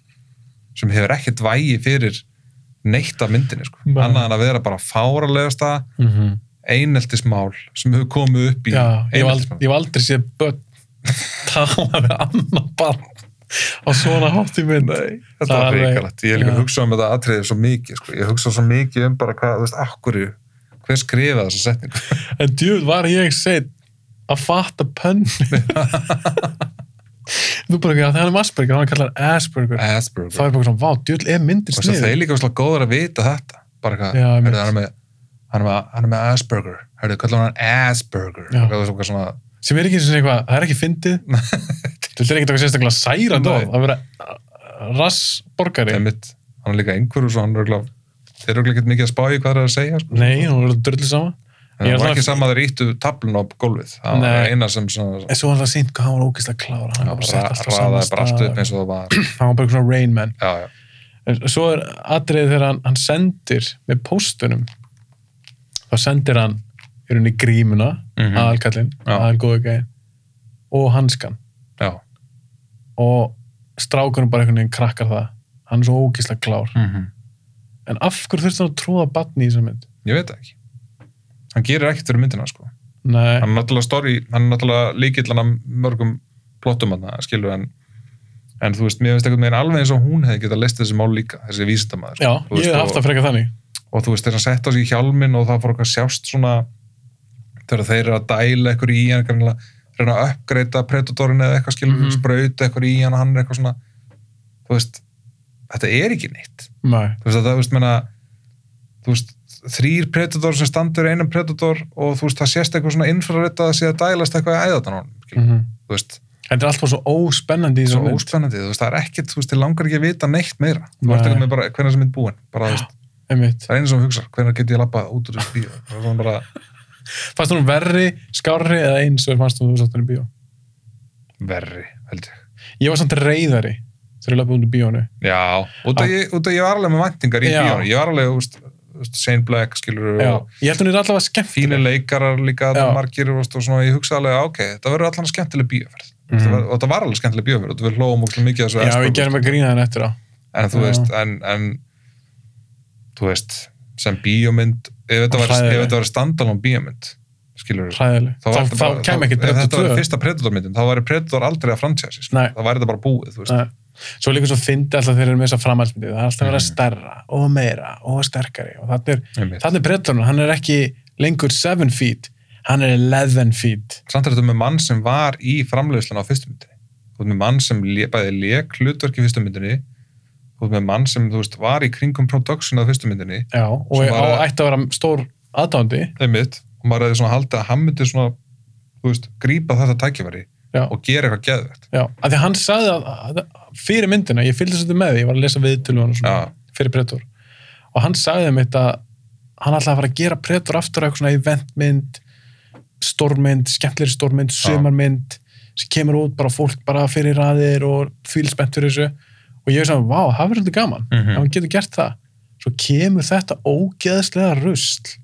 Speaker 2: sem hefur ekkert vægi fyrir neitt af myndinni sko.
Speaker 1: Nei.
Speaker 2: annað en að vera bara fáralegasta
Speaker 1: mm -hmm.
Speaker 2: eineltismál sem hefur komið upp í
Speaker 1: já, ég hef aldrei,
Speaker 2: eineltismál.
Speaker 1: ég hef aldrei séð börn tala við annan barn á svona hátt í mynd Nei,
Speaker 2: þetta var hrikalegt, ég hef líka
Speaker 1: Já.
Speaker 2: hugsað um þetta atriðið svo mikið, sko. ég hugsað svo mikið um bara hvað, þú veist, akkur hver skrifaði þessa setningu
Speaker 1: en djúð var ég seitt að fatta pönni þú bara ekki að það er um Asperger hann kallar Asperger þá
Speaker 2: Asperger,
Speaker 1: er bara svona, vá, djúð er myndir
Speaker 2: og þess að
Speaker 1: snið
Speaker 2: þeir líka var góður að vita þetta, bara hvað
Speaker 1: Já,
Speaker 2: heyrðu,
Speaker 1: einmitt.
Speaker 2: hann, er með- hann, er með- hann er með Asperger hörðu, kallar hann Asperger
Speaker 1: Já.
Speaker 2: og hvað þú veist, eitthvað svona
Speaker 1: sem er ekki eins og eitthvað, það er ekki fyndið þú er ekki eitthvað sérstaklega særandi
Speaker 2: Nei.
Speaker 1: orð, að vera rassborgari
Speaker 2: Það er mitt, hann er líka einhverjum svo hann er örugglega- þeir eru örugglega ekkert mikið að spá í hvað það er að segja sko.
Speaker 1: nei, hún er dörðlega sama
Speaker 2: en
Speaker 1: Ég er
Speaker 2: það var
Speaker 1: það-
Speaker 2: ekki saman að þeir íttu tablun á gólfið það var
Speaker 1: Nei.
Speaker 2: eina sem svona
Speaker 1: en svo var það sínt hvað hann var ógeðslega klára hann var bara sett alltaf á sama
Speaker 2: raðaði bara allt upp
Speaker 1: stað
Speaker 2: eins og það var
Speaker 1: hann var bara svona Rain Man
Speaker 2: já, já,
Speaker 1: en svo er atriðið þegar hann, hann sendir með póstunum þá sendir hann í rauninni grímuna
Speaker 2: Mhm.
Speaker 1: aðalkallinn,
Speaker 2: Já.
Speaker 1: aðalgóðu gæðin og hanskan
Speaker 2: já.
Speaker 1: og strákunum bara einhvern veginn krakkar það hann er svo ógeðslega klár en af hverju þurfti hann að tróða batni í þessum mynd?
Speaker 2: ég veit það ekki hann gerir ekkert fyrir myndina sko.
Speaker 1: Nei,
Speaker 2: hann er náttúrulega story, hann er náttúrulega líkillana mörgum plottum hann skilur en en þú veist, mér finnst einhvern veginn alveg eins og hún hefði getað leist þessi mál líka, þessi vísindamæður
Speaker 1: já, ég hef haft það frekar þannig
Speaker 2: og þú veist þegar hann sett á sig í hjálmin og það fór okkar sjást svona þegar þeir eru að dæla eitthvað í hann greinlega, reyna að uppgreita predatorin eða eitthvað skilur, mm
Speaker 1: Mhm.
Speaker 2: sprauta eitthvað í hann og hann er eitthvað svona þú veist, þetta er ekki neitt
Speaker 1: Nei,
Speaker 2: þú veist að það, þú veist, menna þú veist, þrýr predator sem standur í einum predator og þú veist, það sést eitthvað svona infrarödd að það sé að dælast eitthvað í æðatan á hann,
Speaker 1: mm
Speaker 2: þú veist,
Speaker 1: þetta er alltaf svo óspennandi í
Speaker 2: svo
Speaker 1: þessum mynd
Speaker 2: óspennandi þú veist, það er ekkit, þú veist, þið langar ekki að vita neitt meira, þú
Speaker 1: Nei.
Speaker 2: veist, eitthvað með bara hvernig sem mynd búin bara, þú veist,
Speaker 1: einmitt.
Speaker 2: það er einu sem hún hugsa, hvernig get ég labbað út úr þessu bíó það er svona bara,
Speaker 1: Fannst hún verri, skárri eða eins og fannst hún þú sátt hann í bíó?
Speaker 2: verri, held ég
Speaker 1: Ég var samt reyðari þegar ég löpum út í bíónu
Speaker 2: já, út
Speaker 1: Ah.
Speaker 2: af ég, út af ég var alveg með væntingar í
Speaker 1: Já.
Speaker 2: bíónu, ég var alveg úst, úst, Shane Black, skilur
Speaker 1: Já,
Speaker 2: og
Speaker 1: ég held hún er allavega skemmtileg
Speaker 2: fínir leikarar líka
Speaker 1: Já.
Speaker 2: þarna margir úst, og svona, ég hugsa alveg, ok, það verður allan skemmtileg bíóferð
Speaker 1: Mhm.
Speaker 2: mm. og það var alveg skemmtileg bíóferð og við hlóum úrslega mikið að þessu
Speaker 1: Já,
Speaker 2: Asperger,
Speaker 1: ég gerði mig að grína henni eftir á
Speaker 2: en þú
Speaker 1: Já.
Speaker 2: veist, en, en þú veist, sem bíómynd ef þetta var,
Speaker 1: Hræðileg.
Speaker 2: ef þetta var standalón bíómynd skilur
Speaker 1: Hræðileg, þá,
Speaker 2: þá, var
Speaker 1: þá,
Speaker 2: þetta bara-
Speaker 1: kem
Speaker 2: þá-
Speaker 1: ekki
Speaker 2: ef
Speaker 1: breytta
Speaker 2: þetta
Speaker 1: tvö
Speaker 2: var fyrsta Predator myndin, þá væri Predator aldrei að franchise sko.
Speaker 1: Nei.
Speaker 2: það væri þetta bara búið þú veist.
Speaker 1: Nei. Svo líka svo fyndi alltaf þeir eru með þessa framhaldsmyndi það er alltaf að
Speaker 2: Mm.
Speaker 1: vera stærra og meira og sterkari og þannig er,
Speaker 2: Einmitt.
Speaker 1: þannig er brettunum, hann er ekki lengur 7 feet, hann er 11 feet
Speaker 2: samt er þetta með mann sem var í framleiðslan á fyrstu myndinni þú veist með mann sem le, bæði leik hlutverk í fyrstu myndinni þú veist með mann sem þú veist var í kringum production á fyrstu myndinni
Speaker 1: Já, og
Speaker 2: Sem
Speaker 1: er,
Speaker 2: var
Speaker 1: á,
Speaker 2: að-
Speaker 1: ætti að vera stór aðdándi
Speaker 2: einmitt og maður hefði svona haldið að hann myndi svona þú veist grípa þetta tækifæri
Speaker 1: Já.
Speaker 2: og gera eitthvað geðvegt
Speaker 1: Já, af því að hann sagði að, að, að fyrir myndina, ég fylgdi svolítið með því, ég var að lesa viðtölu hann og svona,
Speaker 2: Já.
Speaker 1: fyrir Predator og hann sagði um þetta hann ætlaði að fara að gera Predator aftur að eitthvað svona eventmynd stórmynd, skemmtleri stórmynd, sumarmynd sem kemur út bara fólk bara fyrir raðir og fylspennt fyrir þessu og ég er svona, vá, það verður svolítið gaman
Speaker 2: Mhm.
Speaker 1: ef hann getur gert það, svo kemur þetta ógeðslega rusl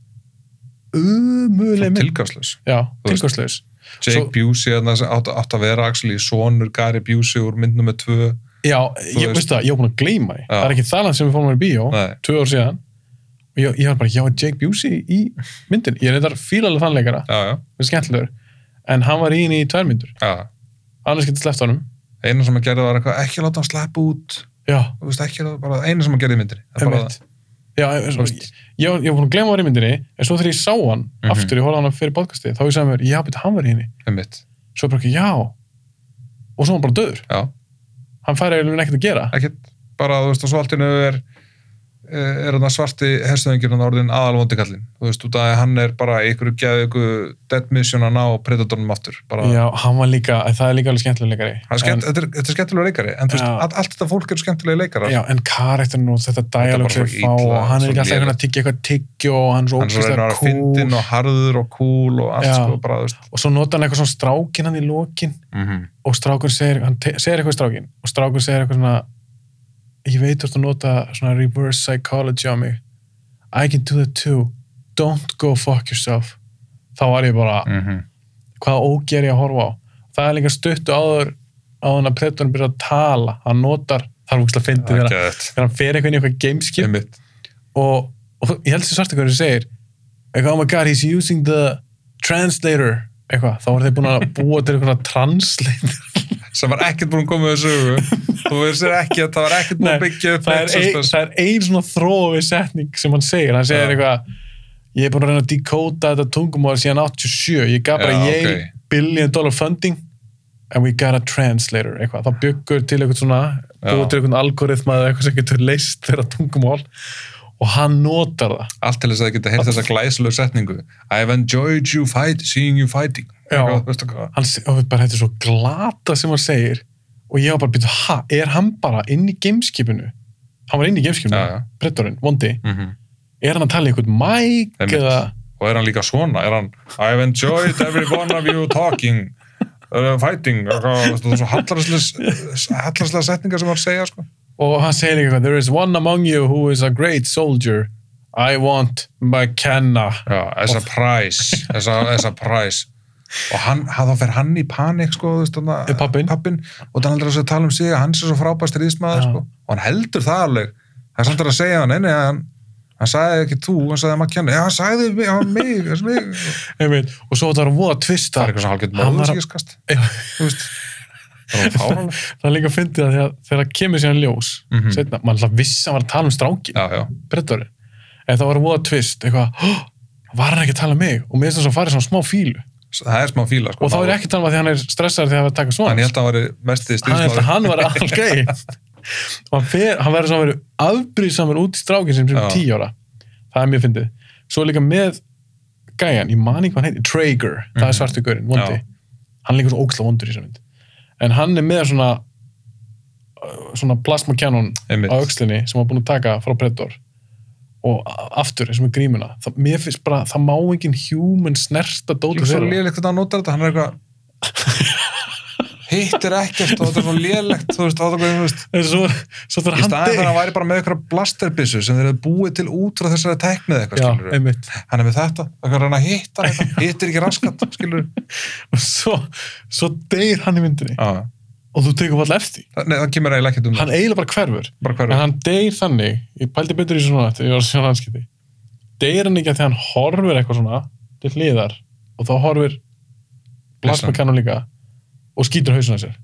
Speaker 1: umuleg mynd
Speaker 2: tilgafslaus
Speaker 1: Já,
Speaker 2: Þú veist.
Speaker 1: tilgangslaus
Speaker 2: Jake
Speaker 1: Svo-
Speaker 2: Busey þarna sem átt, átt að vera actually sonur Gary Busey úr mynd nummer 2
Speaker 1: Já, ég
Speaker 2: veist.
Speaker 1: veist það, ég var búin að gleyma því
Speaker 2: Já.
Speaker 1: það er ekki þalan sem við fórum að vera í bíó
Speaker 2: Nei.
Speaker 1: tvö ár síðan og ég, ég var bara, já, Jake Busey í myndin ég er reyndar fílalega þannleikara,
Speaker 2: já, já,
Speaker 1: það er skemmtilegur en hann var í henni í tvær myndur,
Speaker 2: já.
Speaker 1: annars getur sleppt honum
Speaker 2: eina sem að gera var eitthvað ekki láta hann sleppa út
Speaker 1: já,
Speaker 2: þú veist ekki láta, bara eina sem að gera í myndinni Það er bara-
Speaker 1: einmitt já, ég,
Speaker 2: Þú veist.
Speaker 1: ég, ég var búin að gleyma að vera í myndinni en svo þegar ég sá hann,
Speaker 2: Mhm.
Speaker 1: aftur ég horfði á hann fyrir podcasti, þá ég sagði mér, já, betur hann var í henni
Speaker 2: einmitt,
Speaker 1: svo bara ekki, já og svo var hann bara döður,
Speaker 2: já,
Speaker 1: hann færi ekkert að gera
Speaker 2: ekkert bara, þú veist, og svo allt innu er eh, er hann svarti herstöðingir hann orðin aðalvondi kallinn, þú veist, út af að hann er bara í einhverju geðu ykkur dead mission að ná predatornum aftur, bara
Speaker 1: já, hann var líka, það er líka alveg skemmtilegur
Speaker 2: hann er skemmt, þetta, er, þetta er skemmtilega leikari en þú veist,
Speaker 1: Já.
Speaker 2: all, allt þetta fólk eru skemmtilega leikarar
Speaker 1: Já, en karakterin og þetta
Speaker 2: bara
Speaker 1: dialog sem
Speaker 2: svo
Speaker 1: við fá
Speaker 2: illa,
Speaker 1: og hann er
Speaker 2: svo
Speaker 1: ekki alltaf einhvern
Speaker 2: lélegt.
Speaker 1: að tyggja eitthvað tyggju og hann er svo
Speaker 2: hann er svo reynar
Speaker 1: ógæslega
Speaker 2: að
Speaker 1: cool
Speaker 2: fyndin og harður og cool og allt
Speaker 1: Já.
Speaker 2: sko, bara, þú veist
Speaker 1: og svo nota hann eitthvað svona strákin hann í lokin
Speaker 2: mm -hmm.
Speaker 1: og strákur segir, hann te- segir eitthvað í strákin og strákur segir eitthvað svona ég veit hvort að nota svona reverse psychology á mig I can do that too don't go fuck yourself þá var ég bara,
Speaker 2: mm -hmm.
Speaker 1: hvaða óger ég að horfa á það er líka stuttu áður á hann að Predatorn byrja að tala hann notar, það er fúkslega fyndið þegar hann-
Speaker 2: þetta
Speaker 1: þegar hann fer einhvern í eitthvað gameskip og, og ég held sér svart eitthvað segir eitthvað, oh my god, he's using the translator eitthvað, þá voru þeir búin að búa til eitthvað translator
Speaker 2: sem var ekkert búin að koma með sögu þú veist ekki að það var ekkert búin
Speaker 1: Nei,
Speaker 2: að byggja upp
Speaker 1: það er,
Speaker 2: neitt
Speaker 1: ein,
Speaker 2: suspense.
Speaker 1: það er ein svona þrófi setning sem hann segir, hann segir
Speaker 2: Já.
Speaker 1: eitthvað ég er búin að reyna að dekóta þetta tungumóður síðan 87, ég gaf bara
Speaker 2: Já,
Speaker 1: yay
Speaker 2: ok.
Speaker 1: billion dollar funding and we got a translator, eitthvað, þá byggur til eitthvað svona, búið
Speaker 2: Já.
Speaker 1: til eitthvað algoritma eða eitthvað sem getur leist þeirra tungumól og hann notar það
Speaker 2: allt til þess að það geta heyrt þessa glæsilegu setningu I've enjoyed you fight, seeing you fighting
Speaker 1: Já.
Speaker 2: Eitthvað, veistu hvað?
Speaker 1: hann, se- og bara þetta er svo glata sem hann segir og ég var bara að byrja, ha, er hann bara inn í gameskipinu hann var inn í
Speaker 2: Já, já.
Speaker 1: gameskipinu, brettorinn, vondi
Speaker 2: Mhm.
Speaker 1: er hann að tala í eitthvað mæk
Speaker 2: Einmitt.
Speaker 1: eða
Speaker 2: og er hann líka svona er hann, I've enjoyed every one of you talking uh, fighting eitthvað, veistu, það er svo hallarslega hallarslega setningar sem hann segja sko.
Speaker 1: og hann segir líka eitthvað there is one among you who is a great soldier I want McKenna
Speaker 2: Já, as a prize as a, as a prize og hann, hann, þá fer hann í panik sko, þú veist, þarna-
Speaker 1: Er pabbinn?
Speaker 2: pabbinn, og þannig heldur að segja tala um sig að hann sé svo frábæst ríðsmaður
Speaker 1: Já.
Speaker 2: sko. og hann heldur það alveg það er samt að segja hann, neini, hann hann sagði ekki þú, hann sagði maður kjanna já, hann sagði mig, hann mig, hann mig
Speaker 1: Einmitt. og svo þetta var voða
Speaker 2: það
Speaker 1: tvista
Speaker 2: er eitthvað sem hálfgett
Speaker 1: Hann var-
Speaker 2: móður skýrskast þú veist það er fáraleg
Speaker 1: það er líka að fyndi það þegar, þegar það kemur síðan ljós mm
Speaker 2: Mhm.
Speaker 1: setna, maður alltaf vissi að hann var að tala um strákin
Speaker 2: já, já
Speaker 1: brettari, en það var voða tvist eitthvað, "Hó, var hann ekki að tala um mig og mér finnst það svo farið svona smá fílu
Speaker 2: það er smá fíla sko,
Speaker 1: og þá er ég ekki að tala um að því hann er stressaður því að vera að taka
Speaker 2: hann
Speaker 1: svona
Speaker 2: ég held að hann væri mesti
Speaker 1: hann held að
Speaker 2: stýrsmaður
Speaker 1: hann var allgæi og hann, fer, hann verður svona verið afbrýðsamur út í strákin sem sem
Speaker 2: Já.
Speaker 1: tíu ára það er mjög fyndið svo líka með gæjan, ég man ekki hvað hann heitir Traeger, það er svartu gaurinn, vondi
Speaker 2: Já.
Speaker 1: hann líka svo óksla vondur í þessum mynd en hann er með svona uh, svona plasma cannon
Speaker 2: Einmitt.
Speaker 1: á aukslinni sem hann er búin að taka frá Predator og a- aftur eins og með grímuna það, mér finnst bara, það má engin human snerta dóta
Speaker 2: líka svo
Speaker 1: þeirra
Speaker 2: lélegt hvernig hann notar þetta hann er eitthvað hittir ekkert og þetta er svo lélegt þú veist, átta hvað þú veist
Speaker 1: En svo, svo þarf
Speaker 2: í
Speaker 1: hann
Speaker 2: staðan þegar
Speaker 1: deyr
Speaker 2: hann væri bara með eitthvað blasterbissu sem þeir eru búið til út frá þessari tæknið eitthvað
Speaker 1: Já,
Speaker 2: skilur
Speaker 1: einmitt.
Speaker 2: hann er með þetta, það er hann að hitta hann eitthvað, hittir ekki raskat skilur
Speaker 1: og svo, svo deyr hann í myndinni
Speaker 2: nei,
Speaker 1: og þú tekur alltaf eftir því.
Speaker 2: það kemur eiginlega ekkert um
Speaker 1: hann eiginlega bara hverfur
Speaker 2: bara
Speaker 1: Mm. en
Speaker 2: hverju,
Speaker 1: hann deyr þannig, ég pældi betur í svona þegar ég var að sjá hanskiti deyr hann ekki að því hann horfir eitthvað svona til hliðar og þá horfir
Speaker 2: Byssan.
Speaker 1: plasmakanum líka og skýtur hausuna sér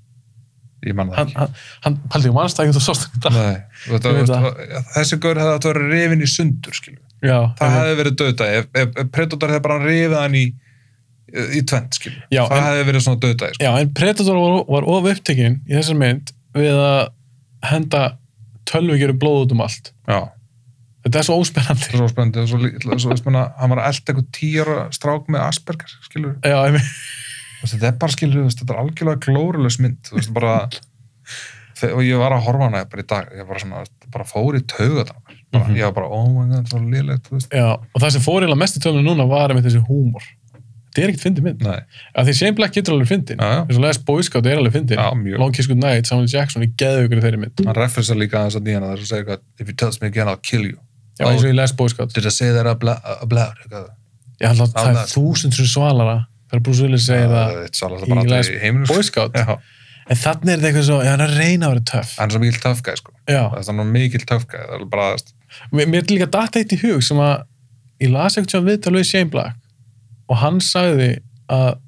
Speaker 2: ég man það
Speaker 1: hann,
Speaker 2: ekki
Speaker 1: hann, hann pældi um aðstæðing þú sást þetta
Speaker 2: Nei,
Speaker 1: Ég
Speaker 2: þú veist,
Speaker 1: veit
Speaker 2: þú veist, þessi gaur hefði átt að vera rifin í sundur skilur
Speaker 1: já,
Speaker 2: það
Speaker 1: einmitt.
Speaker 2: hefði verið döðdæði ef, ef, ef Predator hefði bara rifið hann í í tvend, skil
Speaker 1: Já,
Speaker 2: það
Speaker 1: en-
Speaker 2: hefði verið svona döðdæði sko.
Speaker 1: já, en Predator var, var of upptekinn í þessar mynd við að henda tölvugjöru blóð út um allt
Speaker 2: já,
Speaker 1: þetta er svo óspennandi
Speaker 2: það er svo spennandi og svo, lítið- svo veist maður, hann var að elda eitthvað tíjar strák með Asperger, skilur
Speaker 1: já, einmitt.
Speaker 2: þetta er bara, skilur, veist, þetta er algjörlega glórulegs mynd, þú veist, bara þe- og ég var að horfa á hana bara í dag ég bara svona, veist, bara fór í tauga það bara,
Speaker 1: Mhm.
Speaker 2: ég var bara, oh my god, það var lélegt þú veist,
Speaker 1: Já, og það sem fór eiginlega mest í töfnum núna var með þessi húmor. Þetta er ekkert fyndið mynd.
Speaker 2: nei,
Speaker 1: Af því Shane Black getur alveg fyndin.
Speaker 2: já, já,
Speaker 1: Þess að les Boy Scout er alveg fyndin.
Speaker 2: já, mjög
Speaker 1: Long Kiss Good Night, Samuel Jackson, ég geðu ykkur þeirri mynd.
Speaker 2: hann referensar líka þess að nýjana þess að segja eitthvað, if you tell me again, I'll kill you
Speaker 1: Já, eins og ég les Boy Scout.
Speaker 2: did I say that out lou- out loud, eitthvað
Speaker 1: Ég held að það
Speaker 2: Á,
Speaker 1: er þúsund sem svalara þegar Bruce Willis segir það
Speaker 2: þetta er salast
Speaker 1: í
Speaker 2: bara
Speaker 1: Les
Speaker 2: allir í heiminu sko.
Speaker 1: Boy Scout.
Speaker 2: Já,
Speaker 1: En þannig er þetta eitthvað svo, já, hann er að reyna að vera töff.
Speaker 2: hann er svo mikil töfgæð sko.
Speaker 1: Já,
Speaker 2: það er svona mikil töfgæð það er bara
Speaker 1: mér mér er líka datt eitt í hug sem að ég las eitthvað sem viðtal við Shane Black og hann sagði að,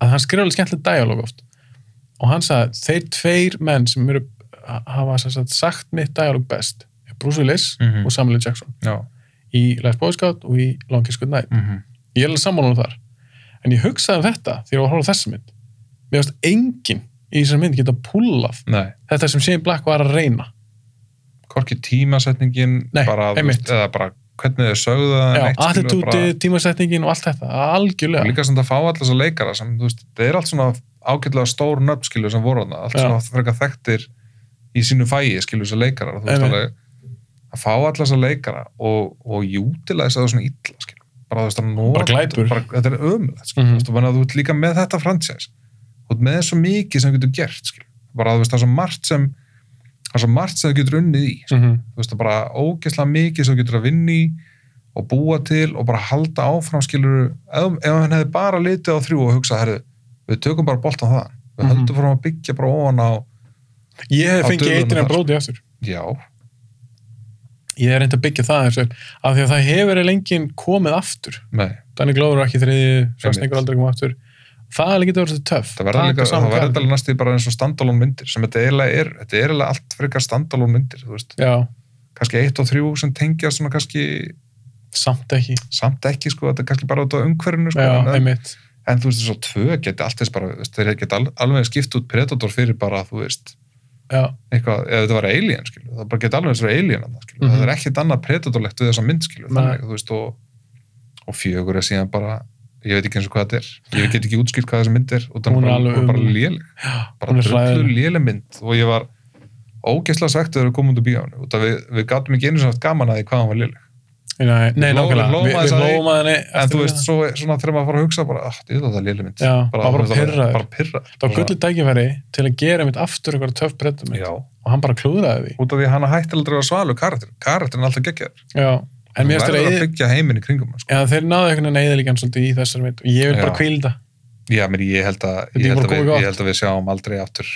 Speaker 1: að hann skrifa alveg skemmtileg dialog oft og hann sagði að þeir tveir menn sem eru, hafa sem sagt, sagt mitt dialog best er Bruce Willis
Speaker 2: Mhm.
Speaker 1: og Samuel L. Jackson
Speaker 2: já,
Speaker 1: í Les Boy Scout og í Long Kiss Good Night
Speaker 2: mm -hmm.
Speaker 1: ég er alveg samanlunum þar en ég hugsaði um þetta þegar ég var að horfa á þessa mynd mér varst enginn í þessari mynd geta pullað
Speaker 2: nei,
Speaker 1: þetta sem Shane Black var að reyna
Speaker 2: hvorki tímasetningin
Speaker 1: Nei,
Speaker 2: bara, þú
Speaker 1: einmitt.
Speaker 2: veist, eða bara hvernig þau sögðu það
Speaker 1: Já,
Speaker 2: neitt, skilur,
Speaker 1: attitúti, tímasetningin og allt þetta algjörlega
Speaker 2: bara, líka sem það fá allir þessa leikara sem, þú veist, það er allt svona ágætlega stór nöfn skilur sem voru hana, allt
Speaker 1: Já.
Speaker 2: svona frekar þekktir í sínu fæi skilur þessa leikara þú veist
Speaker 1: Einmitt.
Speaker 2: alveg að fá allir þessa leikara og, og utilize það svona illa skilur bara þú veist að nota
Speaker 1: Bara glæpur.
Speaker 2: bara, þetta er ömulegt skilur
Speaker 1: Mhm.
Speaker 2: þú veist, og þannig að þú ert líka með þetta franchise þú ert með svo mikið sem þú getur gert skilur bara þú veist það er svo margt sem það er svo margt sem þú getur unnið í skilur.
Speaker 1: mm
Speaker 2: þú veist það er bara ógeðslega mikið sem þú getur að vinni í og búa til og bara halda áfram skilur ef, ef hann hefði bara litið á þrjú og hugsað, herðu, við tökum bara boltan það við
Speaker 1: Mhm.
Speaker 2: höldum fram að byggja bara ofan á
Speaker 1: Ég hef
Speaker 2: Á
Speaker 1: fengið
Speaker 2: dögunum
Speaker 1: eitir en
Speaker 2: þar.
Speaker 1: bróti aftur.
Speaker 2: já,
Speaker 1: Ég er reynd að byggja það eins og af því að það hefur lengin komið aftur.
Speaker 2: nei,
Speaker 1: Danny Glover var ekki þriði, Svarsningur
Speaker 2: Einmitt.
Speaker 1: aldrei kom aftur. Það er líka verið töff.
Speaker 2: það verður líka, það verður
Speaker 1: verður
Speaker 2: alveg næstu því bara eins og standalón myndir sem þetta eiginlega er, þetta er eiginlega allt frekar standalón myndir, þú veist,
Speaker 1: Já,
Speaker 2: kannski eitt og þrjú sem tengja svona kannski
Speaker 1: samt ekki.
Speaker 2: samt ekki, sko, þetta er kannski bara út á umhverfinu, sko,
Speaker 1: Já,
Speaker 2: en-
Speaker 1: einmitt.
Speaker 2: en þú veist þess að tvö geti allt þess bara, þú veist, þeir geti al- alveg skipt út Predator fyrir bara, þú veist
Speaker 1: Já,
Speaker 2: eitthvað, ef þetta var alien, skilu, það bara geti alveg þess að vera alien annað, skilu,
Speaker 1: Mhm.
Speaker 2: það er ekkert annað Predatorlegt við þessa mynd, skilu,
Speaker 1: Nei.
Speaker 2: þannig, þú veist og, og fjögur er síðan bara ég veit ekki eins og hvað þetta er, ég get ekki útskilt hvað þessi mynd er,
Speaker 1: Hún
Speaker 2: og þannig
Speaker 1: er
Speaker 2: bara,
Speaker 1: alveg
Speaker 2: hún er bara
Speaker 1: ömurleg.
Speaker 2: léleg bara
Speaker 1: hún er
Speaker 2: drullu
Speaker 1: hræðileg.
Speaker 2: léleg mynd og ég var ógeðslega svegt að þau komum út úr bíóinu, út af við, við gátum ekki einu sem haft gaman að því hvað hún var léleg
Speaker 1: Nei, nei,
Speaker 2: Við hlógum-
Speaker 1: nákvæmlega.
Speaker 2: hlógum
Speaker 1: Við-
Speaker 2: aðeins
Speaker 1: Við
Speaker 2: að því,
Speaker 1: hlóum að henni.
Speaker 2: en
Speaker 1: eftir
Speaker 2: þú veist,
Speaker 1: það.
Speaker 2: svo, svona þegar maður fara að hugsa bara, ah, ég veit að það er léleg mynd
Speaker 1: Já, maður bara pirraður.
Speaker 2: bara pirraður.
Speaker 1: Það var
Speaker 2: Bara-
Speaker 1: gullið tækifæri til að gera mitt aftur eitthvað töff brettum
Speaker 2: já,
Speaker 1: og hann bara klúðraði því.
Speaker 2: út af því að hann hætti aldrei að vera svalur karakter, karakterin er alltaf geggjaður
Speaker 1: Já, en mér
Speaker 2: Þú
Speaker 1: finnst
Speaker 2: verður
Speaker 1: þetta
Speaker 2: að
Speaker 1: eða
Speaker 2: byggja heiminn í kringum hann, sko.
Speaker 1: Já, þeir náðu einhvern veginn eðilíkan svolítið í þessar mynd og ég vil bara
Speaker 2: Já.
Speaker 1: kvílda.
Speaker 2: já, mér ég held að
Speaker 1: Þetta
Speaker 2: ég
Speaker 1: er bara
Speaker 2: held að, við,
Speaker 1: komið
Speaker 2: ég held að við sjáum aldrei aftur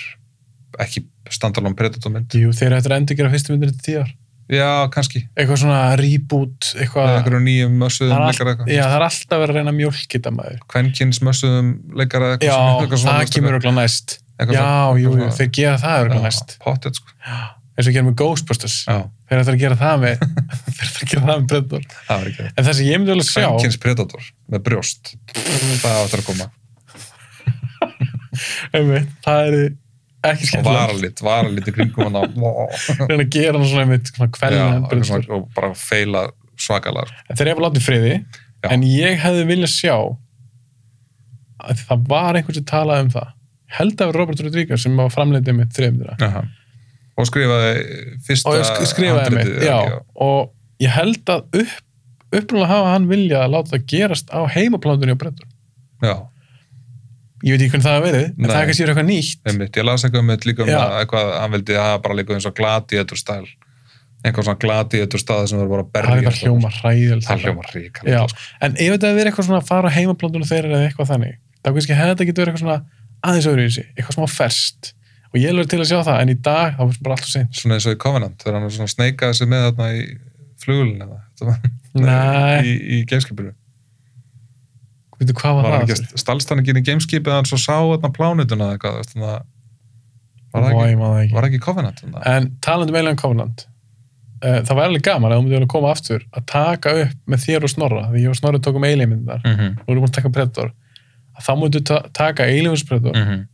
Speaker 2: ekki standalón predator mynd
Speaker 1: Jú, þeir eru eftir að endur gera fyrstu myndir til tíu ár.
Speaker 2: já, kannski,
Speaker 1: Eitthvað svona reboot, eitthvað...
Speaker 2: með einhverjum nýjum mössuðum
Speaker 1: það er
Speaker 2: leikara
Speaker 1: all- Já, það er alltaf verið að reyna mjölkita maður.
Speaker 2: kvenkins mössuðum leikara
Speaker 1: Já, það
Speaker 2: veistu,
Speaker 1: kemur okkur næst.
Speaker 2: eitthvað
Speaker 1: Já, jú,
Speaker 2: svona-
Speaker 1: jú,
Speaker 2: eitthvað svona-
Speaker 1: þeir gera það okkur næst.
Speaker 2: pottet sko
Speaker 1: Eins og við gerum með Ghostbusters.
Speaker 2: já,
Speaker 1: Þeir eru eftir að gera það með... þeir eru eftir að gera það með Predator.
Speaker 2: það var ekki það
Speaker 1: En það sem ég myndi vel að sjá...
Speaker 2: kvenkins predator með brjóst það áttur að koma
Speaker 1: einmitt, það eru ekki
Speaker 2: og
Speaker 1: skemmtilega
Speaker 2: varalit, varalit í kringum hann á
Speaker 1: reyna að gera hann svona einmitt svona
Speaker 2: Já,
Speaker 1: kvelna
Speaker 2: eitthvað svona- og bara feila svakalega sko.
Speaker 1: þeir eru bara látið friði
Speaker 2: Já.
Speaker 1: en ég hefði viljað sjá að það var einhvern sem talaði um það Ég held að vera Robert Rodríguez sem var framleitið með þreymdra
Speaker 2: Aha. og skrifaði fyrsta
Speaker 1: og ég sk- skrifaði
Speaker 2: handritið,
Speaker 1: mig,
Speaker 2: eða
Speaker 1: já,
Speaker 2: ekki,
Speaker 1: og ég held að upp, upprunalega hafa hann viljað að láta það gerast á heimaplándunni á brettur
Speaker 2: já,
Speaker 1: ég veit ekki hvernig það hafa verið, en
Speaker 2: Nei.
Speaker 1: það er kannski eitthvað nýtt
Speaker 2: einmitt, ég las eitthvað um þetta líka um
Speaker 1: Já.
Speaker 2: að eitthvað, hann vildi að hafa bara líka eins og gladiator stæl einhver svona gladiator stað sem verður bara
Speaker 1: það
Speaker 2: að berja
Speaker 1: er bara
Speaker 2: fólk.
Speaker 1: hljóma
Speaker 2: það
Speaker 1: ræðilega
Speaker 2: hljómar
Speaker 1: Já,
Speaker 2: ríkalega sko.
Speaker 1: en ef þetta hefði verið eitthvað svona að fara á heimaplandunum þeirra eða eitthvað þannig, þá kannski hefði þetta getur verið eitthvað svona aðeins öðru í sig, eitthvað smá ferst og ég er alveg til að sjá það, en í dag þá er bara alltaf sinn.
Speaker 2: svona eins og í Covenant þegar hann svona sneikaði sig með þarna í flugulina
Speaker 1: Nei,
Speaker 2: í, í gameskipinu
Speaker 1: veitu hvað
Speaker 2: var
Speaker 1: var
Speaker 2: hann
Speaker 1: það?
Speaker 2: ekki stalstanningin í gameskipið hann svo sá þarna plánutuna eða eitthvað þú veist, þannig að- var það
Speaker 1: Vá,
Speaker 2: ekki,
Speaker 1: ég man það ekki.
Speaker 2: var það ekki í Covenant þannig að-
Speaker 1: En talandi um Alien Covenant uh, það væri alveg gaman að þú myndir að koma aftur að taka upp með þér og Snorra því ég og Snorri tókum Alien myndar
Speaker 2: Mhm,
Speaker 1: og erum búin að taka Predator að þá myndir ta taka Alien vs Predator
Speaker 2: mhm,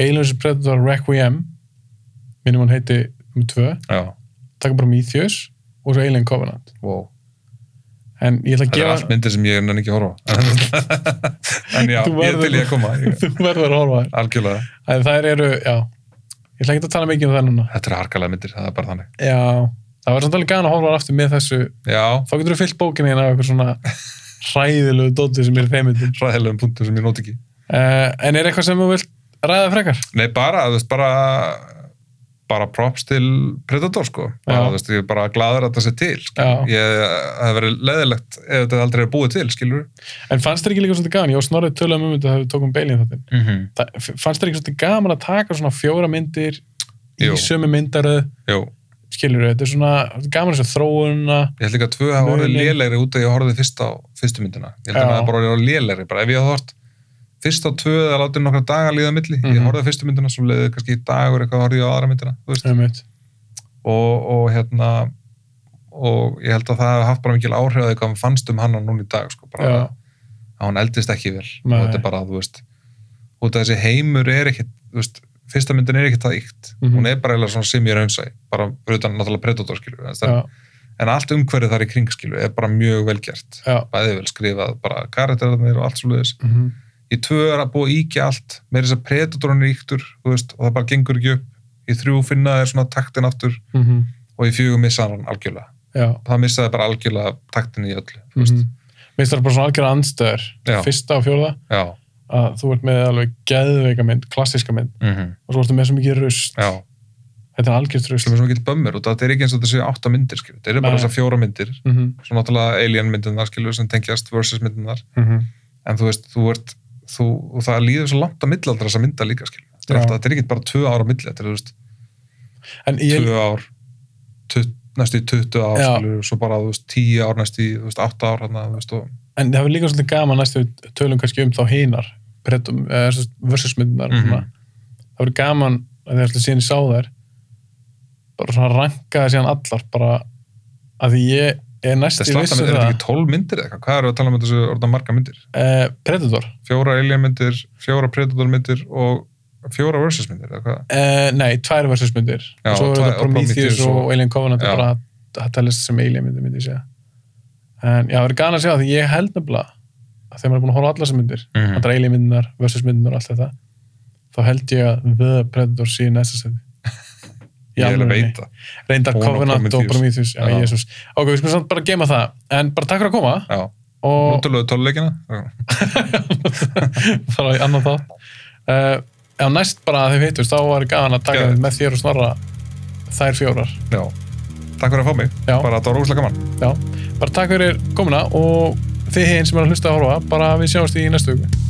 Speaker 1: Alien vs Predator Requiem minnum hann heiti um tvö
Speaker 2: já,
Speaker 1: taka bara Mythios og svo Alien Covenant
Speaker 2: wow
Speaker 1: en ég ætla að
Speaker 2: þetta er allt
Speaker 1: gefa
Speaker 2: myndir sem ég nenni ekki að horfa á. en já,
Speaker 1: Þú
Speaker 2: ég er
Speaker 1: verður-
Speaker 2: til ég að koma ég,
Speaker 1: þú verður að horfa á þær
Speaker 2: algjörlega,
Speaker 1: en þær eru, já ég ætla ekki að tala mikið um það núna
Speaker 2: þetta eru harkalega myndir það er bara þannig,
Speaker 1: já, það var samt alveg gana að horfa á þær aftur með þessu
Speaker 2: já,
Speaker 1: þá getur þú fyllt bókinni hérna af eitthvað svona hræðilegu dótið sem er í þeim myndum.
Speaker 2: ræðilegum punktum sem ég nót ekki
Speaker 1: uh, en er eitthvað sem þú vilt ræða frekar?
Speaker 2: nei, bara, þú veist, bara bara props til Predator, sko bara,
Speaker 1: Já.
Speaker 2: þú veist, ég er bara gladur að þetta sé til skilur.
Speaker 1: Já.
Speaker 2: ég, það hefur verið leðilegt ef þetta aldrei er búið til, skilur
Speaker 1: en fannst þér ekki líka svona gaman, ég og Snorrið töluðum um þetta þegar við tókum beilin þáttinn
Speaker 2: mm -hmm.
Speaker 1: Það- f- fannst þér ekki svona gaman að taka svona fjóra myndir í
Speaker 2: Jú.
Speaker 1: sömu myndaröð
Speaker 2: Jú,
Speaker 1: skilur þetta er svona gaman að sjá þróununa
Speaker 2: ég held líka að tvö hafa orðið
Speaker 1: Muninn.
Speaker 2: lélegri út að ég horfði fyrst á fyrstu myndina. Ég held að
Speaker 1: Já.
Speaker 2: það hafa bara orðið lélegri. Bara ef ég hafði hort fyrst á tvö eða látið nokkra daga líða á milli. Ég
Speaker 1: Mhm.
Speaker 2: horfði á fyrstu myndina, svo leiði kannski í dagur eitthvað horfði ég á aðra myndina. þú veist.
Speaker 1: um eitt
Speaker 2: Og, og hérna, og ég held að það hafi haft bara mikil áhrif að því hvað hann fannst um hann núna í dag, sko. Bara
Speaker 1: Já.
Speaker 2: að hún eldist ekki vel.
Speaker 1: Nei.
Speaker 2: Og þetta er bara, þú veist, út að þessi heimur er ekkit, þú veist, fyrsta myndin er ekkit það ykt.
Speaker 1: Mhm.
Speaker 2: Hún er bara eiginlega svona sem ég raunsæ, bara utan náttúrulega predator, skilur. við, en það-
Speaker 1: já,
Speaker 2: en allt umhverfið þar í kring skilu er bara mjög velgjart
Speaker 1: já
Speaker 2: bæði vel skrifað, bara karakterarnir og allt svo leiðis
Speaker 1: mm
Speaker 2: í tvö er að búa að íkja allt meira þess að predatorin er íktur þú veist, og það bara gengur ekki upp í þrjú finna er svona taktin aftur og í fjögur missa hann algjörlega
Speaker 1: mhm, já Mhm.
Speaker 2: það missaði bara algjörlega taktin í öllu þú
Speaker 1: Mér
Speaker 2: veist.
Speaker 1: finnst það bara svona algjörða andstöður
Speaker 2: Já.
Speaker 1: fyrsta og fjórða
Speaker 2: já,
Speaker 1: að þú ert með alveg geðveika mynd, klassíska mynd
Speaker 2: mhm,
Speaker 1: og svo ertu með svo mikið rust
Speaker 2: já
Speaker 1: þetta er algjörst
Speaker 2: sem
Speaker 1: rusl
Speaker 2: er svo mikill bömmur og þetta er ekki eins og þetta séu átta myndir skilur. þetta eru bara
Speaker 1: Nei.
Speaker 2: þessar fjóra myndir
Speaker 1: mm
Speaker 2: svo náttúrulega alien myndirnar skilur sem tengjast versus myndirnar
Speaker 1: -hmm.
Speaker 2: en þú veist, þú ert þú, og það líður svo langt að millaldra þessa mynda líka skilur. þetta er,
Speaker 1: Já.
Speaker 2: alltaf, þetta er ekki bara tvö ára milli þetta er þú veist,
Speaker 1: en ég,
Speaker 2: tvö ár tut, næstu í 20 ár
Speaker 1: Já.
Speaker 2: skilur, svo bara þú veist, 10 ár næstu í þú veist, 8 ár hana, þú veist, og,
Speaker 1: en það er líka svolítið gaman næstu við tölum kannski um þá hinar brettum, eða sem sagt, versusmyndunar mm
Speaker 2: Mhm.
Speaker 1: -hmm. það verður gaman að þegar alltaf síðan ég sá þær bara svona rankaði síðan allar bara að því ég er næstu
Speaker 2: þetta er slatta
Speaker 1: vissu
Speaker 2: myndir, er þetta
Speaker 1: það
Speaker 2: ekki 12 myndir eða eitthvað, hvað eru að tala um þetta þessu orðna marga myndir
Speaker 1: uh, Predator,
Speaker 2: fjóra alien myndir, fjóra predator myndir og fjóra versus myndir eða hvað
Speaker 1: uh, nei, tvær versusmyndir
Speaker 2: Já,
Speaker 1: og svo
Speaker 2: tvær-
Speaker 1: verður
Speaker 2: og Prometheus
Speaker 1: Prometheus og,
Speaker 2: og-
Speaker 1: Alien Covenant
Speaker 2: Já.
Speaker 1: er bara það talist sem Alien myndir myndi ég segja en já, það verður gaman að sjá því ég held nefnilega að þegar maður er búin að horfa á allar sem myndir
Speaker 2: Mhm.
Speaker 1: andra Alien myndinar, versus myndinar og allt þetta þá held ég að The Predator sé í næsta seti
Speaker 2: ég er að veita
Speaker 1: reyndar
Speaker 2: Hún og
Speaker 1: Covenant og Prometheus
Speaker 2: Prometheus.
Speaker 1: já,
Speaker 2: Já.
Speaker 1: Jesús, ok, við skulum samt bara gema það en bara takk fyrir að koma
Speaker 2: Já,
Speaker 1: og
Speaker 2: nútöluðu tóluleikina
Speaker 1: fara í annan þátt uh, já, næst bara að þau hittust þá var gaman að taka
Speaker 2: Geðveikt.
Speaker 1: með þér og snorra þær fjórar
Speaker 2: Já, takk fyrir að fá mig
Speaker 1: Já.
Speaker 2: bara þetta var óslega gaman
Speaker 1: já, bara takk fyrir komuna og þið hinn sem er að hlusta að horfa bara við sjáumst í næstu viku